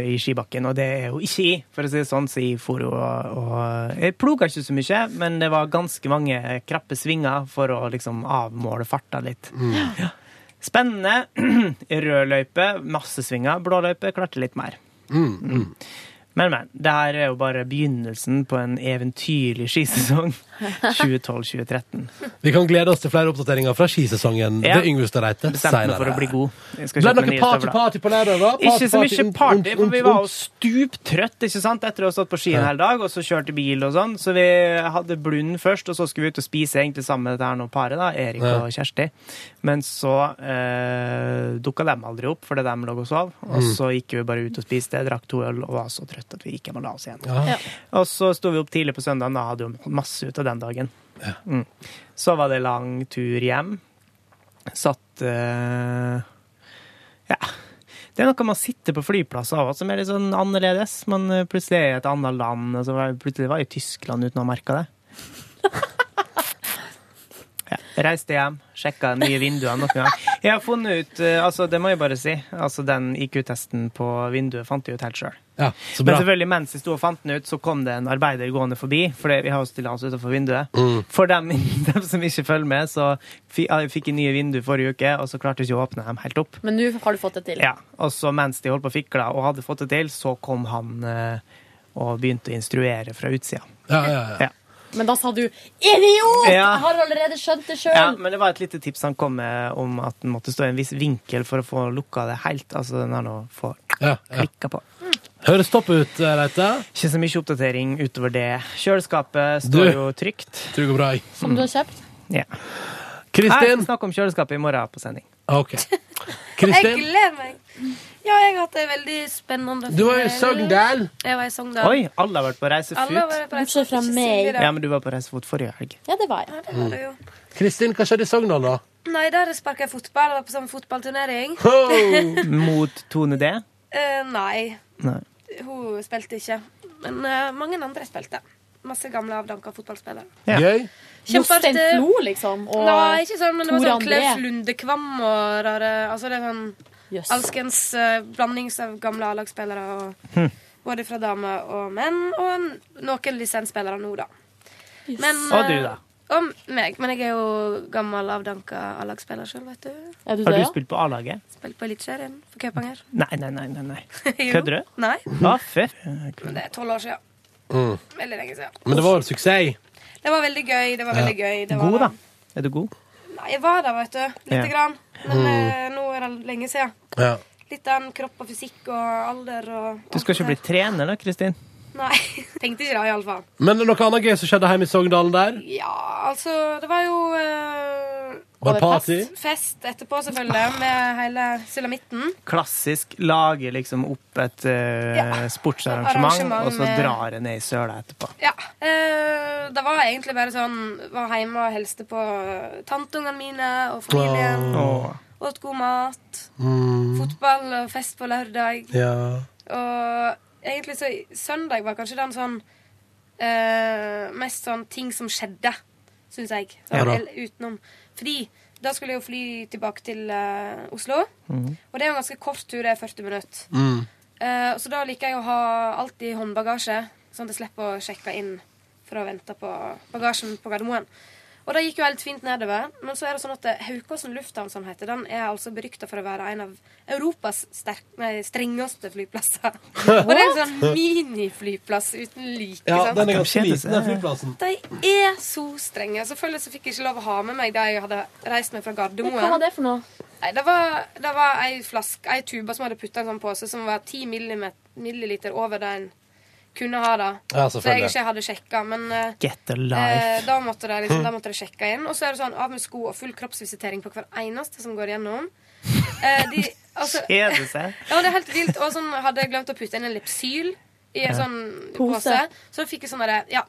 Speaker 2: I skibakken, og det er jo ikke i, for å si det sånn. Så jeg for jo og, og Jeg ploga ikke så mye, men det var ganske mange krappe svinger for å liksom avmåle farta litt. Ja. Spennende. (clears throat) Rød løype, masse svinger. Blå løype, klarte litt mer. Mm. Men, men. Det her er jo bare begynnelsen på en eventyrlig skisesong 2012-2013.
Speaker 1: Vi kan glede oss til flere oppdateringer fra skisesongen.
Speaker 2: Ja.
Speaker 1: Det er Yngve Stareite
Speaker 2: Bestemte meg
Speaker 1: senere.
Speaker 2: for å bli god. Jeg skal
Speaker 1: Ble
Speaker 2: kjøpe
Speaker 1: det
Speaker 2: nye
Speaker 1: noe
Speaker 2: støvler.
Speaker 1: party-party på lørdag, da? Party,
Speaker 2: Ikke så mye
Speaker 1: um,
Speaker 2: party,
Speaker 1: um,
Speaker 2: for vi
Speaker 1: um,
Speaker 2: var
Speaker 1: um.
Speaker 2: jo stuptrøtt ikke sant? etter å ha stått på ski en hel dag, og så kjørte bil og sånn. Så vi hadde blund først, og så skulle vi ut og spise egentlig sammen med dette her nå paret, da, Erik
Speaker 1: Ja.
Speaker 2: og Kjersti. Men så eh, dukka de aldri opp, fordi de lå og sov.
Speaker 1: Mm.
Speaker 2: Og så gikk vi bare ut og spiste, drakk to øl og var så trøtt at vi gikk hjem og la oss igjen.
Speaker 1: Ja.
Speaker 2: Og så sto vi opp tidlig på søndagen, da hadde jo masse ut av den dagen. Mm. Så var det lang tur hjem. Satt eh, Ja. Det er noe man sitter på flyplasser av som er litt sånn annerledes. Man eh, plutselig er i et annet land, og så var jeg, plutselig var jeg i Tyskland uten å ha merka det. Ja. Reiste hjem, sjekka de nye vinduene noen gang. Jeg har funnet ut, eh, altså det må jeg bare si, altså den IQ-testen på vinduet fant jeg ut helt sjøl.
Speaker 1: Ja, så
Speaker 2: Men
Speaker 1: bra.
Speaker 2: selvfølgelig, mens jeg sto og fant den ut, så kom det en arbeider gående forbi. For det- vi har jo stillas utenfor vinduet.
Speaker 1: Mm.
Speaker 2: For dem, (laughs) dem som ikke følger med, så fi- ja, jeg fikk jeg nye vinduer forrige uke, og så klarte jeg ikke å åpne dem helt opp.
Speaker 3: Men nå har du fått det til.
Speaker 2: Ja, Og så mens de holdt på å fikle og hadde fått det til, så kom han eh, og begynte å instruere fra utsida.
Speaker 1: Ja, ja, ja.
Speaker 2: Ja.
Speaker 3: Men da sa du 'idiot'!
Speaker 2: Ja.
Speaker 3: Jeg har allerede skjønt det sjøl.
Speaker 2: Ja, men det var et lite tips han kom med om at den måtte stå i en viss vinkel for å få lukka det helt. Altså den er nå få
Speaker 1: ja, ja.
Speaker 2: klikka på.
Speaker 1: Høres topp ut, eh, Reite.
Speaker 2: Ikke så mye oppdatering utover det. Kjøleskapet
Speaker 1: Du.
Speaker 2: står jo trygt.
Speaker 1: Tror det går bra. jeg.
Speaker 3: Som du har kjøpt.
Speaker 2: Ja. Nei, vi
Speaker 1: Kristin!
Speaker 2: snakker om kjøleskapet i morgen på sending.
Speaker 1: Ok.
Speaker 6: Jeg
Speaker 1: Kristin,
Speaker 6: gleder meg. Ja, jeg har hatt det veldig spennende.
Speaker 1: du var i Sogndal.
Speaker 6: Jeg var i Sogndal.
Speaker 2: Oi, alle har vært på reisefot.
Speaker 6: Alle var på
Speaker 3: Bortsett
Speaker 6: reisefot,
Speaker 3: fra
Speaker 6: ikke
Speaker 3: meg.
Speaker 6: Silje, da.
Speaker 2: Ja, men du var på reisefot forrige helg.
Speaker 3: Ja, det var jeg.
Speaker 6: Ja, det var det jo.
Speaker 1: Kristin, hva skjedde i Sogndal, da?
Speaker 6: Nei, der sparka jeg fotball. Jeg var på sånn fotballturnering.
Speaker 1: Ho!
Speaker 2: Mot Tone D.
Speaker 6: Eh, nei,
Speaker 2: Nei.
Speaker 6: hun spilte ikke. Men eh, mange andre spilte. Masse gamle, avdanka fotballspillere.
Speaker 2: (laughs) Ja.
Speaker 1: Gøy.
Speaker 3: Jostein
Speaker 6: Kjempeartig.
Speaker 3: Flo, liksom. Og
Speaker 6: Nei, ikke sånn, men det var
Speaker 3: Tore
Speaker 6: sånn Klaus
Speaker 3: André.
Speaker 6: Lundekvam og rare Altså, det er sånn
Speaker 3: Jøss.
Speaker 6: alskens eh, blandings av gamle A-lagsspillere og Både fra damer og menn, og n- noen lisensspillere nå, da. Men,
Speaker 2: Og du,
Speaker 6: eh,
Speaker 2: da?
Speaker 6: Og meg. Men jeg er jo gammel, avdanka A-lagsspiller sjøl, vet du.
Speaker 3: Er du
Speaker 2: Har
Speaker 3: det,
Speaker 2: du
Speaker 3: ja?
Speaker 2: spilt på A-laget?
Speaker 6: Spilt på Eliteserien for Kaupanger.
Speaker 2: Nei, nei, nei. nei, nei.
Speaker 6: (laughs) Jo.
Speaker 2: (laughs) Kødder du?
Speaker 6: Nei.
Speaker 2: Å, fy.
Speaker 6: Men det er tolv år siden. Veldig lenge siden.
Speaker 1: Men det var en suksess.
Speaker 6: Det var veldig gøy. Det var veldig gøy. Det var
Speaker 2: God, da. Er du god?
Speaker 6: Nei, jeg var der, vet du. Lite
Speaker 2: Ja.
Speaker 6: grann. Men eh, nå er det lenge siden.
Speaker 1: Ja.
Speaker 6: Litt av en kropp og fysikk og alder og
Speaker 2: Du skal ikke bli trener, da, Kristin?
Speaker 6: Nei. Tenkte ikke det, iallfall.
Speaker 1: Men noe annet gøy som skjedde hjemme i Sogndalen der?
Speaker 6: Ja, altså Det var jo eh,
Speaker 1: Var det party?
Speaker 6: fest etterpå, selvfølgelig, med hele sulamitten.
Speaker 2: Klassisk lage liksom opp et eh,
Speaker 6: Ja.
Speaker 2: sportsarrangement,
Speaker 6: Arrangement
Speaker 2: og så
Speaker 6: med-
Speaker 2: drar det ned i søla etterpå.
Speaker 6: Ja. eh, det var egentlig bare sånn Var hjemme og hilste på eh, tanteungene mine og familien.
Speaker 2: Åh.
Speaker 6: Åt god mat. Fotball og fest på lørdag.
Speaker 1: Mm, Ja.
Speaker 6: Og egentlig så søndag var kanskje den sånn Eh, mest sånn ting som skjedde, syns jeg.
Speaker 1: Ja da.
Speaker 6: Eller utenom. Fordi da skulle jeg jo fly tilbake til eh, Oslo.
Speaker 1: Mhm.
Speaker 6: Og det er jo en ganske kort tur, det er 40 minutter. Eh, så da liker jeg å ha alt i håndbagasje, sånn at jeg slipper å sjekke inn for å vente på bagasjen på Gardermoen. Og det gikk jo helt fint nedover. Men så er det sånn at eh, Haukåsen lufthavn, som heter, den er altså berykta for å være en av Europas sterk, nei, strengeste flyplasser. (laughs) Og det er en sånn miniflyplass uten like. sant?
Speaker 1: den er
Speaker 2: ganske liten, den
Speaker 1: flyplassen.
Speaker 6: De er så strenge. Selvfølgelig så fikk jeg ikke lov å ha med meg de jeg hadde reist med fra Gardermoen.
Speaker 3: Hva var det for noe?
Speaker 6: Nei, det var, det var ei, flask, ei tuba som hadde putta en sånn pose som var 10 millimet- milliliter over det en kunne ha. da.
Speaker 1: Ja,
Speaker 6: så jeg
Speaker 1: selvfølgelig.
Speaker 6: ikke hadde sjekka. Men eh,
Speaker 2: Get a
Speaker 6: eh,
Speaker 2: life.
Speaker 6: da måtte de liksom, da måtte de sjekke inn. Og så er det sånn av med sko og full kroppsvisitering på hver eneste som går gjennom. Eh, de, altså,
Speaker 2: Kjede seg.
Speaker 6: ja, det er helt vilt. Og sånn hadde jeg glemt å putte inn en Lepsyl i en sånn pose.
Speaker 3: Pose.
Speaker 6: Så da fikk jeg sånn derre Ja,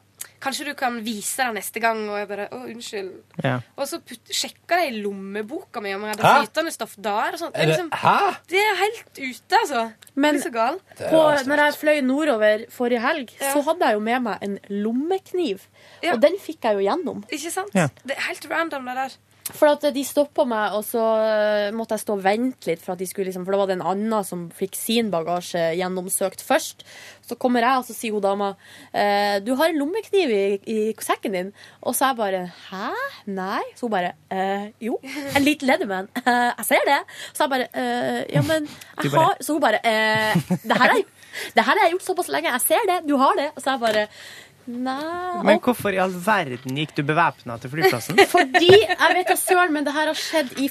Speaker 6: kanskje du kan vise det neste gang? Og jeg bare Å, unnskyld.
Speaker 2: Ja.
Speaker 6: Og så putt, sjekka de i lommeboka mi om jeg hadde
Speaker 1: Hæ?
Speaker 6: flytende stoff der. Og sånt. Det,
Speaker 1: Er
Speaker 6: er
Speaker 1: det,
Speaker 6: liksom,
Speaker 1: Eh, hæ?
Speaker 6: det er helt ute, altså.
Speaker 3: Men-
Speaker 6: Men, det er så gal.
Speaker 3: På, når jeg fløy nordover forrige helg,
Speaker 6: Ja.
Speaker 3: så hadde jeg jo med meg en lommekniv.
Speaker 6: Ja.
Speaker 3: Og den fikk jeg jo gjennom.
Speaker 6: Ikke sant?
Speaker 2: Ja.
Speaker 6: Det er helt random, det der.
Speaker 3: For at eh, de stoppa meg, og så eh, måtte jeg stå og vente litt, for, at de skulle, liksom, for da var det en annen som fikk sin bagasje gjennomsøkt først. Så kommer jeg, og så sier hun dama eh, du har en lommekniv i, i sekken din. Og så jeg bare hæ? Nei? Så hun bare eh, jo, en liten Leatherman. Eh, (laughs) jeg ser det. Så jeg bare eh, ja, men jeg
Speaker 2: bare-
Speaker 3: har Så hun bare eh, det her har jeg- det her har jeg gjort såpass lenge. Jeg ser det. Du har det. Og så jeg bare Nei.
Speaker 2: Men hvorfor i all verden gikk du bevæpna til flyplassen?
Speaker 3: Fordi, jeg vet da søren, men det her har skjedd i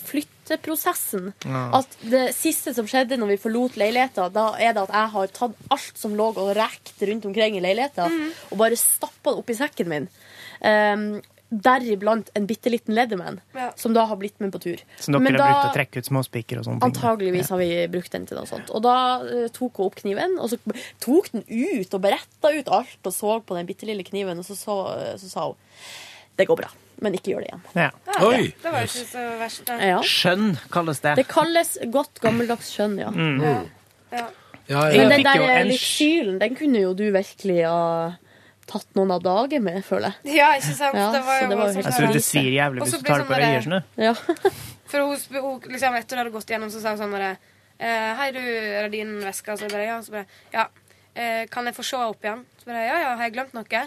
Speaker 3: flytteprosessen. At det siste som skjedde når vi forlot leiligheten, da er det at jeg har tatt alt som lå og rekt rundt omkring i leiligheten, og bare stappa det oppi sekken min. Um, Deriblant en bitte liten Leatherman,
Speaker 6: Ja.
Speaker 3: som da har blitt med på tur.
Speaker 2: Som dere
Speaker 3: Men
Speaker 2: har brukt
Speaker 3: da-
Speaker 2: å trekke ut småspiker og sånne ting?
Speaker 3: Antageligvis har vi brukt den til noe sånt. Og da eh, tok hun opp kniven, og så tok den ut og beretta ut alt og så på den bitte lille kniven, og så, så, eh, så sa hun det går bra, men ikke gjør det igjen.
Speaker 2: Ja.
Speaker 1: Oi!
Speaker 6: Det var jo ikke så verst. det.
Speaker 3: Ja.
Speaker 2: Skjønn kalles det.
Speaker 3: Det kalles godt gammeldags skjønn, ja.
Speaker 1: Ja,
Speaker 6: Ja.
Speaker 1: ja.
Speaker 3: Men
Speaker 2: Mm. Jeg
Speaker 3: den
Speaker 2: fikk
Speaker 3: der
Speaker 2: jo en
Speaker 3: eh, litt
Speaker 2: sj-
Speaker 3: kylen, den kunne jo du virkelig ha tatt noen av dager med, føler jeg.
Speaker 6: ja, ikke sant?
Speaker 3: Ja,
Speaker 6: det
Speaker 3: så
Speaker 6: var jo sånn
Speaker 3: det var jo
Speaker 6: voldsomt.
Speaker 3: helt
Speaker 2: Jeg tror det svir jævlig
Speaker 6: Og
Speaker 2: hvis
Speaker 6: så
Speaker 2: du
Speaker 6: blir
Speaker 2: tar det på
Speaker 6: sånn
Speaker 2: deg
Speaker 6: der-
Speaker 2: øyene.
Speaker 3: Ja.
Speaker 6: For hun, sp- hun liksom, etter det hadde gått igjennom, så sa hun sånn bare eh, Hei, du, er det din veske? Og så bare ja. Så bare, ja. Eh, kan jeg få se opp igjen? Så bare ja, ja, har jeg glemt noe?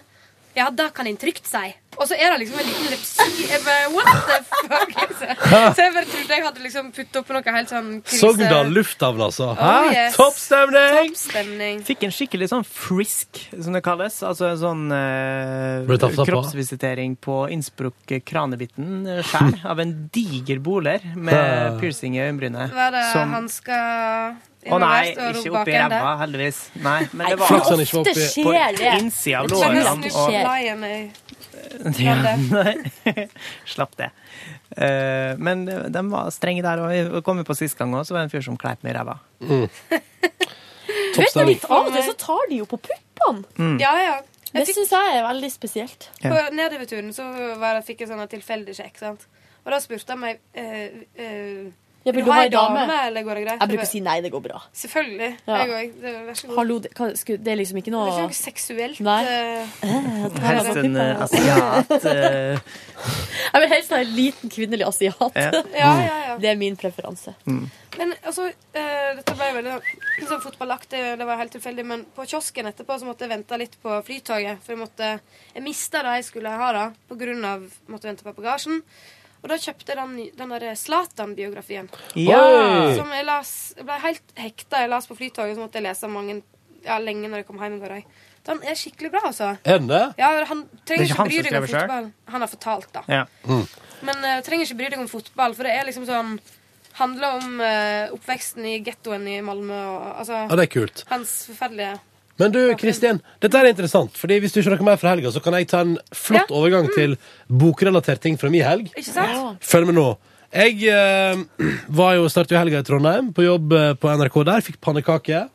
Speaker 6: Ja, det kan en trygt si. Og så er det liksom en liten lepsi Jeg bare, What the fuck? (laughs) Så jeg bare trodde jeg hadde liksom puttet opp noe
Speaker 2: (laughs)
Speaker 6: helt sånn krise...
Speaker 1: Sogndal lufthavn, altså. Hæ?
Speaker 6: Oh, yes.
Speaker 1: Toppstemning!
Speaker 6: Toppstemning.
Speaker 2: Fikk en skikkelig sånn frisk, som det kalles. Altså en sånn eh,
Speaker 1: Ble du tafsa på?
Speaker 2: kroppsvisitering på Innsbruck-kranebiten eh, skjær (laughs) av en diger boler med piercing i øyenbrynet.
Speaker 6: Var det
Speaker 2: Som-
Speaker 6: hansker
Speaker 2: Sånn. Å nei,
Speaker 6: innoverst og
Speaker 2: ikke
Speaker 6: ro
Speaker 2: oppi
Speaker 6: bakende?
Speaker 2: ræva, heldigvis. Nei, men det var altså sånn
Speaker 1: Flaks han ikke var
Speaker 3: Ofte
Speaker 1: oppi-
Speaker 2: på
Speaker 3: skjer
Speaker 2: (laughs)
Speaker 3: det.
Speaker 2: innsida av
Speaker 3: Det tror jeg
Speaker 2: lårene.
Speaker 3: nesten
Speaker 2: Og,
Speaker 3: skjer.
Speaker 6: Lion i
Speaker 2: ja,
Speaker 6: var det.
Speaker 2: (laughs) nei, slapp det. Eh, men de var strenge der òg. Vi kom jo på sist gang òg, så var det en fyr som kleip meg i ræva.
Speaker 3: Vet du,
Speaker 1: Toppstemning.
Speaker 3: litt av og til så tar de jo på puppene.
Speaker 2: Mm.
Speaker 6: Ja, ja.
Speaker 3: Det syns jeg er veldig spesielt.
Speaker 2: Ja.
Speaker 6: På nedoverturen så var det, fikk jeg sånn en tilfeldig sjekk. sant? Og da spurte han meg eh, eh,
Speaker 3: Ja, vil du ha ei dame?
Speaker 6: eller går det greit?
Speaker 3: Jeg bruker å si nei, det går bra.
Speaker 6: Selvfølgelig.
Speaker 3: Ja.
Speaker 6: Jeg òg. Det- Vær så god.
Speaker 3: Hallo, det, hva- skulle- det er liksom ikke
Speaker 6: Det er
Speaker 3: noe
Speaker 6: ikke noe seksuelt.
Speaker 3: Nei.
Speaker 6: eh,
Speaker 2: Helst en eh, asiat.
Speaker 3: (laughs)
Speaker 2: eh,
Speaker 3: Jeg vil helst ha en liten kvinnelig asiat.
Speaker 2: Ja.
Speaker 6: ja, ja, ja.
Speaker 3: Det er min preferanse.
Speaker 6: Men altså, eh, dette ble jo veldig sånn- sånn fotballaktig, det var helt tilfeldig, men på kiosken etterpå så måtte jeg vente litt på flytoget, for jeg måtte, jeg mistet det jeg skulle ha da, på grunn av, måtte vente på bagasjen. Og da kjøpte jeg den, den der Zlatan-biografien,
Speaker 2: ja!
Speaker 6: som jeg las, jeg ble helt hekta, jeg las på flytoget, så måtte jeg lese mange, ja, lenge når jeg kom hjem i går. også. Den er skikkelig bra, altså.
Speaker 1: Er den det?
Speaker 6: Ja, han trenger
Speaker 2: Det er ikke
Speaker 6: ikke
Speaker 2: han
Speaker 6: bry
Speaker 2: som
Speaker 6: deg om
Speaker 2: skrev det selv?
Speaker 6: fotball. Han har fortalt, da.
Speaker 2: Ja.
Speaker 6: Men eh, trenger ikke bry deg om fotball, for det er liksom sånn Handler om eh, oppveksten i gettoen i Malmö og
Speaker 1: Ja,
Speaker 6: altså
Speaker 1: det er kult.
Speaker 6: hans forferdelige
Speaker 1: Men du, Kristin, dette er interessant. Fordi Hvis du ikke har noe mer fra helga, så kan jeg ta en flott
Speaker 6: Ja.
Speaker 1: overgang til bokrelatert ting fra min helg.
Speaker 6: Ikke sant?
Speaker 1: Følg med nå. Jeg eh, (clears throat) var jo startet jo helga i Trondheim, på jobb eh, på NRK der. Fikk pannekake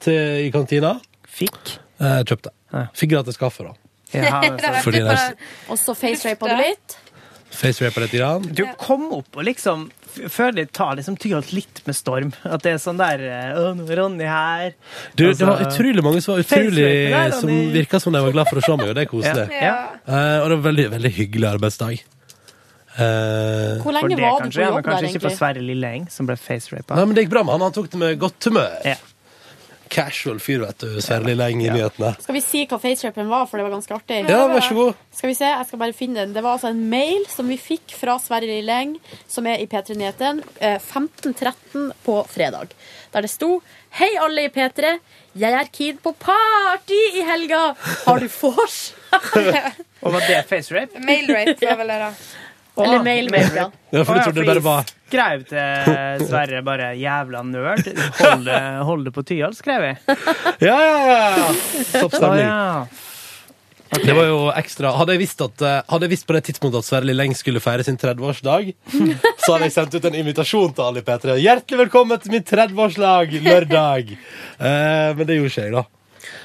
Speaker 1: til, i kantina.
Speaker 2: Fikk.
Speaker 1: Eh, kjøpte.
Speaker 2: Ja.
Speaker 1: Fikk gratis kaffe, da.
Speaker 2: Ja, altså.
Speaker 6: (laughs) Det er
Speaker 3: altså.
Speaker 1: Fordi det
Speaker 6: heftig på
Speaker 1: er-
Speaker 6: det.
Speaker 3: Og så facerapa du
Speaker 6: Lufte.
Speaker 3: litt.
Speaker 1: Facerapper litt. Grann.
Speaker 2: Du kom opp og liksom f- føler det tar liksom Tyholt litt med storm. At det er sånn der eh, «Å, nå er Ronny her.
Speaker 1: Du, det var
Speaker 2: Altså,
Speaker 1: utrolig mange som var utrolig
Speaker 2: Facerapper der,
Speaker 1: Som
Speaker 2: Ronny.
Speaker 1: virka som de var glad for å se meg, og det er koselig.
Speaker 2: Ja.
Speaker 1: Eh, og det var veldig, veldig hyggelig arbeidsdag. Eh,
Speaker 3: Hvor
Speaker 2: For
Speaker 3: lenge
Speaker 2: det
Speaker 3: var du
Speaker 2: kanskje,
Speaker 3: på
Speaker 2: ja, men
Speaker 3: jobb der,
Speaker 2: kanskje ikke for
Speaker 3: egentlig?
Speaker 2: Sverre Lilleheng, som ble facerapa.
Speaker 1: nei, men det gikk bra med han. Han tok det med godt humør.
Speaker 2: Ja.
Speaker 1: Casual fyr, vet du. Sverre Lilleng i nyhetene.
Speaker 3: Skal vi si hva facerapen var, for det var ganske artig?
Speaker 1: Ja, vær så god.
Speaker 3: Skal vi se, jeg skal bare finne den. Det var altså en mail som vi fikk fra Sverre Lilleng, som er i P3 Nyheten, eh, 15.13 på fredag. Der det sto Hei, alle i P3. Jeg er keen på party i helga. Har du
Speaker 1: (laughs)
Speaker 3: vors?
Speaker 2: Og var det facerape?
Speaker 6: Mail rate var vel det, da.
Speaker 3: Eller mail, mail, ja.
Speaker 1: Ja, for du trodde det bare var
Speaker 2: Skrev til Sverre bare 'jævla nerd'. Hold det, hold det på Tyholt, skrev jeg.
Speaker 1: Ja, ja, ja! Topp
Speaker 2: Å,
Speaker 1: stemning.
Speaker 2: (laughs) ja.
Speaker 1: Det var jo ekstra Hadde jeg visst, at, eh, hadde jeg visst på det tidspunktet at Sverre Lilleng skulle feire sin 30-årsdag, så hadde jeg sendt ut en invitasjon til alle i P3. Hjertelig velkommen til min 30-årslag lørdag! Eh, men det gjorde ikke jeg, da.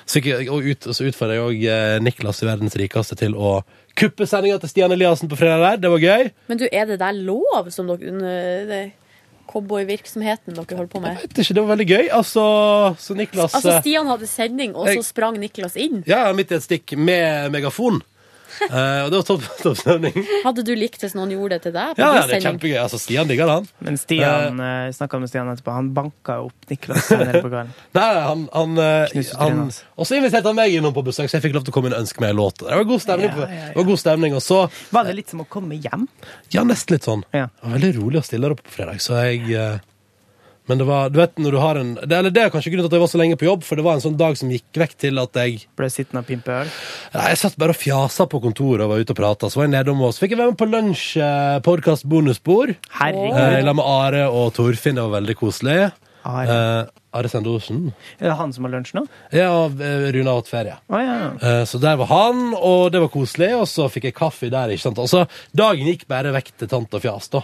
Speaker 1: Så, ikke- og ut, så utfordra jeg òg eh, Niklas i Verdens rikeste til å kuppe sendinga til Stian Eliassen på fredag der. Det var gøy.
Speaker 3: Men du, er det der lov som dere under det cowboyvirksomheten dere holder på med?
Speaker 1: Vet ikke, det var veldig gøy. Altså, så Niklas
Speaker 3: Altså,
Speaker 1: eh,
Speaker 3: Stian hadde sending, og så
Speaker 1: Jeg-
Speaker 3: sprang Niklas inn.
Speaker 1: Ja, midt i et stikk med megafon. Eh, og det var topp, topp stemning.
Speaker 3: Hadde du likt hvis noen gjorde det til deg? på
Speaker 1: Ja,
Speaker 3: din
Speaker 1: ja, det er
Speaker 3: sending?
Speaker 1: kjempegøy. Altså, Stian digger det, han.
Speaker 2: Men Stian, eh, snakka med Stian etterpå, han banka jo opp Niklas senere på kvelden.
Speaker 1: Nei, nei, han, han, eh,
Speaker 2: Knuste trynet
Speaker 1: han
Speaker 2: hans.
Speaker 1: Og så inviterte han meg innom på besøk, så jeg fikk lov til å komme inn og ønske meg en låt. Det var god stemning. på- Det var god stemning Og så
Speaker 2: Var det litt som å komme hjem?
Speaker 1: Ja, nesten litt sånn.
Speaker 2: Ja.
Speaker 1: Det var veldig rolig og stille der oppe på fredag, så jeg eh, Men det var Du vet når du har en det, Eller det er kanskje grunnen til at jeg var så lenge på jobb, for det var en sånn dag som gikk vekk til at jeg
Speaker 2: Ble sittende og pimpe øl?
Speaker 1: Nei, jeg satt bare og fjasa på kontoret og var ute og prata. Så var jeg nedom og så fikk jeg være med på lunsj, eh, podcast bonusbord.
Speaker 2: Herregud.
Speaker 1: Eh, I lag med Are og Torfinn. Det var veldig koselig.
Speaker 2: Are.
Speaker 1: Eh, Are Sende Osen.
Speaker 2: Er det han som har lunsj nå?
Speaker 1: Ja, og eh, Rune har hatt ferie.
Speaker 2: Å ja.
Speaker 1: Eh, Så der var han, og det var koselig, og så fikk jeg kaffe der. ikke sant? Og så Dagen gikk bare vekk til tante og fjas, da.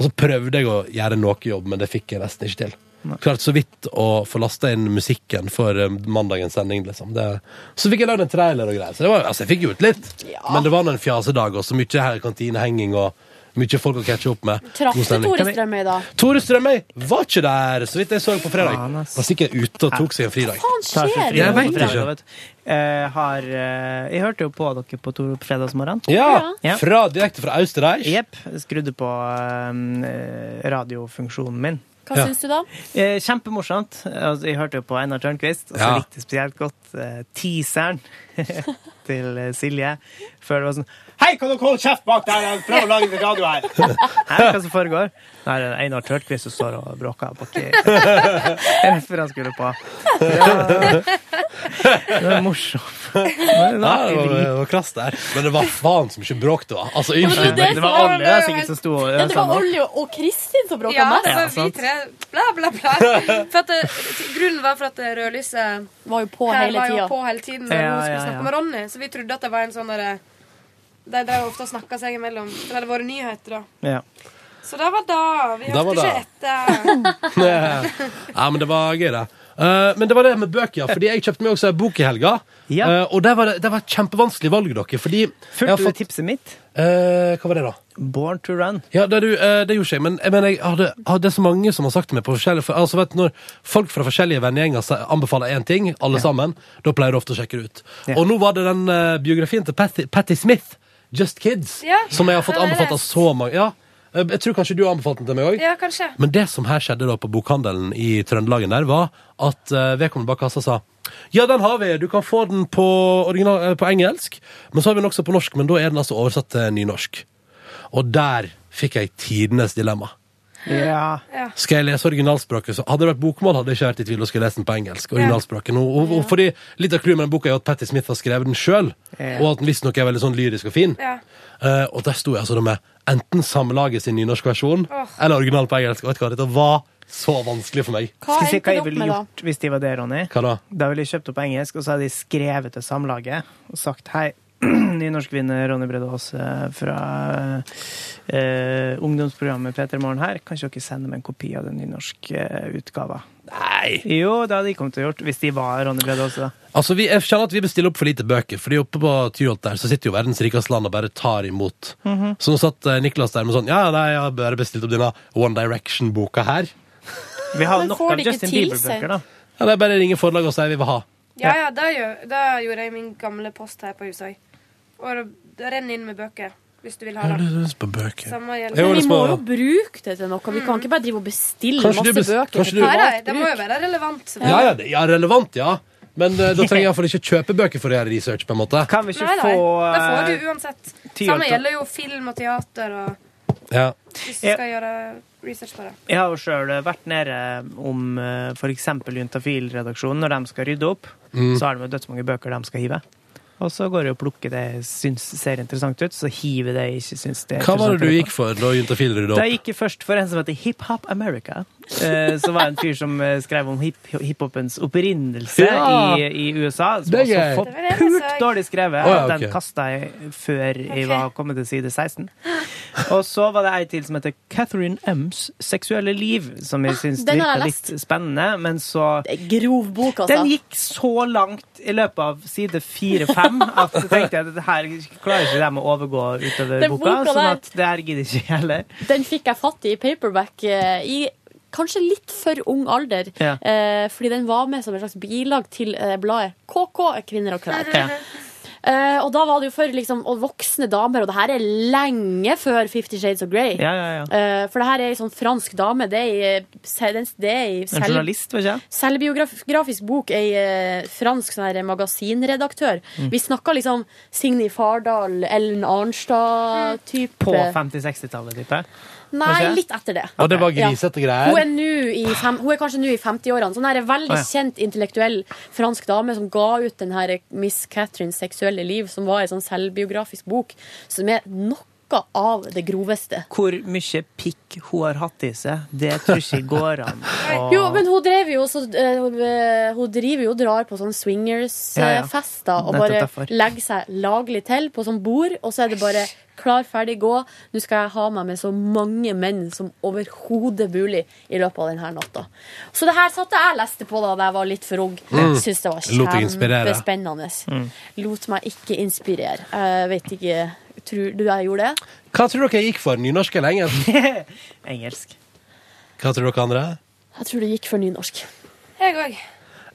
Speaker 1: Og så prøvde jeg å gjøre noe jobb, men det fikk jeg nesten ikke til. Klarte så vidt å få lasta inn musikken for eh, mandagens sending, liksom. Det, så fikk jeg lagd en trailer og greier. Så det var, altså, jeg fikk gjort litt. Men det var nå en fjasedag, og så mye her kantinehenging og mye folk å catche opp med. God
Speaker 3: Traff du
Speaker 1: stemning.
Speaker 3: Tore Strømøy da?
Speaker 1: Tore Strømøy var ikke der, så vidt jeg så på fredag.
Speaker 2: Faen, ass.
Speaker 1: Var sikkert ute og tok seg en fridag.
Speaker 3: Faen
Speaker 2: Tar seg
Speaker 3: skjer
Speaker 2: fri
Speaker 1: Jeg
Speaker 2: på
Speaker 1: vet
Speaker 2: fredag,
Speaker 1: ikke.
Speaker 2: vet du. Eh, har, eh, jeg hørte jo på dere på Toro på fredagsmorgen.
Speaker 1: Ja,
Speaker 2: Ja.
Speaker 1: fra Direkte fra Austerreich.
Speaker 2: Jepp. Skrudde på eh, radiofunksjonen min.
Speaker 3: Hva
Speaker 1: Ja.
Speaker 3: syns du da?
Speaker 2: Eh, kjempemorsomt. Altså, jeg hørte jo på Einar Tørnquist, og så
Speaker 1: Ja.
Speaker 2: likte jeg spesielt godt eh, teaseren (laughs) til eh, Silje. Før det var sånn Hei, kan dere holde kjeft bak der? Jeg prøver å lage litt
Speaker 1: (laughs)
Speaker 2: radio her. Hæ, hva som foregår? Nei, det er Einar Tørnquist som står og bråker (laughs) baki rett før han skulle på. Det var, det var morsomt. Men det var
Speaker 1: Ja, det var,
Speaker 2: artig vri.
Speaker 1: det var krass der. Men det var faen så mye bråk det var. Altså,
Speaker 3: det var
Speaker 1: unnskyld.
Speaker 3: det-
Speaker 2: Det var alle det er sikkert som sto og sånn,
Speaker 3: Ja, det var
Speaker 2: sammen.
Speaker 3: Olli og og Kristin som bråka
Speaker 6: Ja, det
Speaker 3: mest.
Speaker 6: var vi
Speaker 2: sant.
Speaker 6: tre. Bla, bla, bla. For at, eh, t- grunnen var for at eh, rødlyset
Speaker 3: Var jo på
Speaker 6: her
Speaker 3: hele
Speaker 6: var jo
Speaker 3: tida.
Speaker 6: på hele tiden når
Speaker 2: Ja,
Speaker 6: hun skulle
Speaker 2: ja, ja.
Speaker 6: snakke med Ronny, så vi trodde at det var en sånn derre de drev ofte og snakka seg imellom. Det hadde vært nyheter, da.
Speaker 2: Ja.
Speaker 6: Så det var da. Vi
Speaker 1: Det var
Speaker 6: hørte ikke (laughs) etter.
Speaker 1: Ja, men det var gøy, det. Eh, men det var det med bøker, ja. Fordi jeg kjøpte meg også en bok i helga.
Speaker 2: Ja.
Speaker 1: Eh, og det var, det, det var et kjempevanskelig valg, dere. Fordi jeg har
Speaker 2: Fulgte du
Speaker 1: fått
Speaker 2: tipset mitt?
Speaker 1: eh, Hva var det, da?
Speaker 2: Born to run.
Speaker 1: Ja, det, er du, eh, det gjorde ikke jeg, men, men jeg hadde, hadde så mange som har sagt til meg på forskjellige for, altså, vet, du, Når folk fra forskjellige vennegjenger se- anbefaler én ting, alle sammen, da pleier du ofte å sjekke det ut.
Speaker 2: Ja.
Speaker 1: Og nå var det den eh, biografien til Patti, Patti Smith, 'Just Kids',
Speaker 6: Ja,
Speaker 1: som jeg har fått
Speaker 6: den har jeg
Speaker 1: anbefalt av så mange. Ja, Eh, jeg tror kanskje du har anbefalt den til meg òg.
Speaker 6: Ja, kanskje.
Speaker 1: Men det som her skjedde da på bokhandelen i Trøndelagen der, var at eh, vedkommende bak kassa sa ja, den har vi. Du kan få den på, original, eh, på engelsk, men så har vi den også på norsk. Men da er den altså oversatt til nynorsk. Og der fikk jeg tidenes dilemma.
Speaker 2: Ja.
Speaker 1: Skal jeg lese originalspråket, så hadde det vært bokmål, hadde jeg ikke vært i tvil og skulle lese den på engelsk. originalspråket. Nå, og, og fordi Litt av clouet med den boka er jo at Patti Smith har skrevet den sjøl,
Speaker 2: Ja.
Speaker 1: og at den visstnok er veldig sånn lyrisk og fin.
Speaker 6: Ja.
Speaker 1: Eh, og der sto jeg altså da med enten samlaget sin nynorsk versjon eller originalen på engelsk. Og vet du hva, dette var så vanskelig for meg.
Speaker 3: Hva
Speaker 2: Skal jeg si hva
Speaker 3: endte det
Speaker 2: jeg
Speaker 3: opp
Speaker 2: ville
Speaker 3: med, da?
Speaker 2: gjort hvis de var det, Ronny?
Speaker 1: Hva da?
Speaker 2: Da ville jeg kjøpt opp på engelsk, og så hadde jeg skrevet til samlaget og sagt hei. (clears throat) Nynorskvinner Ronny Brede Aase fra eh, ungdomsprogrammet P3 Morgen her. Kanskje dere sender meg en kopi av den nynorske eh, utgava
Speaker 1: Nei.
Speaker 2: Jo, det hadde de kommet til å gjort hvis de var Ronny Brede Aase. da.
Speaker 1: Altså, vi, jeg kjenner at vi bestiller opp for lite bøker, fordi oppe på Tyholt der så sitter jo verdens rikeste land og bare tar imot. Så nå satt eh, Niklas der med sånn Ja, nei, jeg har bare bestilt opp denne One Direction-boka her.
Speaker 2: Vi har
Speaker 3: Men
Speaker 2: nok
Speaker 3: får
Speaker 2: av
Speaker 3: de ikke
Speaker 2: Justin
Speaker 3: til
Speaker 2: Bieber-bøker, da.
Speaker 1: Ja, det er bare å ringe forlaget og si vi vil ha.
Speaker 6: Ja, ja, det gjør- det gjorde jeg i min gamle post her på huset òg. Og det- det renner inn med bøker hvis du vil ha
Speaker 1: Ja, du
Speaker 6: det.
Speaker 1: har lyst på bøker.
Speaker 6: Samme
Speaker 1: Jo,
Speaker 6: gjelder.
Speaker 3: Men
Speaker 1: det
Speaker 3: vi må
Speaker 1: skal-
Speaker 3: jo bruke det til noe. Vi kan ikke bare drive og bestille
Speaker 1: Kanskje du
Speaker 3: masse
Speaker 1: bes-
Speaker 3: bøker.
Speaker 1: kanskje du-
Speaker 3: til
Speaker 6: Nei,
Speaker 3: privat
Speaker 6: nei, det må jo
Speaker 3: bruk.
Speaker 6: være relevant. selvfølgelig.
Speaker 1: Ja, ja, det, ja relevant, ja. Men eh, da trenger jeg iallfall ikke kjøpe bøker for å gjøre research, på en måte.
Speaker 2: Kan vi ikke
Speaker 6: Nei, nei.
Speaker 2: få
Speaker 6: Det får
Speaker 2: eh,
Speaker 6: du uansett.
Speaker 2: ti
Speaker 6: Samme
Speaker 2: år til-
Speaker 6: gjelder jo film og teater og
Speaker 1: Ja.
Speaker 6: hvis du
Speaker 2: Ja.
Speaker 6: skal gjøre research på det.
Speaker 2: Jeg har jo sjøl vært nede om eh, for eksempel Juntafil-redaksjonen. Når de skal rydde opp,
Speaker 1: Mm.
Speaker 2: så har de jo dødsmange bøker de skal hive. Og så går jeg og plukker det jeg syns ser interessant ut, så hiver det jeg ikke syns det er
Speaker 1: Hva var det
Speaker 2: interessant å
Speaker 1: du
Speaker 2: høre på.
Speaker 1: gikk for da Juntafil rydda
Speaker 2: Da
Speaker 1: opp?
Speaker 2: gikk jeg først for en som heter Hip Hop America. Eh, Som var en fyr som eh, skrev om hip- hiphopens opprinnelse
Speaker 1: Ja.
Speaker 2: i, i USA. Som
Speaker 1: Det er gøy.
Speaker 2: også
Speaker 6: Det var det jeg
Speaker 2: forpult
Speaker 6: så.
Speaker 2: dårlig skrevet.
Speaker 1: Å, ja,
Speaker 2: at
Speaker 1: ok.
Speaker 2: Den kasta jeg før jeg
Speaker 6: Ok.
Speaker 2: var kommet til side 16. Og så var det ei til som heter Catherine Ems seksuelle liv, som jeg syns
Speaker 3: Ah, den har jeg
Speaker 2: virka litt spennende, men så
Speaker 3: Det er Grov bok, altså.
Speaker 2: den gikk så langt i løpet av side 4-5 at jeg tenkte at det her klarer ikke dem å overgå utover
Speaker 3: Den
Speaker 2: boka.
Speaker 3: boka
Speaker 2: sånn
Speaker 3: der.
Speaker 2: at det her gidder ikke jeg
Speaker 3: (laughs)
Speaker 2: heller.
Speaker 3: Den fikk jeg fatt i i paperback eh, i kanskje litt for ung alder.
Speaker 2: Ja.
Speaker 3: Eh, fordi den var med som et slags bilag til eh, bladet KK, Kvinner og klær.
Speaker 2: Ja.
Speaker 3: Eh, og da var det jo for liksom, og voksne damer, og det her er lenge før Fifty Shades of Grey.
Speaker 2: Ja, ja, ja.
Speaker 3: Eh, for det her er ei sånn fransk dame. Det er ei, eh, se- den- det er ei
Speaker 2: En
Speaker 3: selv,
Speaker 2: journalist, vet ikke jeg.
Speaker 3: selvbiografisk bok. Ei eh, fransk sånn her magasinredaktør.
Speaker 2: Mm.
Speaker 3: Vi snakka liksom Signy Fardal, Ellen Arnstad-type.
Speaker 2: På 50-60-tallet, tipper jeg.
Speaker 3: Nei,
Speaker 2: Kanskje?
Speaker 3: litt etter det.
Speaker 1: Og det var
Speaker 3: Ja.
Speaker 1: grisete
Speaker 3: Hun
Speaker 1: greier.
Speaker 3: er, nå i fem, hun er kanskje nå i 50-årene. Sånn her en veldig
Speaker 2: Å, ja.
Speaker 3: kjent intellektuell fransk dame som ga ut den her Miss Catherines seksuelle liv, som var en sånn selvbiografisk bok, som er noe av det groveste.
Speaker 2: Hvor mye pikk hun har hatt i seg, det tror ikke jeg går
Speaker 1: (laughs)
Speaker 2: an. å-
Speaker 3: Jo, men hun drev jo så, eh, hun, eh, Hun driver jo og drar på
Speaker 2: Ja,
Speaker 3: sånne
Speaker 2: ja.
Speaker 3: swingers-fester eh, og
Speaker 2: Nettopp
Speaker 3: bare
Speaker 2: derfor.
Speaker 3: legger seg laglig til på sånn bord, og så er det bare klar, ferdig, gå. Nå skal jeg ha meg med så mange menn som overhodet mulig i løpet av denne natta. Så det her satte jeg og leste på da da jeg var litt for ung. Syns det
Speaker 1: Lot
Speaker 3: var
Speaker 1: deg inspirere.
Speaker 3: kjempespennende. Lot meg ikke inspirere. Jeg vet ikke Tror du jeg gjorde det?
Speaker 1: Hva tror dere jeg gikk for? Nynorsk eller engelsk?
Speaker 2: Engelsk.
Speaker 1: Hva tror dere andre?
Speaker 3: Jeg tror det gikk for nynorsk.
Speaker 6: Jeg òg.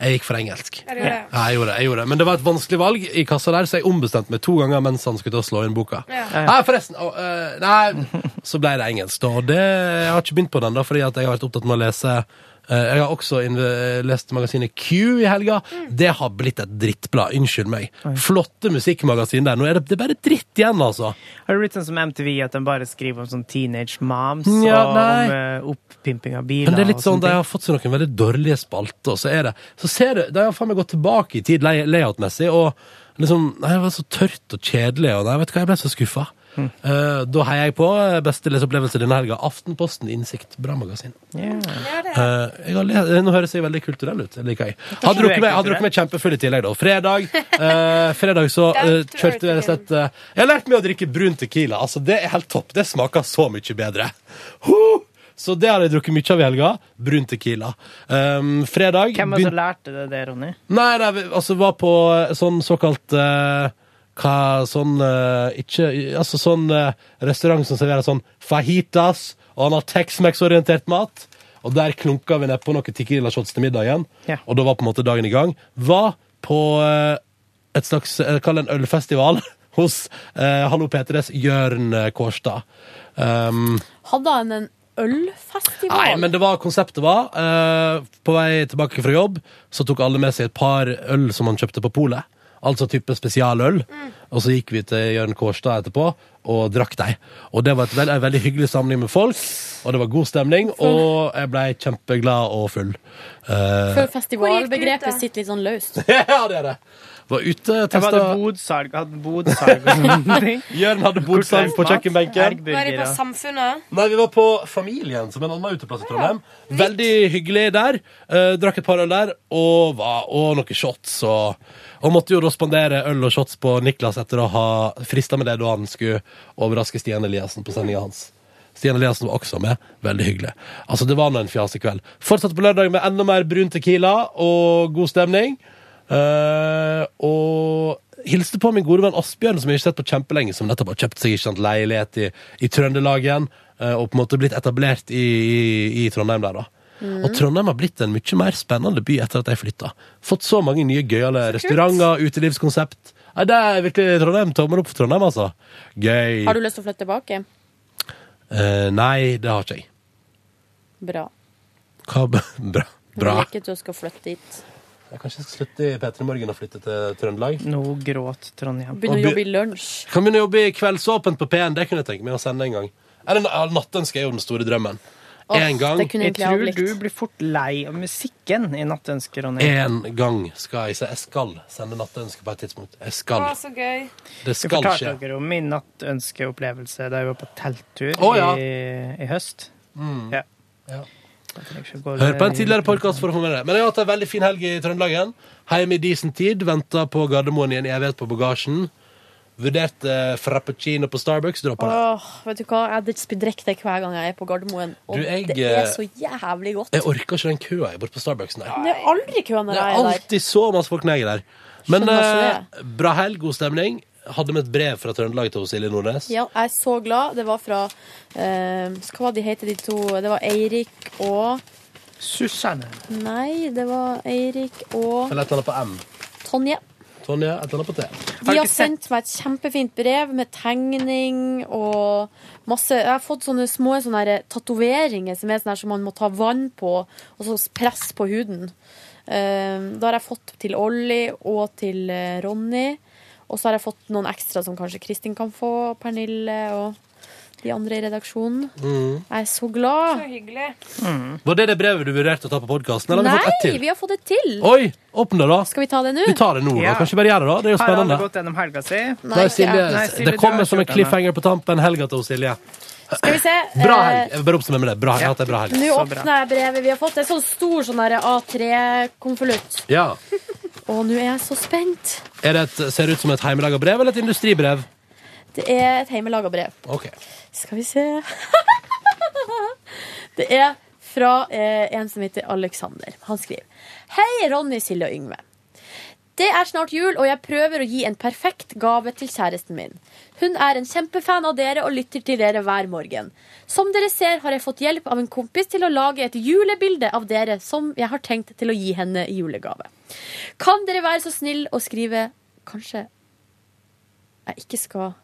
Speaker 1: Jeg gikk for engelsk.
Speaker 6: Er det jo det?
Speaker 1: Ja, jeg gjorde det, jeg gjorde det. Men det var et vanskelig valg i kassa der, så jeg ombestemte meg to ganger mens han skulle til å slå inn boka.
Speaker 6: Ja.
Speaker 1: Nei, forresten. å, eh, nei, så ble det engelsk, da. Og det, jeg har ikke begynt på den, da, fordi at jeg har vært opptatt med å lese eh, jeg har også inv- lest magasinet Q i helga. Det har blitt et drittblad. Unnskyld meg. Flotte musikkmagasin der. Nå er det, det er bare dritt igjen, altså.
Speaker 2: Har det blitt sånn som MTV, at de bare skriver om sånn teenage moms
Speaker 1: Ja,
Speaker 2: og om
Speaker 1: nei.
Speaker 2: eh, opppimping av biler?
Speaker 1: Men det er litt sånn, De
Speaker 2: og sånne ting?
Speaker 1: har fått seg noen veldig dårlige spalter, og så er det Så ser du, De har faen meg gått tilbake i tid lay- layoutmessig, og liksom Nei, det var så tørt og kjedelig, og nei, vet du hva, jeg ble så skuffa.
Speaker 2: Mm.
Speaker 1: Eh, da heier jeg på eh, beste leseopplevelse denne helga. Aftenposten Innsikt. Bra magasin.
Speaker 6: Ja, det er.
Speaker 1: Eh, jeg har le Nå høres jeg veldig kulturell ut. det liker jeg. Hadde drukket meg, hadde drukket meg kjempefull i tillegg, da. Fredag eh, Fredag så eh, kjørte vi rett og slett eh, Jeg har lært meg å drikke brun tequila. Altså, Det er helt topp. Det smaker så mye bedre. Huh! Så det har jeg drukket mye av i helga. Brun tequila. Um, fredag
Speaker 2: Hvem er det
Speaker 1: begyn-
Speaker 2: som lærte det, det, Ronny?
Speaker 1: Nei, nei, vi- altså var på eh, sånn såkalt eh, hva, sånn eh, ikke Altså sånn eh, restaurant som serverer sånn fajitas og han har Tex-Mex-orientert mat. Og der klunka vi nedpå noen Tequila shots til middagen,
Speaker 2: Ja.
Speaker 1: og da var på en måte dagen i gang. Var på eh, et slags eh, Kall det en ølfestival (laughs) hos eh, Hallo P3s Jørn eh, Kårstad. Um,
Speaker 3: Hadde han en ølfestival?
Speaker 1: Nei, men det var, konseptet var eh, På vei tilbake fra jobb Så tok alle med seg et par øl som man kjøpte på polet Altså type spesialøl
Speaker 2: Mm.
Speaker 1: Og så gikk vi til Jørn Kårstad etterpå Og drakk deg Og det var et veld, en veldig hyggelig samling med folk Og det var god stemning Og jeg ble kjempeglad og full Eh,
Speaker 3: For
Speaker 6: Hvor gikk det ut,
Speaker 3: festivalbegrepet
Speaker 6: da?
Speaker 3: sitter litt sånn løst.
Speaker 1: (laughs) Ja, det er det Var ute,
Speaker 2: Var det
Speaker 1: testet
Speaker 2: bodsalg? Hadde bodsalg og
Speaker 1: (laughs)
Speaker 2: sånne ting?
Speaker 1: Jørn hadde bodsang på
Speaker 2: Kortreist mat,
Speaker 1: kjøkkenbenken
Speaker 6: Nå er de på
Speaker 2: ergburgere.
Speaker 6: Samfunnet.
Speaker 1: Nei, vi var på Familien, som er en annen uteplass i Trondheim. Veldig hyggelig der. Eh, drakk et par øl der, og, var, og noen shots. Og, og måtte jo da spandere øl og shots på Niklas etter å ha frista med det da han skulle overraske Stian Eliassen på sendinga hans. Stian Eliassen var også med. Veldig hyggelig. Altså, det var nå en fjasekveld. Fortsatt på lørdag med enda mer brun tequila og god stemning. Eh, og hilste på min gode venn Asbjørn, som jeg ikke har sett på kjempelenge, som nettopp har kjøpt seg ikke sant, leilighet i, i Trøndelag igjen, eh, og på en måte blitt etablert i, i, i Trondheim der, da.
Speaker 3: Mm.
Speaker 1: Og Trondheim har blitt en mye mer spennende by etter at jeg flytta. Fått så mange nye gøyale restauranter, utelivskonsept. Nei, det er virkelig Trondheim. Tommel opp for Trondheim, altså. Gøy.
Speaker 3: Har du lyst til å flytte tilbake?
Speaker 1: Eh, nei, det har ikke jeg.
Speaker 3: Bra.
Speaker 1: Hva b- (laughs) Bra. Bra.
Speaker 3: Jeg liker at du skal flytte dit.
Speaker 1: Jeg kanskje skal slutte i P3 Morgen og flytte til Trøndelag.
Speaker 2: Nå gråt Trondheim.
Speaker 3: Begynne
Speaker 1: Og
Speaker 3: å
Speaker 1: be-
Speaker 3: jobbe i lunsj.
Speaker 1: Kan begynne å jobbe i Kveldsåpent på P1. Det kunne jeg tenke meg å sende en gang. Eller ja, Nattønske er jo den store drømmen. En gang,
Speaker 3: Det kunne
Speaker 2: Jeg
Speaker 3: egentlig jeg
Speaker 2: tror
Speaker 3: avlikt.
Speaker 2: du blir fort lei av musikken i Nattønsket, Ronny.
Speaker 1: en gang skal jeg se. Jeg skal sende Nattønske på et tidspunkt. Jeg skal.
Speaker 6: Å, så gøy.
Speaker 1: Det
Speaker 2: Jeg
Speaker 1: skal
Speaker 2: fortalte
Speaker 1: skje.
Speaker 2: dere om min nattønskeopplevelse da jeg var på telttur
Speaker 1: Å, ja. Mm.
Speaker 2: i, i høst. Ja.
Speaker 1: Ja.
Speaker 2: Da tenker jeg ikke å gå
Speaker 1: Hør på en
Speaker 2: i-
Speaker 1: tidligere podkast for å få med det. Men jeg har hatt en veldig fin helg i Trøndelag igjen. Hjemme i decent tid, venta på Gardermoen i en evighet på bagasjen. Vurderte eh, frappuccino på Starbucks, droppa det.
Speaker 3: Åh, vet du hva? Jeg sp- drikker det hver gang jeg er på Gardermoen, og
Speaker 1: Du, jeg,
Speaker 3: det er
Speaker 1: eh,
Speaker 3: så jævlig godt.
Speaker 1: Jeg orker ikke den køa jeg borte på Starbucks. Nei.
Speaker 3: Det er aldri kø når
Speaker 1: Det er
Speaker 3: jeg er der.
Speaker 1: alltid så masse folk når jeg er der. Men
Speaker 3: Skjønner ikke
Speaker 1: eh, bra helg, god stemning. Hadde med et brev fra Trøndelag til Silje Nordnes.
Speaker 3: Ja, jeg er så glad. Det var fra eh, Hva var de heter de to? Det var Eirik og
Speaker 2: Susanne.
Speaker 3: Nei, det var Eirik og
Speaker 1: Eller et eller annet på M.
Speaker 3: Tonje.
Speaker 1: Tonje, et eller annet på T.
Speaker 3: De
Speaker 2: du
Speaker 3: har
Speaker 2: ikke sett-
Speaker 3: sendt meg et kjempefint brev med tegning og masse Jeg har fått sånne små sånne her eh, tatoveringer som er sånne her som man må ta vann på, og så press på huden. Eh, da har jeg fått til Olli og til eh, Ronny. Og så har jeg fått noen ekstra som kanskje Kristin kan få, og Pernille og de andre i redaksjonen. Jeg er så glad.
Speaker 6: Så hyggelig.
Speaker 1: Var det det brevet du vurderte å ta på podkasten? Eller har vi fått ett
Speaker 3: Nei,
Speaker 1: til?
Speaker 3: vi har fått et til!
Speaker 1: Oi! Åpne det, da.
Speaker 3: Skal vi ta det nå?
Speaker 1: Vi tar det nå, da.
Speaker 2: Ja.
Speaker 1: Kanskje bare gjør det, da. Det er jo
Speaker 2: Her har
Speaker 1: spennende.
Speaker 2: alle gått gjennom helga si.
Speaker 3: Nei,
Speaker 1: Nei,
Speaker 3: ikke jeg.
Speaker 1: Silje,
Speaker 2: Nei, Silje,
Speaker 1: det
Speaker 2: du
Speaker 1: kommer
Speaker 2: har
Speaker 1: som en
Speaker 2: kjørt den, da.
Speaker 1: cliffhanger på tampen helga til Silje.
Speaker 3: Skal vi se.
Speaker 1: Bra
Speaker 3: eh,
Speaker 1: helg. Jeg vil bare oppsummere med det. Bra helg.
Speaker 2: Ja.
Speaker 1: Hatt ei bra helg.
Speaker 3: Nå
Speaker 2: Så bra.
Speaker 3: åpner jeg brevet vi har fått. Det er sånn stor sånn der A3-konvolutt.
Speaker 1: Ja.
Speaker 3: Og nå er jeg så spent.
Speaker 1: Er det et, ser det ut som et heimelaga brev eller et industribrev?
Speaker 3: Det er et hjemmelaga brev.
Speaker 1: Ok.
Speaker 3: Skal vi se (laughs) Det er fra eh, en som heter Alexander. Han skriver Hei, Ronny, Silje og Yngve. Det er snart jul, og jeg prøver å gi en perfekt gave til kjæresten min. Hun er en kjempefan av dere og lytter til dere hver morgen. Som dere ser, har jeg fått hjelp av en kompis til å lage et julebilde av dere som jeg har tenkt til å gi henne i julegave. Kan dere være så snill å skrive Kanskje jeg ikke skal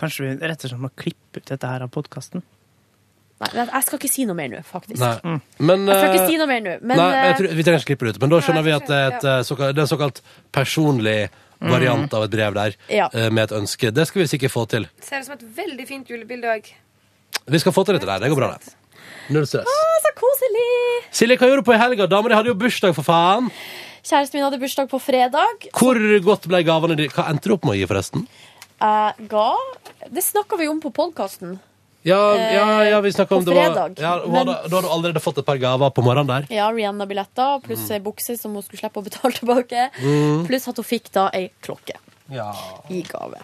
Speaker 2: Kanskje vi rett og slett må klippe ut dette her av podkasten.
Speaker 3: Nei, men jeg skal ikke si noe mer nå, faktisk.
Speaker 1: Nei. Men,
Speaker 3: Mm. Jeg skal
Speaker 1: eh,
Speaker 3: ikke si noe mer nå, men
Speaker 1: nei, jeg
Speaker 3: eh,
Speaker 1: tror, vi trenger ikke klippe det ut. Men da skjønner vi at det er, et,
Speaker 6: ja.
Speaker 1: eh, såkalt, det er en såkalt personlig variant av et brev der,
Speaker 3: Mm. Ja.
Speaker 1: eh, med et ønske. Det skal vi sikkert få til.
Speaker 6: Ser ut som et veldig fint julebilde òg.
Speaker 1: Vi skal få til dette der. Det går bra, det. Null stress.
Speaker 3: å, Så koselig!
Speaker 1: Silje, hva gjorde du på i helga? Damer, de hadde jo bursdag, for faen.
Speaker 3: Kjæresten min hadde bursdag på fredag.
Speaker 1: Hvor godt ble gavene dine? Hva endte du opp med å gi, forresten?
Speaker 3: Jeg ga Det snakka vi om på podkasten.
Speaker 1: Ja, ja, ja vi snakka om
Speaker 3: Eh, på
Speaker 1: det var
Speaker 3: fredag.
Speaker 1: ja, hun
Speaker 3: Men-
Speaker 1: hadde, Da hadde du allerede fått et par gaver på morgenen der.
Speaker 3: Ja, Rihanna-billetter pluss
Speaker 1: Mm.
Speaker 3: ei bukse som hun skulle slippe å betale tilbake. Pluss at hun fikk da ei klokke i gave.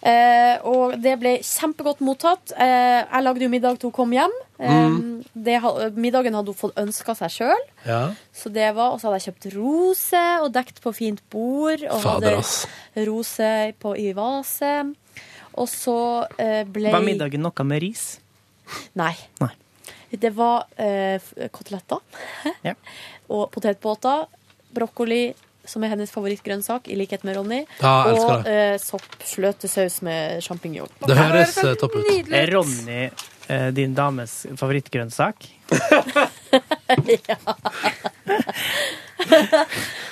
Speaker 3: Eh, og det ble kjempegodt mottatt. Eh, jeg lagde jo middag til hun kom hjem. Eh,
Speaker 1: Mm.
Speaker 3: det, ha- middagen hadde hun fått ønska seg sjøl.
Speaker 1: Ja.
Speaker 3: Så det var, og så hadde jeg kjøpt roser og dekt på fint bord. Og
Speaker 1: Fader, ass.
Speaker 3: hadde roser på i vase. Og så eh, ble
Speaker 2: Var middagen noe med ris?
Speaker 3: Nei.
Speaker 2: Nei.
Speaker 3: Det var eh, f- koteletter (laughs)
Speaker 2: Ja.
Speaker 3: og potetbåter. Brokkoli, som er hennes favorittgrønnsak, i likhet med Ronny.
Speaker 1: Ja, jeg elsker
Speaker 3: og eh, sopp fløtesaus med sjampinjong. (laughs)
Speaker 1: Det høres eh, topp ut.
Speaker 2: Er Ronny eh, din dames favorittgrønnsak?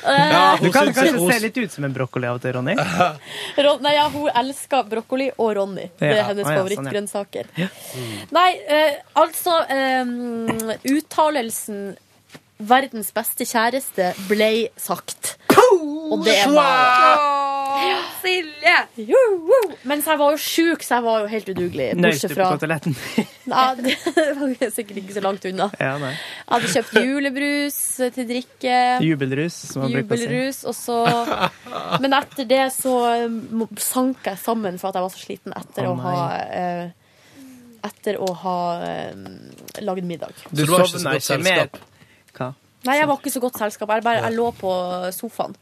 Speaker 1: Ja,
Speaker 2: Du
Speaker 1: hun
Speaker 2: kan
Speaker 1: syns-
Speaker 2: kanskje
Speaker 1: hun- Eh,
Speaker 2: se litt ut som en brokkoli av og til, Ronny.
Speaker 3: Ron, nei, ja, hun elsker brokkoli og Ronny. Det er
Speaker 2: Ja,
Speaker 3: hennes
Speaker 2: å ja, sånn, ja.
Speaker 3: favorittgrønnsaker. Nei, eh, altså eh, Uttalelsen 'verdens beste kjæreste' ble sagt. Og det er meg.
Speaker 6: Silje!
Speaker 3: Jo, jo. Mens jeg var jo sjuk, så jeg var jo helt udugelig.
Speaker 2: Nøys du
Speaker 3: Bortsett
Speaker 2: på
Speaker 3: fra
Speaker 2: koteletten? (laughs)
Speaker 3: ja, (laughs) Det var sikkert ikke så langt unna. Jeg
Speaker 2: ja, nei.
Speaker 3: hadde kjøpt julebrus til drikke.
Speaker 2: Jubelrus, som man bruker å si.
Speaker 3: Jubelrus, og så (laughs) Men etter det um, så eh, mo- sank jeg sammen for at jeg var så sliten etter
Speaker 2: Å,
Speaker 3: å ha eh, etter å ha eh, lagd middag.
Speaker 1: Du var ikke så godt selskap.
Speaker 2: Hva?
Speaker 3: Nei, jeg var ikke så godt selskap. Jeg, bare, jeg lå på sofaen,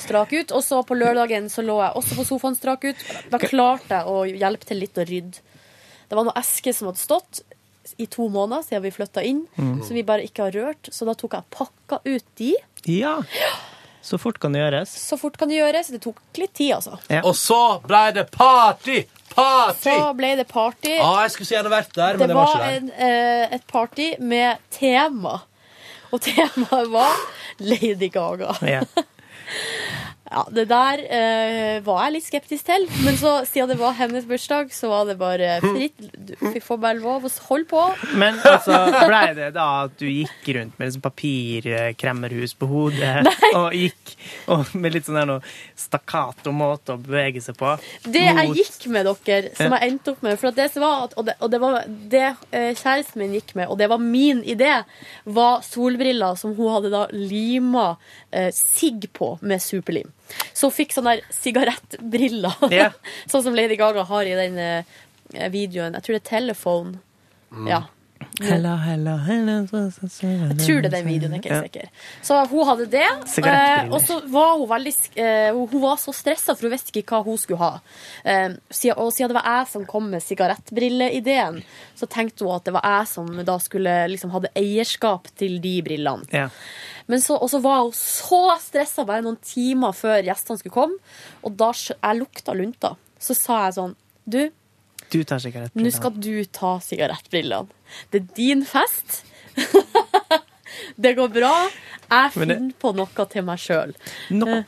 Speaker 3: strak ut. Og så på lørdagen så lå jeg også på sofaen, strak ut. Da klarte jeg å hjelpe til litt å rydde. Det var noen esker som hadde stått i to måneder siden vi flytta inn,
Speaker 2: Mm.
Speaker 3: som vi bare ikke har rørt. Så da tok jeg og pakka ut de.
Speaker 2: Ja. Så fort kan det gjøres.
Speaker 3: Så fort kan det gjøres. Det tok litt tid, altså.
Speaker 1: Og så ble det party! Party!
Speaker 3: Så ble det party.
Speaker 1: (laughs) Ja, jeg skulle så gjerne vært der, Ah, men
Speaker 3: Det
Speaker 1: jeg var
Speaker 3: var
Speaker 1: ikke der.
Speaker 3: en, eh, et party med tema. Og temaet var Lady Gaga.
Speaker 2: Ja.
Speaker 3: Ja, Det der eh, var jeg litt skeptisk til, men så siden det var hennes bursdag, så var det bare
Speaker 1: Hm.
Speaker 3: fritt. Du fikk få bare lov å holde på.
Speaker 2: Men altså, blei det da at du gikk rundt med liksom papirkremmerhus på hodet
Speaker 3: (laughs)
Speaker 2: og gikk og med litt sånn der noe stakkato måte å bevege seg på?
Speaker 3: Det jeg
Speaker 2: Mot-
Speaker 3: gikk med dere, som jeg endte opp med for at det som var, at- Og det, og det var det eh, kjæresten min gikk med, og det var min idé, var solbriller som hun hadde da lima eh, sigg på med superlim. Så hun fikk sånne der sigarettbriller, (laughs)
Speaker 2: Ja.
Speaker 3: sånn som Lady Gaga har i den eh, videoen. Jeg tror det er Telephone. Ja.
Speaker 2: Hello, hello, hello, so, so, so,
Speaker 3: Jeg tror det er den videoen, jeg er ikke helt sikker. Så hun hadde det,
Speaker 2: Sigarettbriller.
Speaker 3: eh, og så var hun veldig sk- eh, hun- Hun var så stressa, for hun visste ikke hva hun skulle ha. Eh, siden- Og siden det var jeg som kom med sigarettbrilleideen, så tenkte hun at det var jeg som da skulle liksom hadde eierskap til de brillene.
Speaker 2: Ja.
Speaker 3: Men så, og så var hun så stressa bare noen timer før gjestene skulle komme, og da skj- jeg lukta lunta. Så sa jeg sånn Du,
Speaker 2: Du tar sikkert
Speaker 3: nå skal du ta sigarettbrillene. Det er din fest. (laughs) det går bra. Jeg
Speaker 2: Men det-
Speaker 3: finner på noe til meg sjøl.
Speaker 2: Nok,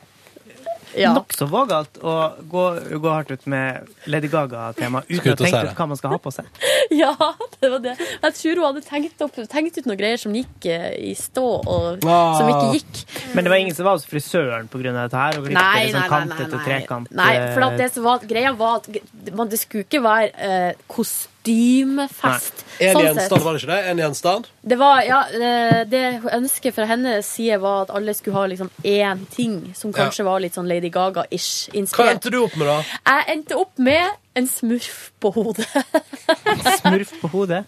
Speaker 3: Ja.
Speaker 2: Nokså vågalt å gå, gå hardt ut med Lady Gaga-tema uten
Speaker 1: Skal
Speaker 2: å
Speaker 1: ut og se
Speaker 2: tenke
Speaker 1: det.
Speaker 2: ut hva man skal ha på seg.
Speaker 3: (laughs) ja, det var det. Jeg tror hun hadde tenkt, opp, tenkt ut noen greier som gikk eh, i stå, og
Speaker 1: Ah.
Speaker 3: som ikke gikk.
Speaker 2: Men det var ingen som var hos frisøren pga. dette her? Og nei, sånn kantete trekant,
Speaker 3: Nei, for at
Speaker 2: eh,
Speaker 3: det som var, greia var at man, det skulle ikke være eh, kostymefest.
Speaker 1: En
Speaker 3: Sånn sett.
Speaker 1: gjenstand, var det ikke det? En gjenstand?
Speaker 3: Det var, ja, eh, det ønsket fra hennes side var at alle skulle ha liksom én ting som kanskje var litt sånn Lady Gaga-ish
Speaker 1: Hva
Speaker 3: inspirert.
Speaker 1: endte du opp med, da?
Speaker 3: Jeg endte opp med en smurf på hodet. (laughs)
Speaker 2: Smurf på hodet.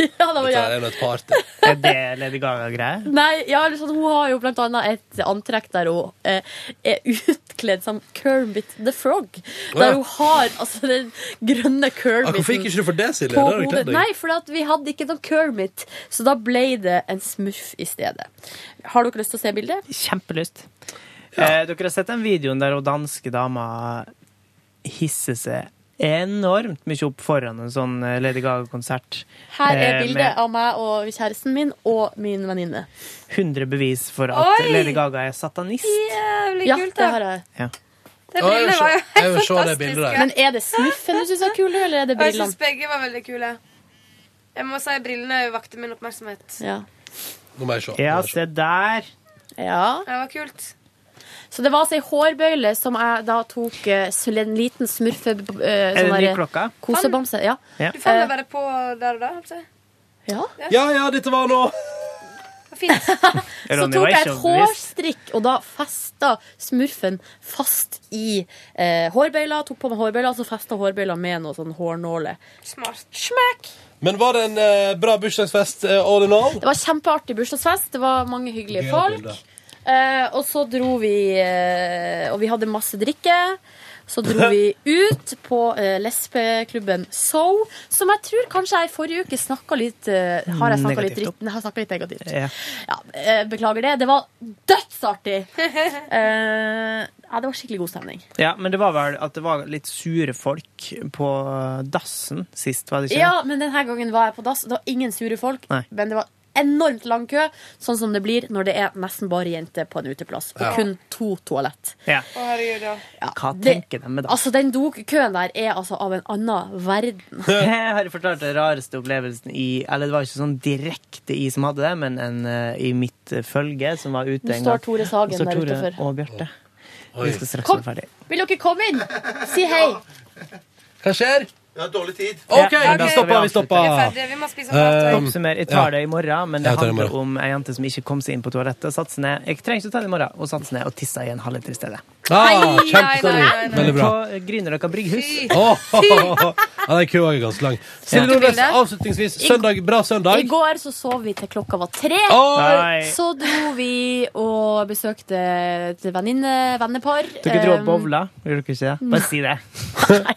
Speaker 3: ja, det var,
Speaker 1: Det
Speaker 3: ja.
Speaker 1: er jo et party.
Speaker 3: (laughs)
Speaker 2: Er det Lady Gaga-greier?
Speaker 3: Nei, ja, eller sånn, Hun har jo blant annet et antrekk der hun eh, er utkledd som Kermit the Frog.
Speaker 1: ja.
Speaker 3: Der hun har altså den
Speaker 1: Ah,
Speaker 3: grønne Kermiten.
Speaker 1: Hvorfor gikk ikke du for det, Silje?
Speaker 3: på
Speaker 1: Det hadde jeg
Speaker 3: hodet.
Speaker 1: kledd deg.
Speaker 3: Nei, for at vi hadde ikke noen Kermit, så da ble det en smurf i stedet. Har dere lyst til å se bildet?
Speaker 2: Kjempelyst. Eh, dere har sett den videoen der hun danske dama hisser seg enormt mye opp foran en sånn eh, Lady Gaga-konsert.
Speaker 3: Her er
Speaker 2: Eh,
Speaker 3: bildet
Speaker 2: med-
Speaker 3: av meg og kjæresten min og min venninne.
Speaker 2: 100 bevis for at
Speaker 6: Oi!
Speaker 2: Lady Gaga er satanist.
Speaker 6: Jævlig
Speaker 3: Ja,
Speaker 6: kult,
Speaker 3: det har
Speaker 6: da.
Speaker 3: jeg.
Speaker 6: Det
Speaker 1: Ja, jeg vil
Speaker 6: bildet var jo
Speaker 1: se- jeg vil
Speaker 6: helt
Speaker 1: se det bildet
Speaker 6: fantastisk.
Speaker 1: der.
Speaker 6: ja.
Speaker 3: Men er det smurfen du syns er kul, eller er det
Speaker 6: Og jeg syns
Speaker 3: brillene?
Speaker 6: begge var veldig kule. Jeg må si brillene vakte min oppmerksomhet.
Speaker 3: Ja.
Speaker 1: Nå må jeg se. Nå
Speaker 2: Ja,
Speaker 1: må jeg se.
Speaker 2: se der.
Speaker 3: ja.
Speaker 6: Det var kult.
Speaker 3: Så det var altså ei hårbøyle som jeg da tok eh, sl- en liten smurfe... eh,
Speaker 2: Er det ny
Speaker 3: sånn der,
Speaker 2: klokka?
Speaker 3: Kosebamse. Ja.
Speaker 6: Du fant
Speaker 3: Eh.
Speaker 6: deg bare på der og da? altså. holdt
Speaker 3: ja.
Speaker 6: jeg.
Speaker 1: Ja, ja, dette var nå
Speaker 6: Det
Speaker 3: (laughs)
Speaker 6: var Fint.
Speaker 3: Så
Speaker 2: Ronny
Speaker 3: tok
Speaker 2: var
Speaker 3: jeg
Speaker 2: ikke
Speaker 3: et
Speaker 2: overbevist.
Speaker 3: hårstrikk, og da festa smurfen fast i eh, hårbøyla. Tok på meg hårbøyla, og så festa hårbøyla med noe sånn hårnåle.
Speaker 6: Smart.
Speaker 3: Smekk!
Speaker 1: Men var det en eh, bra bursdagsfest eh, all in all?
Speaker 3: Det var kjempeartig bursdagsfest. Det var mange hyggelige
Speaker 1: Gøyalt
Speaker 3: folk.
Speaker 1: bilde.
Speaker 3: Eh, og så dro vi eh, Og vi hadde masse drikke. Så dro vi
Speaker 2: (laughs)
Speaker 3: ut på eh, lesbeklubben So, som jeg tror kanskje jeg i forrige uke snakka litt eh, Har jeg snakka litt,
Speaker 2: Negativt
Speaker 3: dritt- har snakket litt negativt?
Speaker 2: Ja.
Speaker 3: Ja, eh, beklager det. Det var dødsartig! (laughs) Eh, ja, det var skikkelig god stemning.
Speaker 2: Ja, men det var vel at det var litt sure folk på eh, dassen sist, var det ikke?
Speaker 3: Ja, men denne gangen var jeg på dass. Det var ingen sure folk,
Speaker 2: Nei.
Speaker 3: men det var enormt lang kø, sånn som det blir når det er nesten bare jenter på en uteplass, og kun to toalett.
Speaker 2: Ja.
Speaker 6: Å, herregud, ja.
Speaker 2: Hva
Speaker 3: det-
Speaker 2: tenker de med dass?
Speaker 3: Altså, den dokøen der er altså av en annen verden.
Speaker 2: Jeg har fortalt den rareste opplevelsen i Eller det var ikke sånn direkte i som hadde det, men en eh, i mitt eh, følge som var ute
Speaker 3: Nå
Speaker 2: en
Speaker 3: står
Speaker 2: gang.
Speaker 3: Tore Sagen
Speaker 2: Så
Speaker 3: der
Speaker 2: Tore
Speaker 3: utenfor.
Speaker 2: og Bjarte.
Speaker 1: Oi.
Speaker 2: Vi skal straks
Speaker 3: Kom.
Speaker 2: være ferdig.
Speaker 3: Vil dere komme inn? Si hei.
Speaker 1: Hva skjer?
Speaker 9: Vi har dårlig tid.
Speaker 1: OK,
Speaker 2: Ja,
Speaker 1: vi
Speaker 6: ok.
Speaker 1: stopper, vi
Speaker 6: Vi er
Speaker 1: stopper.
Speaker 6: ferdige. Vi må spise mat.
Speaker 1: Um,
Speaker 2: Oppsummer, jeg
Speaker 1: ja.
Speaker 2: tar det i morgen, men det
Speaker 1: Jeg tar det i
Speaker 2: handler
Speaker 1: morgen.
Speaker 2: om ei jente som ikke kom seg inn på toalettet og satte seg ned. Jeg trenger ikke ta det i morgen, og satte seg ned og tissa i en halvliter i stedet.
Speaker 1: Ah,
Speaker 6: Nei, nei, nei,
Speaker 1: Kjempestemning.
Speaker 3: (laughs)
Speaker 6: nei, nei.
Speaker 1: Veldig bra.
Speaker 2: På Grünerløkka brygghus.
Speaker 6: Fy.
Speaker 1: Åh, Ja, den køen er ganske lang. Silje
Speaker 6: Sendte
Speaker 1: Nordnes,
Speaker 6: bilde.
Speaker 1: avslutningsvis. Søndag, bra søndag.
Speaker 3: I går så sov vi til klokka var tre.
Speaker 1: Oi!
Speaker 2: Nei.
Speaker 3: Så dro vi og besøkte et venninne, vennepar.
Speaker 2: Dere dro og
Speaker 3: Um,
Speaker 2: bowla, gjorde dere ikke det? Bare si det.
Speaker 3: Mm. Nei.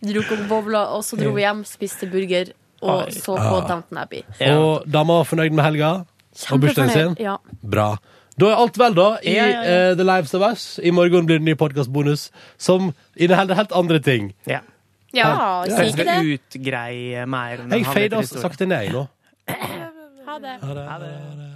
Speaker 3: Vi Dro opp bobla, og så dro vi hjem, spiste burger og så på Downton Abbey.
Speaker 1: Og dama var fornøyd med helga Ah. og bursdagen sin.
Speaker 3: Kjempefornøyd. Ja.
Speaker 1: Bra. Da er alt vel, da, i
Speaker 2: Ja, ja, ja.
Speaker 1: eh, The Lives of Us. I morgen blir det ny podkastbonus som inneholder helt andre ting.
Speaker 2: Ja.
Speaker 6: Ja.
Speaker 1: Ja.
Speaker 3: Ja, si
Speaker 2: Jeg
Speaker 3: ikke
Speaker 2: skal
Speaker 3: det.
Speaker 2: utgreie mer. om
Speaker 1: Jeg altså.
Speaker 2: halvmeter
Speaker 1: fader oss
Speaker 2: historie.
Speaker 1: sakte ned nå.
Speaker 3: Ha det.
Speaker 1: Ha det.